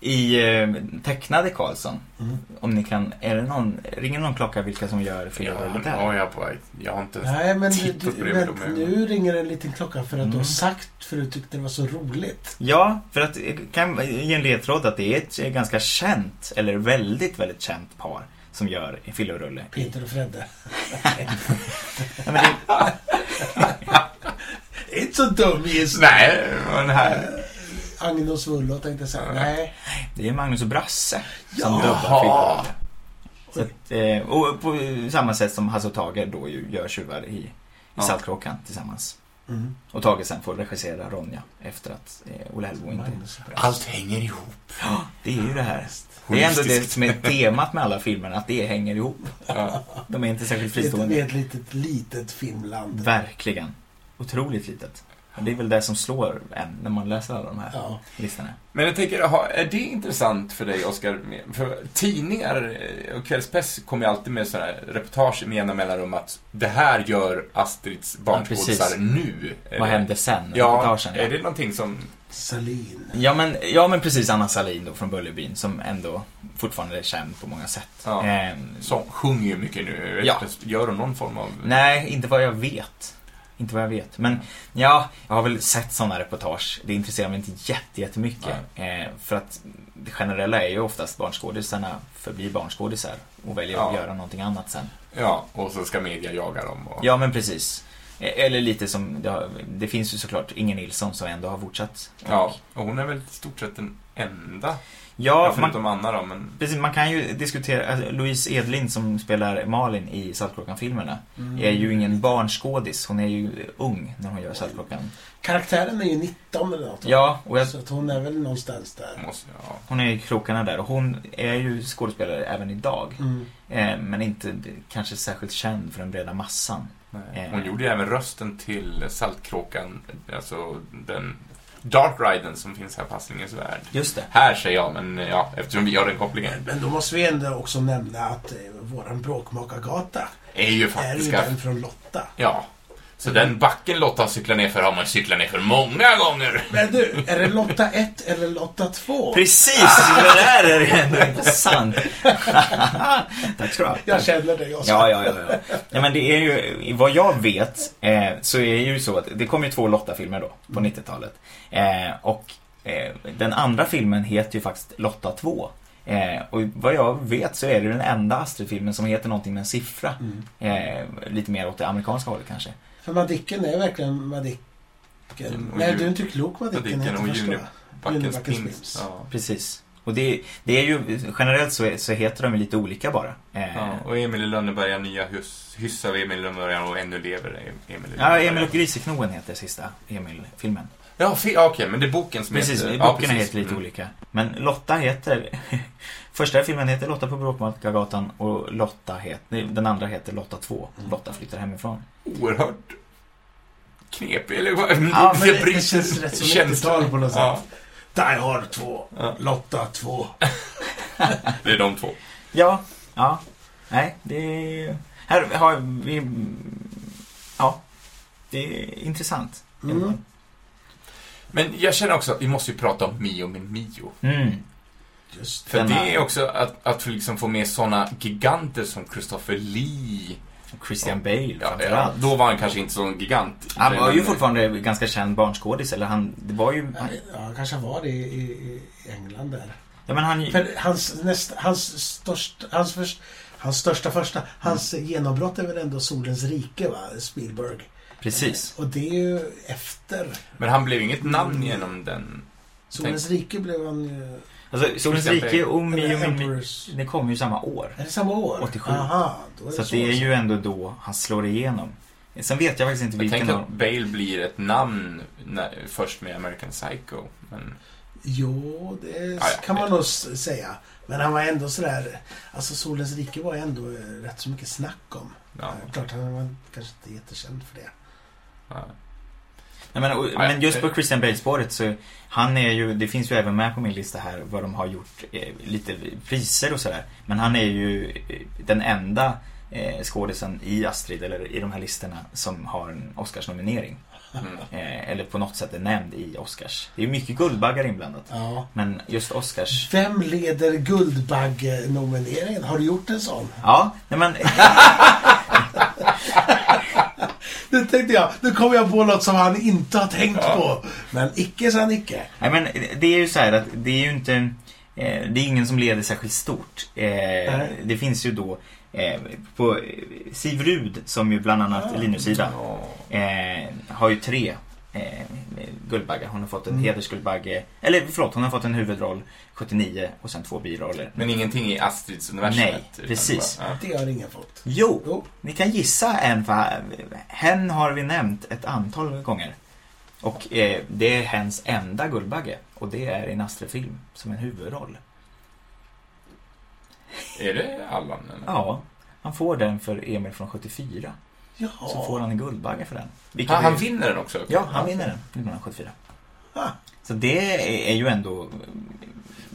[SPEAKER 4] i eh, tecknade Karlsson.
[SPEAKER 3] Mm.
[SPEAKER 4] Om ni kan, är det någon, ringer någon klocka vilka som gör flerrollen där?
[SPEAKER 2] ja, jag är på väg. Jag har inte ens...
[SPEAKER 3] Nej, men, du,
[SPEAKER 2] Titta på det
[SPEAKER 3] du,
[SPEAKER 2] med de
[SPEAKER 3] men
[SPEAKER 2] ögonen.
[SPEAKER 3] nu ringer en liten klocka för att du
[SPEAKER 4] Mm.
[SPEAKER 3] har sagt för att du tyckte det var så roligt.
[SPEAKER 4] Ja, för att eh, kan ge en ledtråd att det är ett eh, ganska känt, eller väldigt, väldigt känt par som gör en fillerulle.
[SPEAKER 3] Peter och Fredde.
[SPEAKER 4] Ja, men det,
[SPEAKER 3] Inte så dum gissning.
[SPEAKER 2] Nej, men här...
[SPEAKER 3] Agne och Svullo tänkte jag säga. Nej.
[SPEAKER 4] det är Magnus och Brasse som
[SPEAKER 3] Ja.
[SPEAKER 4] dubbar fillerulle. Så att, eh, och på samma sätt som Hasse och Tage då ju gör tjuvar i, i
[SPEAKER 2] Ja.
[SPEAKER 4] Saltkråkan tillsammans.
[SPEAKER 3] Mm.
[SPEAKER 4] Och Tage sen får regissera Ronja efter att eh, Olle Hellbo inte...
[SPEAKER 3] Magnus.
[SPEAKER 2] Allt hänger ihop.
[SPEAKER 4] Det är ju det här. Det är ändå det som är temat med alla filmerna, att det hänger ihop.
[SPEAKER 2] Ja.
[SPEAKER 4] De är inte särskilt
[SPEAKER 3] Det är
[SPEAKER 4] fristående.
[SPEAKER 3] ett litet, litet Finland.
[SPEAKER 4] Verkligen. Otroligt litet. Det är väl det som slår en när man läser alla de här
[SPEAKER 3] Ja.
[SPEAKER 4] listorna.
[SPEAKER 2] Men jag tänker, ha- är det intressant för dig, Oskar? För tidningar eh, och kvällspress kommer ju alltid med sådana här reportage med jämna mellanrum att det här gör Astrids barnskådisar
[SPEAKER 4] precis.
[SPEAKER 2] nu.
[SPEAKER 4] Vad hände sen?
[SPEAKER 2] Eh, Ja, eh,
[SPEAKER 4] Reportagen,
[SPEAKER 2] är det någonting som...
[SPEAKER 3] Salin.
[SPEAKER 4] Ja men, ja men precis Anna Salin då från Bullerbyn som ändå fortfarande är känd på många sätt.
[SPEAKER 2] Ja.
[SPEAKER 4] Ehm,
[SPEAKER 2] Som sjunger ju mycket nu. Jag vet
[SPEAKER 4] Ja.
[SPEAKER 2] inte, Gör de någon form av...
[SPEAKER 4] Nej, inte vad jag vet. Inte vad jag vet. Men ja, jag har väl sett sådana reportage. Det intresserar mig inte jätte- jättemycket. Eh, för att det generella är ju oftast barnskådisarna förblir barnskådisar och väljer att
[SPEAKER 2] Ja.
[SPEAKER 4] göra någonting annat sen.
[SPEAKER 2] Ja, och så ska media jaga dem. Och...
[SPEAKER 4] Ja, men precis. Eh, Eller lite som, det, har, det finns ju såklart Inger Nilsson som ändå har fortsatt.
[SPEAKER 2] Ja, och hon är väl i stort sett den enda. Ja,
[SPEAKER 4] Ja, man,
[SPEAKER 2] förutom Anna då, men...
[SPEAKER 4] precis, man kan ju diskutera, alltså, Louise Edlin som spelar Malin i Saltkråkan-filmerna är ju
[SPEAKER 3] Mm.
[SPEAKER 4] ingen barnskådis. Hon är ju ung när hon gör Saltkråkan.
[SPEAKER 3] Karaktären är ju 19 eller något.
[SPEAKER 4] Ja, och jag
[SPEAKER 3] Så att hon är väl någonstans där.
[SPEAKER 2] Måste, ja.
[SPEAKER 4] Hon är i krokarna där och hon är ju skådespelare även idag.
[SPEAKER 3] Mm.
[SPEAKER 4] Eh, men inte b- kanske särskilt känd för den breda massan.
[SPEAKER 2] Nej.
[SPEAKER 4] Eh.
[SPEAKER 2] Hon gjorde ju även rösten till Saltkråkan, alltså den Dark Riden som finns här på Hasslinges värld.
[SPEAKER 4] Just det.
[SPEAKER 2] Här säger jag, men ja, eftersom vi har den kopplingen.
[SPEAKER 3] Men då måste vi ändå också nämna att eh, våran bråkmakargata
[SPEAKER 2] Är ju
[SPEAKER 3] är ju
[SPEAKER 2] faktiska...
[SPEAKER 3] den från Lotta.
[SPEAKER 2] Ja. Så den backen Lotta cyklar nerför har man cyklat nerför många gånger.
[SPEAKER 3] Men du, är det Lotta 1 eller Lotta 2?
[SPEAKER 4] Precis! Det där är ju ändå intressant. Tack ska du ha.
[SPEAKER 3] Jag känner det, jag
[SPEAKER 4] Ja, ja, ja, ja. ja men det är ju, vad jag vet, eh, så är det ju så att det kom ju två Lotta-filmer då, på 90-talet. Eh, och eh, den andra filmen heter ju faktiskt Lotta 2. Eh, och vad jag vet så är det den enda Astrid-filmen som heter någonting med en siffra.
[SPEAKER 3] Mm.
[SPEAKER 4] Eh, lite mer åt det amerikanska hållet kanske.
[SPEAKER 3] För Madicken är verkligen Madicken.
[SPEAKER 2] Och
[SPEAKER 3] Nej,
[SPEAKER 2] Jun-
[SPEAKER 3] du är inte klok Madicken,
[SPEAKER 2] Madicken
[SPEAKER 3] heter
[SPEAKER 2] och
[SPEAKER 3] första,
[SPEAKER 2] Juni-
[SPEAKER 3] va?
[SPEAKER 2] Backens
[SPEAKER 3] Backens
[SPEAKER 2] pins.
[SPEAKER 3] pins.
[SPEAKER 2] Ja.
[SPEAKER 4] Precis. Och det, det är ju, generellt så, är, så heter de ju lite olika bara. Eh,
[SPEAKER 2] Ja, och Emil i Lönneberga, nya hus, hyss av Emil i Lönneberga och Ännu lever Em- Emil i
[SPEAKER 4] ja,
[SPEAKER 2] Lönneberga.
[SPEAKER 4] Emil och Griseknoen heter sista Emil-filmen.
[SPEAKER 2] Ja, fi- ja, okej, men det är boken som
[SPEAKER 4] Precis,
[SPEAKER 2] heter...
[SPEAKER 4] böckerna
[SPEAKER 2] ja,
[SPEAKER 4] heter lite
[SPEAKER 2] Mm.
[SPEAKER 4] olika. Men Lotta heter... Första filmen heter Lotta på Bråkmakargatan och Lotta heter... nej, Den andra heter Lotta 2.
[SPEAKER 3] Mm.
[SPEAKER 4] Lotta flyttar hemifrån.
[SPEAKER 2] Oerhört knepig, eller vad?
[SPEAKER 4] Ja,
[SPEAKER 3] Men det, det känns rätt som 90-tal på något sätt.
[SPEAKER 2] Ja,
[SPEAKER 3] Die Hard 2.
[SPEAKER 2] Ja.
[SPEAKER 3] Lotta 2.
[SPEAKER 2] det är de två.
[SPEAKER 4] Ja, ja. Nej, det är... Här har vi... Ja. Det är intressant.
[SPEAKER 3] Mm.
[SPEAKER 2] Men jag känner också att vi måste ju prata om Mio min Mio.
[SPEAKER 4] Mm.
[SPEAKER 3] Just
[SPEAKER 2] För
[SPEAKER 4] Den här.
[SPEAKER 2] det är också att, att liksom få med sådana giganter som Christopher Lee.
[SPEAKER 4] Christian Bale
[SPEAKER 2] Ja, ja,
[SPEAKER 4] framförallt.
[SPEAKER 2] då var han kanske inte sån gigant.
[SPEAKER 4] Han var ju
[SPEAKER 2] Men-
[SPEAKER 4] fortfarande ganska känd barnskådis, eller han... Det var ju...
[SPEAKER 3] det. Ja, kanske var det i, i i England där.
[SPEAKER 4] Ja, men han...
[SPEAKER 3] För hans, nästa, hans, största, hans, först, hans största första, hans genombrott är väl ändå Solens rike va, Spielberg.
[SPEAKER 4] Precis.
[SPEAKER 3] Och det är ju efter.
[SPEAKER 2] Men han blev inget namn
[SPEAKER 4] Mm.
[SPEAKER 2] genom den.
[SPEAKER 3] Solens rike blev han ju...
[SPEAKER 4] Alltså, Solens
[SPEAKER 2] Christian
[SPEAKER 4] rike och
[SPEAKER 3] eller
[SPEAKER 4] Mio min... Mio-
[SPEAKER 3] Emperor's...
[SPEAKER 4] Det kom ju samma år.
[SPEAKER 3] Är det samma år?
[SPEAKER 4] 87.
[SPEAKER 3] Aha, då är det
[SPEAKER 4] Så att
[SPEAKER 3] så
[SPEAKER 4] det är
[SPEAKER 3] alltså.
[SPEAKER 4] ju ändå då han slår igenom. Sen vet jag faktiskt inte
[SPEAKER 2] Jag
[SPEAKER 4] vilken
[SPEAKER 2] tänkte att
[SPEAKER 4] av...
[SPEAKER 2] Bale blir ett namn när, först med American Psycho. Men,
[SPEAKER 3] Jo, det
[SPEAKER 2] Ja, ja.
[SPEAKER 3] kan man nog s- säga. Men han var ändå sådär... Alltså Solens rike var ändå eh, rätt så mycket snack om.
[SPEAKER 2] ja,
[SPEAKER 3] Eh, Klart, han var kanske inte jättekänd för det.
[SPEAKER 2] ja.
[SPEAKER 4] Nej, men, och,
[SPEAKER 2] Nej,
[SPEAKER 4] men just på
[SPEAKER 2] det-
[SPEAKER 4] Christian Bale-spåret så, han är ju, det finns ju även med på min lista här vad de har gjort, eh, lite priser och sådär. Men han är ju eh, den enda eh, skådisen i Astrid, eller i de här listorna, som har en Oscarsnominering.
[SPEAKER 2] Mm.
[SPEAKER 4] Eh, eller på något sätt är nämnd i Oscars. Det är mycket Guldbaggar inblandat.
[SPEAKER 3] Ja.
[SPEAKER 4] Men just Oscars...
[SPEAKER 3] Vem leder Guldbagge-nomineringen? Har du gjort en sån?
[SPEAKER 4] Ja, nej men...
[SPEAKER 3] Nu tänkte jag, nu kom jag på något som han inte har tänkt på. Men icke sa han icke.
[SPEAKER 4] Nej men det är ju så här att det är ju inte eh, Det är ingen som leder särskilt stort. Eh,
[SPEAKER 3] Nej.
[SPEAKER 4] det finns ju då eh, på eh, Siv Rud som ju bland annat
[SPEAKER 3] Ja.
[SPEAKER 4] Linus Ida
[SPEAKER 2] Ja.
[SPEAKER 4] eh, har ju tre eh, Guldbaggar. Hon har fått en
[SPEAKER 3] Mm.
[SPEAKER 4] hedersguldbagge, eller förlåt, hon har fått en huvudroll 79 och sen två biroller.
[SPEAKER 2] Men ingenting i Astrids universum?
[SPEAKER 4] Nej, precis.
[SPEAKER 2] Bara, ja.
[SPEAKER 3] Det har ingen fått.
[SPEAKER 4] Jo,
[SPEAKER 3] Jo.
[SPEAKER 4] ni kan gissa en för hen har vi nämnt ett antal gånger. Och eh, det är hens enda Guldbagge och det är i en Astrid-film som en huvudroll.
[SPEAKER 2] Är det Allan? Eller?
[SPEAKER 4] Ja, han får den för Emil från 74.
[SPEAKER 3] Ja.
[SPEAKER 4] Så får han en Guldbagge för den. Vilket
[SPEAKER 2] Han, han
[SPEAKER 4] är-
[SPEAKER 2] vinner den också?
[SPEAKER 4] Ja, han vinner den 1974.
[SPEAKER 3] Ah.
[SPEAKER 4] Så det är- är ju ändå...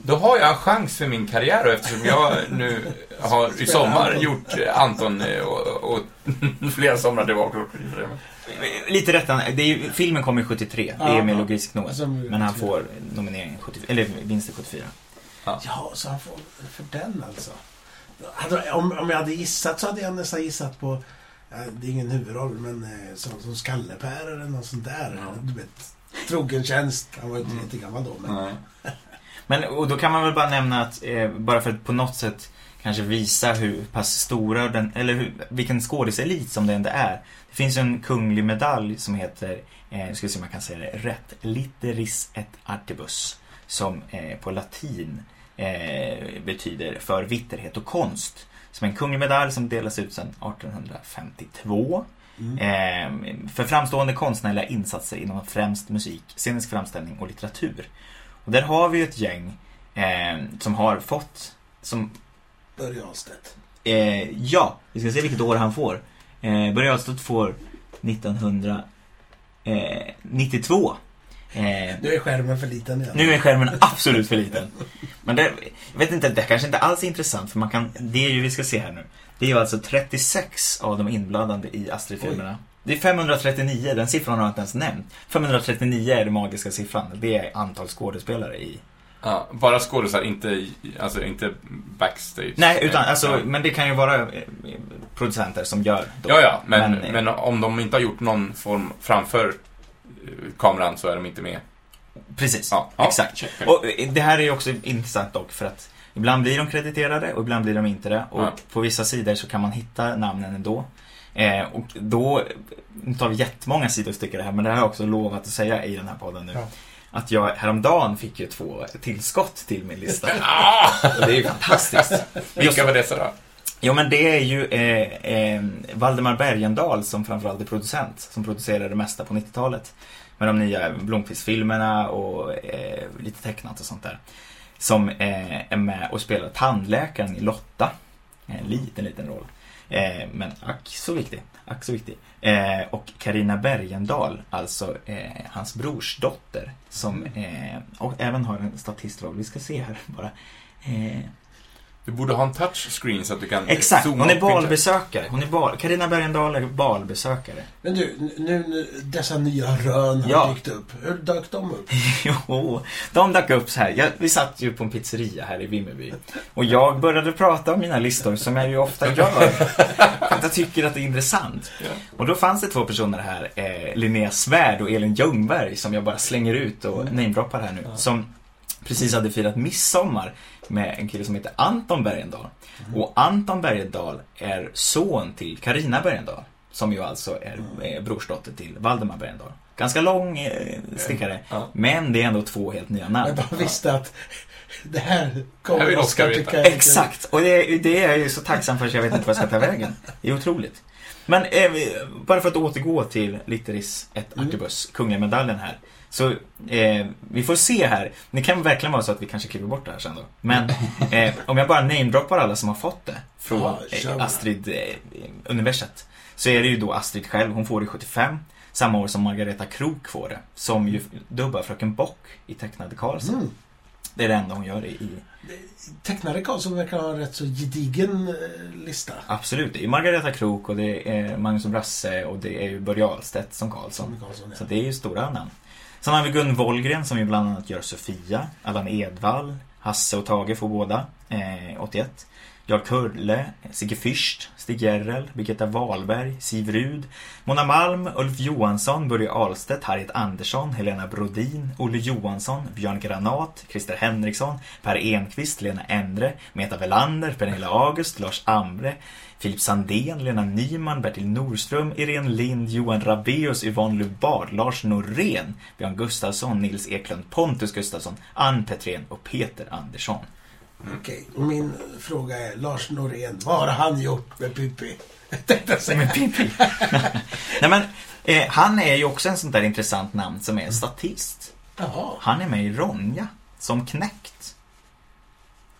[SPEAKER 2] Då har jag en chans för min karriär och eftersom jag nu har i sommar
[SPEAKER 3] Anton.
[SPEAKER 2] gjort Anton eh, och, och flera somrar tillbaka.
[SPEAKER 4] Lite rättan, det är ju, filmen kom ju 73, det
[SPEAKER 3] Ja.
[SPEAKER 4] är Emil och Grisknoen.
[SPEAKER 3] Som-
[SPEAKER 4] Men han får nomineringen 70, eller vinsten 74.
[SPEAKER 3] Ja, så han får för den alltså. Hade- Om, om jag hade gissat så hade jag nästan gissat på, ja, det är ingen huvudroll, men eh, som, som Skallepär eller något sånt där.
[SPEAKER 2] Ja.
[SPEAKER 3] Du vet, trogen tjänst. Han var ju inte
[SPEAKER 2] Mm.
[SPEAKER 3] jättegammal då, men
[SPEAKER 2] Nej.
[SPEAKER 4] Men och då kan man väl bara nämna att, eh, bara för att på något sätt kanske visa hur pass stora den, eller hur, vilken skådiselit som det ändå är. Det finns ju en kunglig medalj som heter, eh, nu ska vi se om jag kan säga det rätt, Litteris et artibus. Som eh, på latin eh, betyder för vitterhet och konst. Som en kunglig medalj som delas ut sedan 1852.
[SPEAKER 3] mm.
[SPEAKER 4] Eh, för framstående konstnärliga insatser inom främst musik, scenisk framställning och litteratur. Och där har vi ju ett gäng eh, som har fått, som,
[SPEAKER 3] Börje Ahlstedt.
[SPEAKER 4] eh, ja, vi ska se vilket år han får. Eh, Börje Ahlstedt får 1992. Eh,
[SPEAKER 3] Nu är skärmen för liten igen.
[SPEAKER 4] nu är skärmen absolut för liten. Men det, jag vet inte, det kanske inte alls är intressant för man kan, det är ju vi ska se här nu. Det är ju alltså 36 av de inblandade i Astrid-filmerna. Det är 539, den siffran har jag inte ens nämnt. 539 är den magiska siffran, det är antal skådespelare i.
[SPEAKER 2] Ja, bara skådisar, inte, alltså, inte backstage.
[SPEAKER 4] Nej, utan alltså,
[SPEAKER 2] Ja.
[SPEAKER 4] men det kan ju vara eh, producenter som gör då.
[SPEAKER 2] Ja, ja, men,
[SPEAKER 4] Men, eh,
[SPEAKER 2] men, om de inte har gjort någon form framför eh, kameran så är de inte med.
[SPEAKER 4] Precis,
[SPEAKER 2] Ja, ja.
[SPEAKER 4] exakt.
[SPEAKER 2] Check.
[SPEAKER 4] Och eh, det här är ju också intressant dock för att ibland blir de krediterade och ibland blir de inte det. Och
[SPEAKER 2] Ja.
[SPEAKER 4] på vissa sidor så kan man hitta namnen ändå. Eh, och då, nu tar vi jättemånga sidostycken det här, men det här har jag också lovat att säga i den här podden nu.
[SPEAKER 3] Ja.
[SPEAKER 4] Att jag häromdagen fick ju två tillskott till min lista.
[SPEAKER 2] Ah!
[SPEAKER 4] Och det är ju fantastiskt. Just,
[SPEAKER 2] Vilka var dessa då?
[SPEAKER 4] jo men det är ju eh, eh, Valdemar Bergendahl som framförallt är producent, som producerade det mesta på 90-talet. Med de nya Blomkvist-filmerna och eh, lite tecknat och sånt där. Som eh, är med och spelar tandläkaren i Lotta. En liten, liten roll. Eh, men ack så viktig. Ack så viktig. Eh, och Karina Bergendahl, alltså eh, hans brors dotter. Som eh, och även har en statistroll. Vi ska se här bara. Eh,
[SPEAKER 2] Du borde ha en touchscreen så att du kan
[SPEAKER 4] Exakt,
[SPEAKER 2] zooma
[SPEAKER 4] hon är
[SPEAKER 2] upp bilden.
[SPEAKER 4] balbesökare. Hon är bal... Carina Bergendahl är balbesökare.
[SPEAKER 3] Men du, nu, nu dessa nya rön har
[SPEAKER 4] Ja.
[SPEAKER 3] dykt upp. Hur dök de upp?
[SPEAKER 4] jo, de dök upp så här. Jag, vi satt ju på en pizzeria här i Vimmerby. Och jag började prata om mina listor, som jag ju ofta gör. För att jag tycker att det är intressant.
[SPEAKER 2] Ja.
[SPEAKER 4] Och då fanns det två personer här, eh, Linnea Svärd och Elin Ljungberg, som jag bara slänger ut och namedroppar här nu. Som precis hade firat midsommar med en kille som heter Anton Bergendahl. Och Anton Bergendahl är son till Karina Bergendahl. Som ju alltså är eh, brorsdotter till Valdemar Bergendahl. Ganska lång eh, stickare.
[SPEAKER 2] Ja.
[SPEAKER 4] Men det är ändå två helt nya namn.
[SPEAKER 3] Men de visste att det här kommer
[SPEAKER 2] Här vill Oscar
[SPEAKER 3] Oscar
[SPEAKER 2] veta.
[SPEAKER 3] tycka är lite-
[SPEAKER 4] Exakt, och det, det är jag ju så tacksam för så jag vet inte vad jag ska ta vägen. Det är otroligt. Men eh, vi- bara för att återgå till Litteris ett
[SPEAKER 3] Mm.
[SPEAKER 4] Artibus, Kungliga medaljen här. Så eh, vi får se här. Det kan verkligen vara så att vi kanske klipper bort det här sen då. Men eh, om jag bara namedroppar alla som har fått det från
[SPEAKER 3] Ja, kör
[SPEAKER 4] eh,
[SPEAKER 3] bara.
[SPEAKER 4] Astrid eh, universet. Så är det ju då Astrid själv, hon får det 75. Samma år som Margareta Krok får det. Som ju dubbar Fröken Bock i tecknade Karlsson.
[SPEAKER 3] Mm.
[SPEAKER 4] Det är det enda hon gör i... i-
[SPEAKER 3] Tecknare Karlsson verkar ha en rätt så gedigen eh, lista.
[SPEAKER 4] Absolut, det är Margareta Krok och det är Magnus Brasse och det är ju Börje Ahlstedt som Karlsson.
[SPEAKER 3] Som Karlsson,
[SPEAKER 4] Så
[SPEAKER 3] ja.
[SPEAKER 4] det är ju stora namn. Sen har vi Gun Wollgren som ju bland annat gör Sofia, Allan Edwall, Hasse och Tage får båda, eh, 81. Jarl Kurle, Sigge Fürst, Stig Gerrel, Birgitta Wahlberg, Siv Rud, Mona Malm, Ulf Johansson, Börje Ahlstedt, Harriet Andersson, Helena Brodin, Olle Johansson, Björn Granat, Christer Henriksson, Per Enqvist, Lena Endre, Meta Velander, Pernilla August, Lars Amre, Filip Sandén, Lena Nyman, Bertil Norström, Irene Lind, Johan Rabeus, Yvonne Lubard, Lars Norén, Björn Gustafsson, Nils Eklund, Pontus Gustafsson, Ann Petrén och Peter Andersson.
[SPEAKER 3] Okej, och min fråga är Lars Norén, vad har han gjort med Pippi? Jag tänkte jag
[SPEAKER 2] Mm.
[SPEAKER 3] säga.
[SPEAKER 4] Men Pippi. Nej men, eh, han är ju också en sånt där intressant namn som är statist.
[SPEAKER 3] Jaha.
[SPEAKER 4] Han är med i Ronja, som knäckt.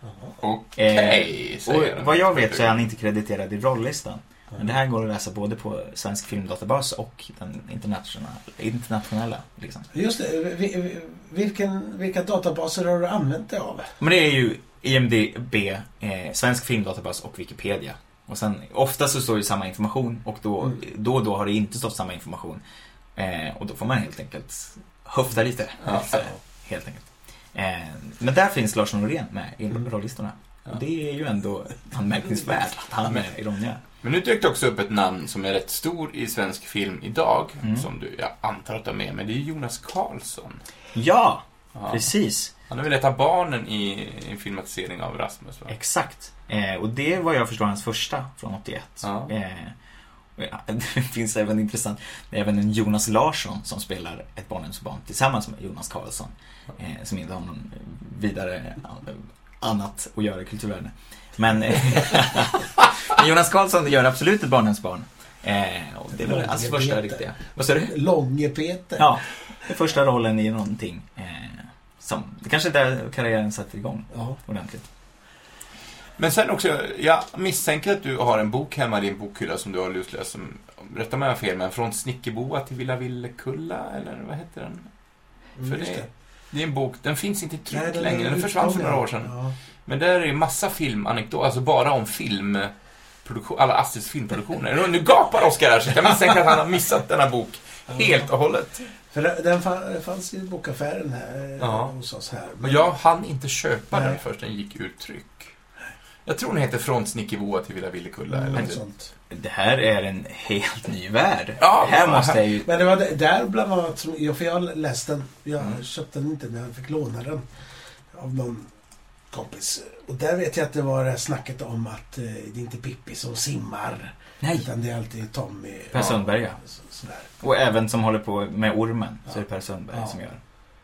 [SPEAKER 4] Eh,
[SPEAKER 2] Okej, säger
[SPEAKER 4] och vad jag vet så är
[SPEAKER 2] han.
[SPEAKER 4] han inte krediterad i rolllistan. Men det här går att läsa både på Svensk Filmdatabas och den internationella. internationella liksom.
[SPEAKER 3] Just det, vi- vi- vilken, vilka databaser har du använt dig av?
[SPEAKER 4] Men det är ju IMDB, eh, Svensk Filmdatabas och Wikipedia. Och sen, oftast så står det samma information och då
[SPEAKER 3] Mm.
[SPEAKER 4] då, och då har det inte stått samma information. Eh, och då får man helt enkelt höfta lite.
[SPEAKER 2] Ja.
[SPEAKER 4] Så, helt enkelt. Eh, men där finns Lars Norén med i
[SPEAKER 3] Mm.
[SPEAKER 4] rollistorna.
[SPEAKER 2] Ja.
[SPEAKER 4] Och det är ju ändå anmärkningsvärt att han är med i Ronja.
[SPEAKER 2] Men nu dök det också upp ett namn som är rätt stor i svensk film idag,
[SPEAKER 4] Mm.
[SPEAKER 2] som du, jag antar att du har med, men det är Jonas Karlsson.
[SPEAKER 4] Ja,
[SPEAKER 2] Ja.
[SPEAKER 4] precis.
[SPEAKER 2] Han är väl ett av barnen i en filmatisering av Rasmus, va?
[SPEAKER 4] Exakt. Eh, och det var jag förstår hans första från 81.
[SPEAKER 2] Ja.
[SPEAKER 4] Eh, och ja, det finns även intressant, det är även en Jonas Larsson som spelar ett barndomsbarn tillsammans med Jonas Karlsson. Eh, som inte har någon vidare eh, annat att göra i kulturvärlden. Men, eh, men Jonas Karlsson gör absolut ett barndomsbarn. Eh, och det var hans första riktiga. Vad sa du?
[SPEAKER 3] Långe-Peter.
[SPEAKER 4] Ja, det är första rollen i någonting. Eh, som, det kanske är där karriären satte igång
[SPEAKER 3] Ja.
[SPEAKER 4] ordentligt.
[SPEAKER 2] Men sen också, jag misstänker att du har en bok hemma i din bokhylla som du har lusläst, som, rätta mig om jag har fel, men från Snickerboa till Villa Villekulla, eller vad heter den?
[SPEAKER 3] Mm,
[SPEAKER 2] För
[SPEAKER 3] just
[SPEAKER 2] det-
[SPEAKER 3] det.
[SPEAKER 2] Det är en bok, den finns inte i tryck
[SPEAKER 3] Nej,
[SPEAKER 2] längre,
[SPEAKER 3] är
[SPEAKER 2] den försvann för
[SPEAKER 3] utgången.
[SPEAKER 2] några år sedan.
[SPEAKER 3] Ja.
[SPEAKER 2] Men där är ju massa filmanekdoter, alltså bara om filmproduktion, alla Astrids filmproduktioner. Nu gapar Oskar här, så jag misstänker att han har missat denna bok helt och hållet.
[SPEAKER 3] För den- den fa- fanns i bokaffären här eh,
[SPEAKER 2] Ja.
[SPEAKER 3] hos oss här.
[SPEAKER 2] Men jag hann inte köpa
[SPEAKER 3] Nej.
[SPEAKER 2] den först den gick ur tryck. Jag tror den heter Från Snickerboa till Villa Villekulla. eller typ.
[SPEAKER 3] Något
[SPEAKER 2] något.
[SPEAKER 3] sånt.
[SPEAKER 4] Det här är en helt ny värld.
[SPEAKER 2] Ja,
[SPEAKER 4] här
[SPEAKER 2] fan.
[SPEAKER 4] måste jag ju...
[SPEAKER 3] Men det var det- där bland annat som, ja, för jag läste den. Jag
[SPEAKER 2] Mm.
[SPEAKER 3] köpte den inte, men jag fick låna den av någon kompis. Och där vet jag att det var det här snacket om att eh, det är inte Pippi som simmar.
[SPEAKER 4] Nej!
[SPEAKER 3] Utan det är alltid Tommy.
[SPEAKER 4] Per Sundberg, ja.
[SPEAKER 3] Så, sådär.
[SPEAKER 4] Och även som håller på med ormen, så är det Per Sundberg
[SPEAKER 3] Ja.
[SPEAKER 4] som gör.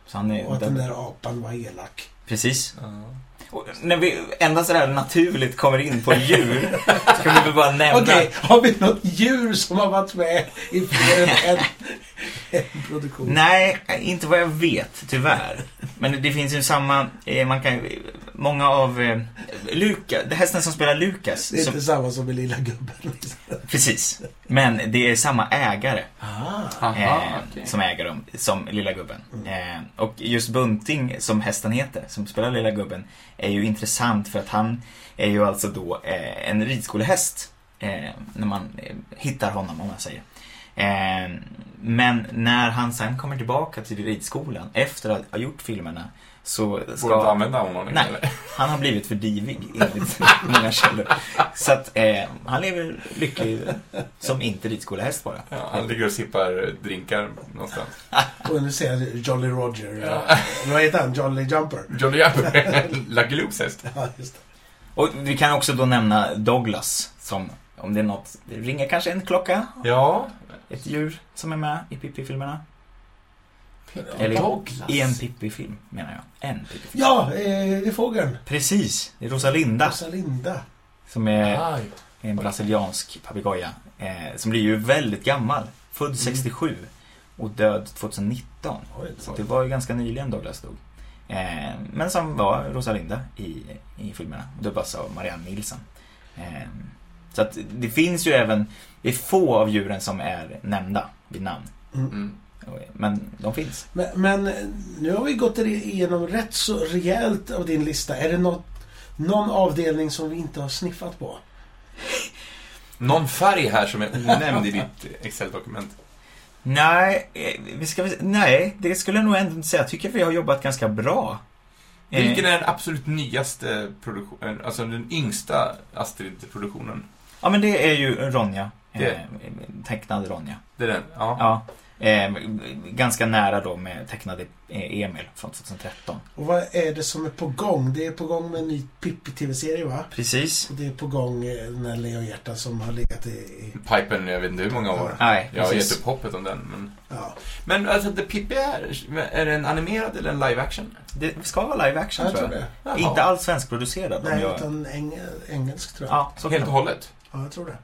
[SPEAKER 4] Så han
[SPEAKER 3] Och
[SPEAKER 4] är...
[SPEAKER 3] att den där apan var elak.
[SPEAKER 4] Precis.
[SPEAKER 2] Ja.
[SPEAKER 4] Och när vi endast sådär naturligt kommer in på djur, så kan vi väl bara nämna...
[SPEAKER 3] Okej, har vi något djur som har varit med i fler än en, en produktion?
[SPEAKER 4] Nej, inte vad jag vet, tyvärr. Men det finns ju samma, eh, man kan många av, eh, Luka, det hästen som spelar Lukas,
[SPEAKER 3] Det är
[SPEAKER 4] som,
[SPEAKER 3] inte samma som i Lilla Gubben.
[SPEAKER 4] precis. Men det är samma ägare
[SPEAKER 3] Ah,
[SPEAKER 4] eh,
[SPEAKER 2] Aha, okej. Mm.
[SPEAKER 4] som äger dem, som Lilla Gubben. Eh, och just Bunting, som hästen heter, som spelar Lilla Gubben, är ju intressant för att han är ju alltså då eh, en ridskolehäst. Eh, när man eh, hittar honom, om man säger. Eh, men när han sen kommer tillbaka till ridskolan efter att ha gjort filmerna så
[SPEAKER 2] Går det inte att
[SPEAKER 4] ska...
[SPEAKER 2] använda honom?
[SPEAKER 4] Nej.
[SPEAKER 2] eller?
[SPEAKER 4] Han har blivit för divig enligt många källor. Så att eh, han lever lycklig som inte ridskolehäst bara.
[SPEAKER 2] Ja, han ligger och sippar drinkar någonstans.
[SPEAKER 3] och nu ser jag Jolly Roger. Vad heter han? Jolly Jumper?
[SPEAKER 2] Johnny Jabber, Lucky Lukes häst.
[SPEAKER 3] Ja, just det.
[SPEAKER 4] Och vi kan också då nämna Douglas som, om det är något, det ringer kanske en klocka,
[SPEAKER 2] Ja.
[SPEAKER 4] ett djur som är med i Pippi-filmerna. Eller
[SPEAKER 2] Douglas.
[SPEAKER 4] I en Pippi-film, menar jag. En Pippi-film.
[SPEAKER 3] Ja, eh, det är fågeln.
[SPEAKER 4] Precis, det är Rosalinda
[SPEAKER 3] Rosalinda.
[SPEAKER 4] som är
[SPEAKER 2] Aj.
[SPEAKER 4] en brasiliansk papegoja. Eh, som blir ju väldigt gammal, född 67 och död 2019.
[SPEAKER 3] Oj,
[SPEAKER 4] Så det var ju ganska nyligen Douglas dog. Eh, men som var Rosalinda i, i filmerna. Och det var av Marianne Nilsson. Eh, så att det finns ju även, det är få av djuren som är nämnda vid namn.
[SPEAKER 2] Mm.
[SPEAKER 4] Men de finns.
[SPEAKER 3] Men, men eh, nu har vi gått igenom rätt så rejält av din lista. Är det något, någon avdelning som vi inte har sniffat på?
[SPEAKER 2] Någon färg här som är onämnd i ditt Excel-dokument.
[SPEAKER 4] Nej, eh, vi ska, väl- nej, det skulle jag nog ändå inte säga. Jag tycker vi har jobbat ganska bra. Eh,
[SPEAKER 2] Vilken är den absolut nyaste produktionen, alltså den yngsta Astrid-produktionen?
[SPEAKER 4] Ja, men det är ju Ronja. Eh,
[SPEAKER 2] Det-
[SPEAKER 4] Tecknad Ronja.
[SPEAKER 2] Det är den? Ja.
[SPEAKER 4] Ja. Eh, ganska nära då med tecknade eh, Emil från 2013.
[SPEAKER 3] Och vad är det som är på gång? Det är på gång med en ny Pippi-tv-serie va?
[SPEAKER 4] Precis.
[SPEAKER 3] Och det är på gång eh, den här Lejonhjärtan som har legat i... i
[SPEAKER 2] Pipen, jag vet inte hur många år.
[SPEAKER 4] Nej,
[SPEAKER 2] Jag har
[SPEAKER 4] precis.
[SPEAKER 2] gett upp hoppet om den. Men,
[SPEAKER 3] ja.
[SPEAKER 2] men alltså, The Pippi är, är den animerad eller en live action?
[SPEAKER 4] Det ska vara live action
[SPEAKER 3] Ja, jag
[SPEAKER 4] tror
[SPEAKER 3] tror
[SPEAKER 4] jag.
[SPEAKER 3] det.
[SPEAKER 2] Jaha.
[SPEAKER 4] Inte alls svenskproducerad. om
[SPEAKER 3] Nej,
[SPEAKER 4] jag...
[SPEAKER 3] utan engel, engelsk tror jag.
[SPEAKER 4] Ja, så kan
[SPEAKER 2] Helt
[SPEAKER 4] det
[SPEAKER 2] och
[SPEAKER 4] vara.
[SPEAKER 2] hållet?
[SPEAKER 3] Ja, jag tror det. Eh,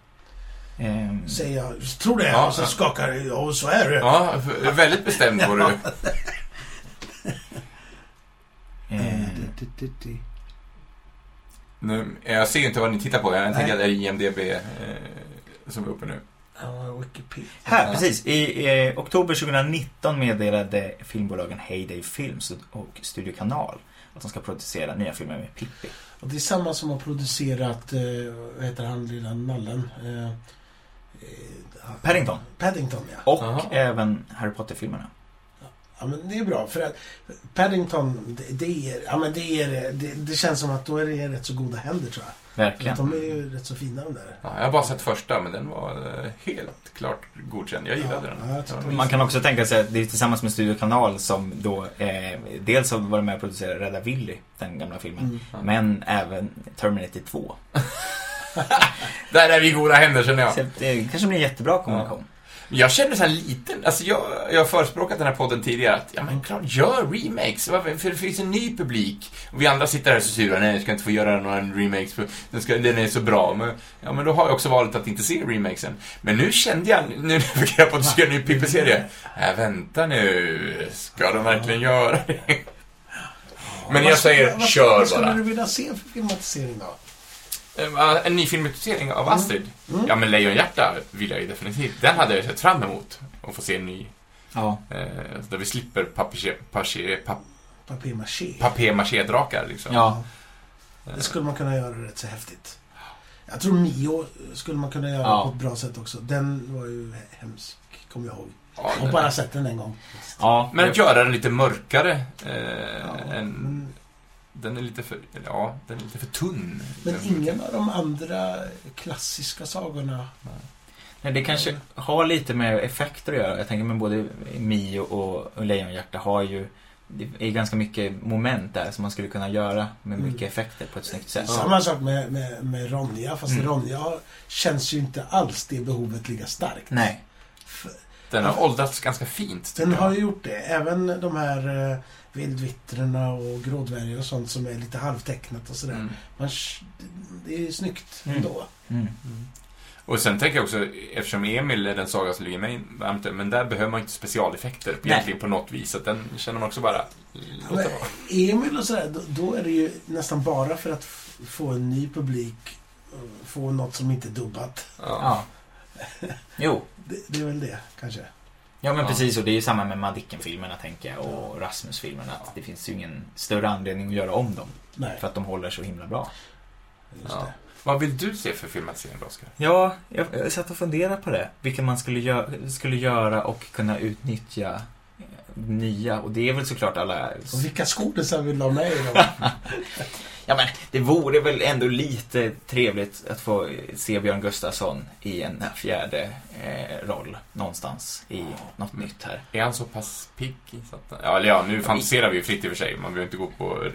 [SPEAKER 4] Ehm,
[SPEAKER 3] Säger jag. Tror det?
[SPEAKER 2] Mm. Ja,
[SPEAKER 3] och så
[SPEAKER 2] ja.
[SPEAKER 3] skakar jag. Ja, och så är det.
[SPEAKER 2] Ja, för- väldigt bestämd var du.
[SPEAKER 3] Eh,
[SPEAKER 2] Mm.
[SPEAKER 4] ehm,
[SPEAKER 2] Nu, jag ser inte vad ni tittar på. Jag tänker att det är IMDB eh, som är uppe nu.
[SPEAKER 3] Ja, Wikipedia.
[SPEAKER 4] Här,
[SPEAKER 2] Ja.
[SPEAKER 4] precis. I eh, oktober 2019 meddelade filmbolagen Heyday Films och Studio Kanal att de ska producera nya filmer med Pippi.
[SPEAKER 3] Och det är samma som har producerat, eh, vad heter han, lilla nallen? Eh, eh,
[SPEAKER 4] Paddington.
[SPEAKER 3] Paddington, ja.
[SPEAKER 4] Och
[SPEAKER 2] Jaha.
[SPEAKER 4] även Harry Potter-filmerna.
[SPEAKER 3] Ja, men det är bra. För att Paddington, det, det, är, ja, men det, är, det, det känns som att då är det i rätt så goda händer, tror jag.
[SPEAKER 4] Verkligen.
[SPEAKER 3] De är ju rätt så fina, de där.
[SPEAKER 2] Ja, jag har bara sett första, men den var eh, helt klart godkänd. Jag gillade
[SPEAKER 3] Ja,
[SPEAKER 2] den.
[SPEAKER 3] ja, jag tyckte
[SPEAKER 2] den.
[SPEAKER 4] Man kan också tänka sig att det är tillsammans med Studio Kanal som då eh, dels har varit med och producerat Rädda Willy, den gamla filmen,
[SPEAKER 3] Mm.
[SPEAKER 2] Ja.
[SPEAKER 4] men även Terminator 2.
[SPEAKER 2] Där är vi i goda händer, känner jag.
[SPEAKER 4] Så det kanske blir en jättebra kombination.
[SPEAKER 2] Jag känner så här liten, alltså jag, jag har förespråkat den här podden tidigare att, ja men klart, gör remakes, Varför? för det finns en ny publik. Och vi andra sitter här och så sura, nej, jag ska inte få göra några remakes, för den, ska, den är så bra. Men, ja, men då har jag också valt att inte se remakesen. Men nu kände jag, nu när jag fick reda på att du ska göra en ny Pippi-serie, äh, vänta nu, ska de verkligen göra det? Men jag
[SPEAKER 3] Vad skulle-
[SPEAKER 2] säger,
[SPEAKER 3] vad-
[SPEAKER 2] kör
[SPEAKER 3] Vad skulle
[SPEAKER 2] bara.
[SPEAKER 3] du vilja se för filmatisering då?
[SPEAKER 2] Eh, En ny filmatisering
[SPEAKER 3] Mm.
[SPEAKER 2] av Astrid? Ja, men Lejonhjärta vill jag ju definitivt. Den hade jag sett fram emot, att få se en ny
[SPEAKER 4] Ja.
[SPEAKER 2] Eh, där vi slipper papier- papier- pa-
[SPEAKER 3] Papier-maché.
[SPEAKER 2] papier-maché-drakar liksom.
[SPEAKER 4] ja.
[SPEAKER 3] Det skulle man kunna göra rätt så häftigt. Jag tror Mio skulle man kunna göra
[SPEAKER 4] Ja.
[SPEAKER 3] på ett bra sätt också. Den var ju hemsk, kommer jag ihåg.
[SPEAKER 2] Ja,
[SPEAKER 3] Jag har bara sett den en gång.
[SPEAKER 4] ja.
[SPEAKER 2] Men att göra den lite mörkare. Eh,
[SPEAKER 3] Ja,
[SPEAKER 2] än,
[SPEAKER 3] men,
[SPEAKER 2] den är lite för, ja, den är lite för tunn.
[SPEAKER 3] men
[SPEAKER 2] Den-
[SPEAKER 3] ingen av de andra klassiska sagorna.
[SPEAKER 4] Nej, det kanske har lite med effekter att göra. Jag tänker men både Mio och och Lejonhjärta har ju det är ganska mycket moment där som man skulle kunna göra med
[SPEAKER 3] Mm.
[SPEAKER 4] mycket effekter på ett snyggt sätt.
[SPEAKER 3] Samma sak med, med, med Ronja, fast
[SPEAKER 4] Mm.
[SPEAKER 3] Ronja känns ju inte alls det behovet lika starkt.
[SPEAKER 4] Nej.
[SPEAKER 3] F-
[SPEAKER 2] Den har åldrats ganska fint.
[SPEAKER 3] Den
[SPEAKER 2] tycker
[SPEAKER 3] har
[SPEAKER 2] jag.
[SPEAKER 3] ju gjort det. Även de här eh, vildvittrarna och grådvärgar och sånt som är lite halvtecknat och sådär.
[SPEAKER 2] Mm.
[SPEAKER 3] Man, sh- det är ju snyggt
[SPEAKER 4] Mm.
[SPEAKER 3] ändå.
[SPEAKER 4] Mm.
[SPEAKER 2] Och sen tänker jag också, eftersom Emil är den saga som ligger mig varmt men där behöver man ju inte specialeffekter
[SPEAKER 4] Nej.
[SPEAKER 2] egentligen på något vis. Så att den känner man också bara, låt det vara.
[SPEAKER 3] Emil och sådär, då, då är det ju nästan bara för att f- få en ny publik. eh, Få något som inte är dubbat.
[SPEAKER 2] Ja.
[SPEAKER 4] Ja. Jo.
[SPEAKER 3] Det, det är väl det, kanske.
[SPEAKER 4] Ja men
[SPEAKER 2] Ja.
[SPEAKER 4] precis och det är ju samma med Madicken-filmerna tänker jag och Rasmus-filmerna. Att det finns ju ingen större anledning att göra om dem.
[SPEAKER 3] Nej,
[SPEAKER 4] För att de håller så himla bra.
[SPEAKER 3] just
[SPEAKER 2] Ja.
[SPEAKER 3] det.
[SPEAKER 2] Vad vill du se för filmatisering, Oskar?
[SPEAKER 4] Ja, jag, jag satt och funderade på det. Vilken man skulle, gö- skulle göra och kunna utnyttja eh, nya. Och det är väl såklart alla...
[SPEAKER 3] Och vilka skådisar vill ha med i dem?
[SPEAKER 4] Ja men det vore väl ändå lite trevligt att få eh, se Björn Gustafsson i en fjärde eh, roll någonstans i något nytt här.
[SPEAKER 2] Är han så pass pigg? Så att, ja, eller ja, nu fantiserar vi ju fritt i och för sig. Man behöver inte gå på...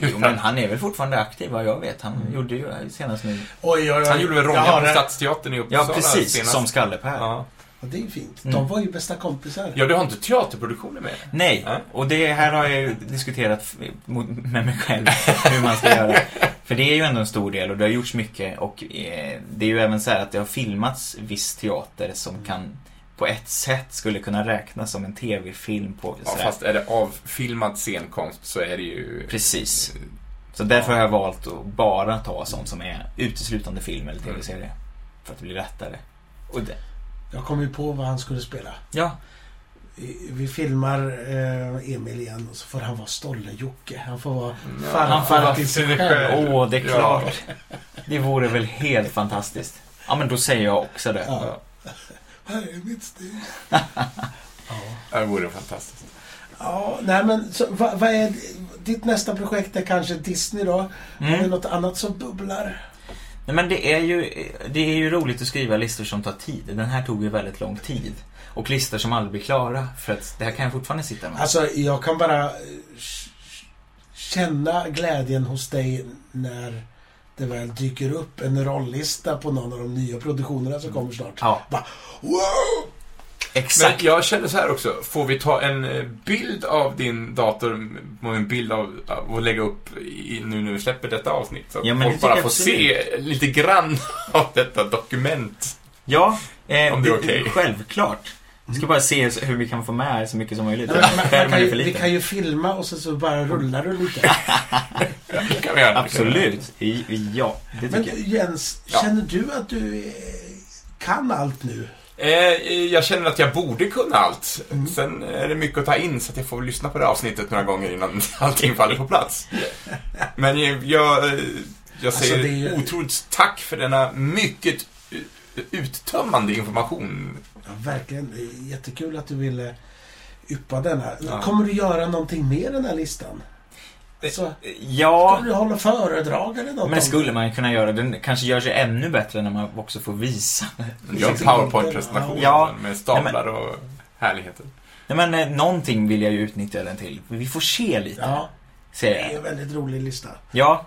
[SPEAKER 4] Jo, men han är väl fortfarande aktiv vad jag vet. Han gjorde ju senast nu...
[SPEAKER 3] Oj, oj, oj.
[SPEAKER 2] Han gjorde väl
[SPEAKER 3] Jag har
[SPEAKER 2] Ronja på
[SPEAKER 3] det.
[SPEAKER 2] Stadsteatern i Uppsala
[SPEAKER 4] Ja precis,
[SPEAKER 2] senast.
[SPEAKER 4] som Skalle-Per.
[SPEAKER 2] ja.
[SPEAKER 3] Ja, det är ju fint.
[SPEAKER 4] Mm.
[SPEAKER 3] De var ju bästa kompisar.
[SPEAKER 2] ja, du har inte teaterproduktioner med?
[SPEAKER 4] Nej,
[SPEAKER 2] Nej.
[SPEAKER 4] och det här har jag ju diskuterat f- mot- med mig själv hur man ska göra. För det är ju ändå en stor del och det har gjorts mycket och eh, det är ju även så här att det har filmats viss teater som kan på ett sätt skulle kunna räknas som en tv-film på
[SPEAKER 2] Ja,
[SPEAKER 4] sådär.
[SPEAKER 2] fast är det avfilmad scenkonst så är det ju...
[SPEAKER 4] Precis. Så därför har jag valt att bara ta sånt som är uteslutande film eller tv-serie. För att det blir lättare. Och det,
[SPEAKER 3] Jag kom ju på vad han skulle spela.
[SPEAKER 4] ja,
[SPEAKER 3] Vi- Vi filmar eh, Emil igen och så får han vara Stolle-Jocke. Han får vara
[SPEAKER 2] Ja,
[SPEAKER 3] farfar
[SPEAKER 2] han får vara
[SPEAKER 3] till sig
[SPEAKER 2] sig
[SPEAKER 3] själv.
[SPEAKER 4] Åh,
[SPEAKER 2] själv.
[SPEAKER 4] det är klart. Det vore väl helt fantastiskt. Ja, men då säger jag också det.
[SPEAKER 3] Ja. Här är mitt stil. ja.
[SPEAKER 2] Ja, Det vore fantastiskt.
[SPEAKER 3] ja, nej men så, vad, vad är ditt nästa projekt? är kanske Disney då? Är det
[SPEAKER 4] Mm.
[SPEAKER 3] något annat som bubblar?
[SPEAKER 4] Nej, men det är, ju, det är ju roligt att skriva listor som tar tid. Den här tog ju väldigt lång tid. Och listor som aldrig blir klara. För att det här kan jag fortfarande sitta med.
[SPEAKER 3] Alltså, jag kan bara eh, k- känna glädjen hos dig när det väl dyker upp en rollista på någon av de nya produktionerna som kommer snart.
[SPEAKER 4] Ja,
[SPEAKER 3] Wow!
[SPEAKER 2] Men
[SPEAKER 4] exakt.
[SPEAKER 2] jag känner så här också, får vi ta en eh, bild av din dator och en bild av, av- och lägga upp i, nu när vi släpper detta avsnitt? Så att
[SPEAKER 4] Ja, men det
[SPEAKER 2] folk
[SPEAKER 4] tycker
[SPEAKER 2] bara
[SPEAKER 4] jag
[SPEAKER 2] får se lite grann av detta dokument.
[SPEAKER 4] Ja, eh,
[SPEAKER 2] Om det är okej.
[SPEAKER 4] självklart. Vi ska bara se så- hur vi kan få med så mycket som möjligt.
[SPEAKER 3] Nej, men, man, man
[SPEAKER 4] Skärmen
[SPEAKER 3] kan
[SPEAKER 4] är
[SPEAKER 3] ju,
[SPEAKER 4] för
[SPEAKER 3] vi
[SPEAKER 4] liten.
[SPEAKER 3] kan ju filma och så, så bara rullar du lite.
[SPEAKER 2] Det kan vi göra.
[SPEAKER 4] Absolut. I- Ja, det
[SPEAKER 3] Men
[SPEAKER 4] tycker jag.
[SPEAKER 3] Jens,
[SPEAKER 2] Ja.
[SPEAKER 3] känner du att du eh, kan allt nu?
[SPEAKER 2] Eh, eh, jag känner att jag borde kunna allt.
[SPEAKER 3] Mm.
[SPEAKER 2] Sen är det mycket att ta in så att jag får lyssna på det här avsnittet några gånger innan allting faller på plats. Men jag, jag, eh, jag
[SPEAKER 3] Alltså,
[SPEAKER 2] säger
[SPEAKER 3] det är ju-
[SPEAKER 2] otroligt tack för denna mycket eh, uttömmande information.
[SPEAKER 3] Ja, verkligen. Det är Jättekul att du ville yppa den här.
[SPEAKER 2] Ja.
[SPEAKER 3] Kommer du göra någonting mer i den här listan?
[SPEAKER 4] Eh,
[SPEAKER 3] Alltså,
[SPEAKER 4] Ja,
[SPEAKER 3] Skulle du hålla föredrag eller något?
[SPEAKER 4] men det skulle man ju kunna göra. Den kanske gör sig ännu bättre när man också får visa.
[SPEAKER 2] Gör en powerpoint-presentation
[SPEAKER 4] Ja.
[SPEAKER 2] med staplar och härligheter.
[SPEAKER 4] Nej, men eh, någonting vill jag ju utnyttja den till. Vi får se lite,
[SPEAKER 3] Ja, det
[SPEAKER 4] säger
[SPEAKER 3] är en
[SPEAKER 4] jag.
[SPEAKER 3] väldigt rolig lista.
[SPEAKER 4] Ja.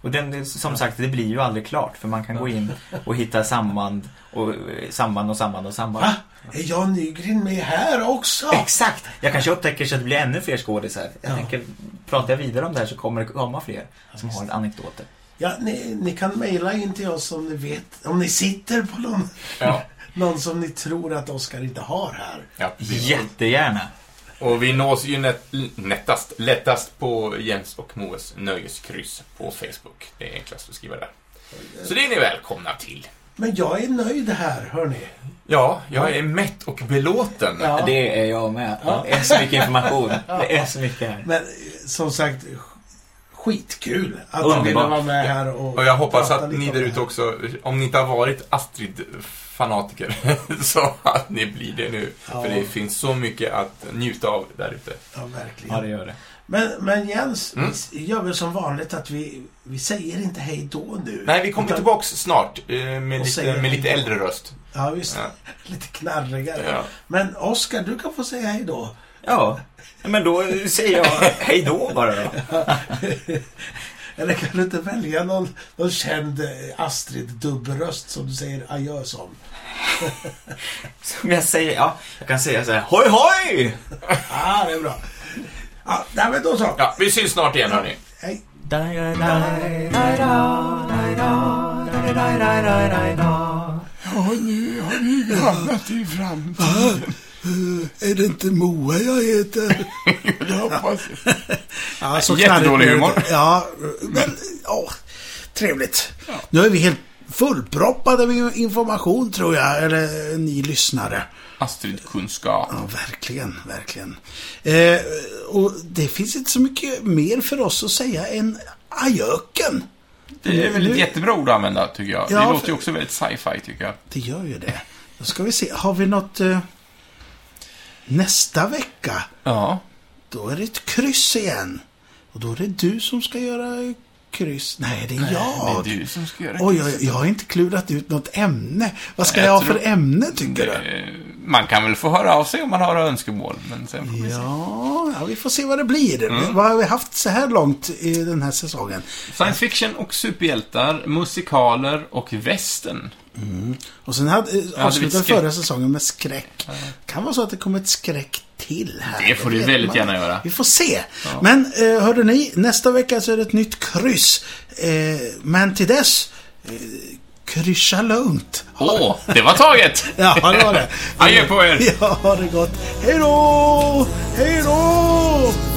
[SPEAKER 4] Och den, det- som sagt, det blir ju aldrig klart. För man kan gå in och hitta samband och eh, samband och samband och samband.
[SPEAKER 3] Va? Är Jan Nygren med här också?
[SPEAKER 4] Exakt! Jag kanske upptäcker så att det blir ännu fler skådisar. Jag
[SPEAKER 3] Ja.
[SPEAKER 4] tänker, pratar jag vidare om det här så kommer det komma fler som har anekdoter.
[SPEAKER 3] Ja, ni, ni kan mejla in till oss om ni vet, om ni sitter på någon,
[SPEAKER 2] Ja,
[SPEAKER 3] någon som ni tror att Oskar inte har här.
[SPEAKER 2] ja, precis.
[SPEAKER 4] Jättegärna!
[SPEAKER 2] Och vi nås ju nät, nättast, lättast på Jens och Moes nöjeskryss på Facebook. Det är enklast att skriva där. Så det är ni välkomna till.
[SPEAKER 3] Men jag är nöjd här, hörni.
[SPEAKER 2] Ja, jag är mätt och belåten.
[SPEAKER 3] Ja.
[SPEAKER 4] Det är jag med. Det är så mycket information. Det är så mycket här.
[SPEAKER 3] Men eh, som sagt, sk- skitkul att du
[SPEAKER 4] Underbart.
[SPEAKER 3] ville vara med här och
[SPEAKER 2] Och jag hoppas
[SPEAKER 3] prata
[SPEAKER 2] att
[SPEAKER 3] lite
[SPEAKER 2] ni
[SPEAKER 3] om
[SPEAKER 2] där
[SPEAKER 3] det
[SPEAKER 2] ute
[SPEAKER 3] här.
[SPEAKER 2] också, om ni inte har varit Astrid-fanatiker, så att ni blir det nu.
[SPEAKER 3] Ja.
[SPEAKER 2] För det finns så mycket att njuta av där ute.
[SPEAKER 3] Ja, verkligen.
[SPEAKER 4] Ja, det gör det.
[SPEAKER 3] Men, men Jens,
[SPEAKER 2] Mm.
[SPEAKER 3] vi s- gör väl som vanligt att vi, vi säger inte hej då nu.
[SPEAKER 2] Nej, vi kommer
[SPEAKER 3] Utan-
[SPEAKER 2] tillbaks snart eh, med,
[SPEAKER 3] Och
[SPEAKER 2] lite,
[SPEAKER 3] säger-
[SPEAKER 2] med lite äldre röst.
[SPEAKER 3] Ja, visst.
[SPEAKER 2] Ja.
[SPEAKER 3] Lite knarrigare.
[SPEAKER 2] Ja.
[SPEAKER 3] Men Oskar, du kan få säga hej då.
[SPEAKER 4] Ja, men då säger jag hej då bara då.
[SPEAKER 3] Eller kan du inte välja någon, någon känd eh, Astrid-dubbelröst som du säger adjö som?
[SPEAKER 4] Som jag säger, ja, jag kan säga så här, hoj hoj!
[SPEAKER 3] Ah, det är bra. Ja, nej, men då så.
[SPEAKER 2] Ja, vi syns snart igen hörni.
[SPEAKER 3] Hej.
[SPEAKER 6] Hamnat i framtiden. Är det inte Moa jag heter?
[SPEAKER 2] Det hoppas
[SPEAKER 6] Ja, så
[SPEAKER 5] Jättedålig
[SPEAKER 6] knarrigt blev
[SPEAKER 5] humor.
[SPEAKER 6] det. Ja, men ja, trevligt. Nu är vi helt fullproppade med information tror jag, eller ni lyssnare.
[SPEAKER 5] Astrid Kunskap.
[SPEAKER 6] Ja, verkligen, verkligen. Eh, och det finns inte så mycket mer för oss att säga än ajöken.
[SPEAKER 5] Det är väl ett
[SPEAKER 6] Nu-
[SPEAKER 5] jättebra ord att använda, tycker jag.
[SPEAKER 6] Ja,
[SPEAKER 5] det låter
[SPEAKER 6] för-
[SPEAKER 5] ju också väldigt sci-fi, tycker jag.
[SPEAKER 6] Det gör ju det. Då ska vi se, har vi något eh, nästa vecka?
[SPEAKER 5] Ja.
[SPEAKER 6] Då är det ett kryss igen. Och då är det du som ska göra kryss. Nej, det är jag.
[SPEAKER 5] Det är du som ska göra det.
[SPEAKER 6] Oj, oj, jag har inte klurat ut något ämne. Vad ska
[SPEAKER 5] Nej,
[SPEAKER 6] jag,
[SPEAKER 5] jag
[SPEAKER 6] ha för
[SPEAKER 5] tror-
[SPEAKER 6] ämne, tycker du?
[SPEAKER 5] Eh, Man kan väl få höra av sig om man har önskemål, men sen får vi se.
[SPEAKER 6] Ja, ja, vi får se vad det blir.
[SPEAKER 5] Mm.
[SPEAKER 6] Vad har vi haft så här långt i den här säsongen?
[SPEAKER 5] Science fiction och superhjältar, musikaler och västern.
[SPEAKER 6] Och sen hade,
[SPEAKER 5] hade
[SPEAKER 6] avslutade
[SPEAKER 5] vi skräck.
[SPEAKER 6] förra säsongen med skräck. kan vara så att det kommer ett skräck till här.
[SPEAKER 5] Det får du
[SPEAKER 6] vet
[SPEAKER 5] väldigt
[SPEAKER 6] man.
[SPEAKER 5] gärna göra.
[SPEAKER 6] Vi får se. Men eh, hörde ni, nästa vecka så är det ett nytt kryss. Eh, men till dess, eh, kryssa lugnt.
[SPEAKER 5] Åh, det var taget!
[SPEAKER 6] Ja, det var det.
[SPEAKER 5] Adjö på er!
[SPEAKER 6] Ja, ha det gott. Hej då! Hej då!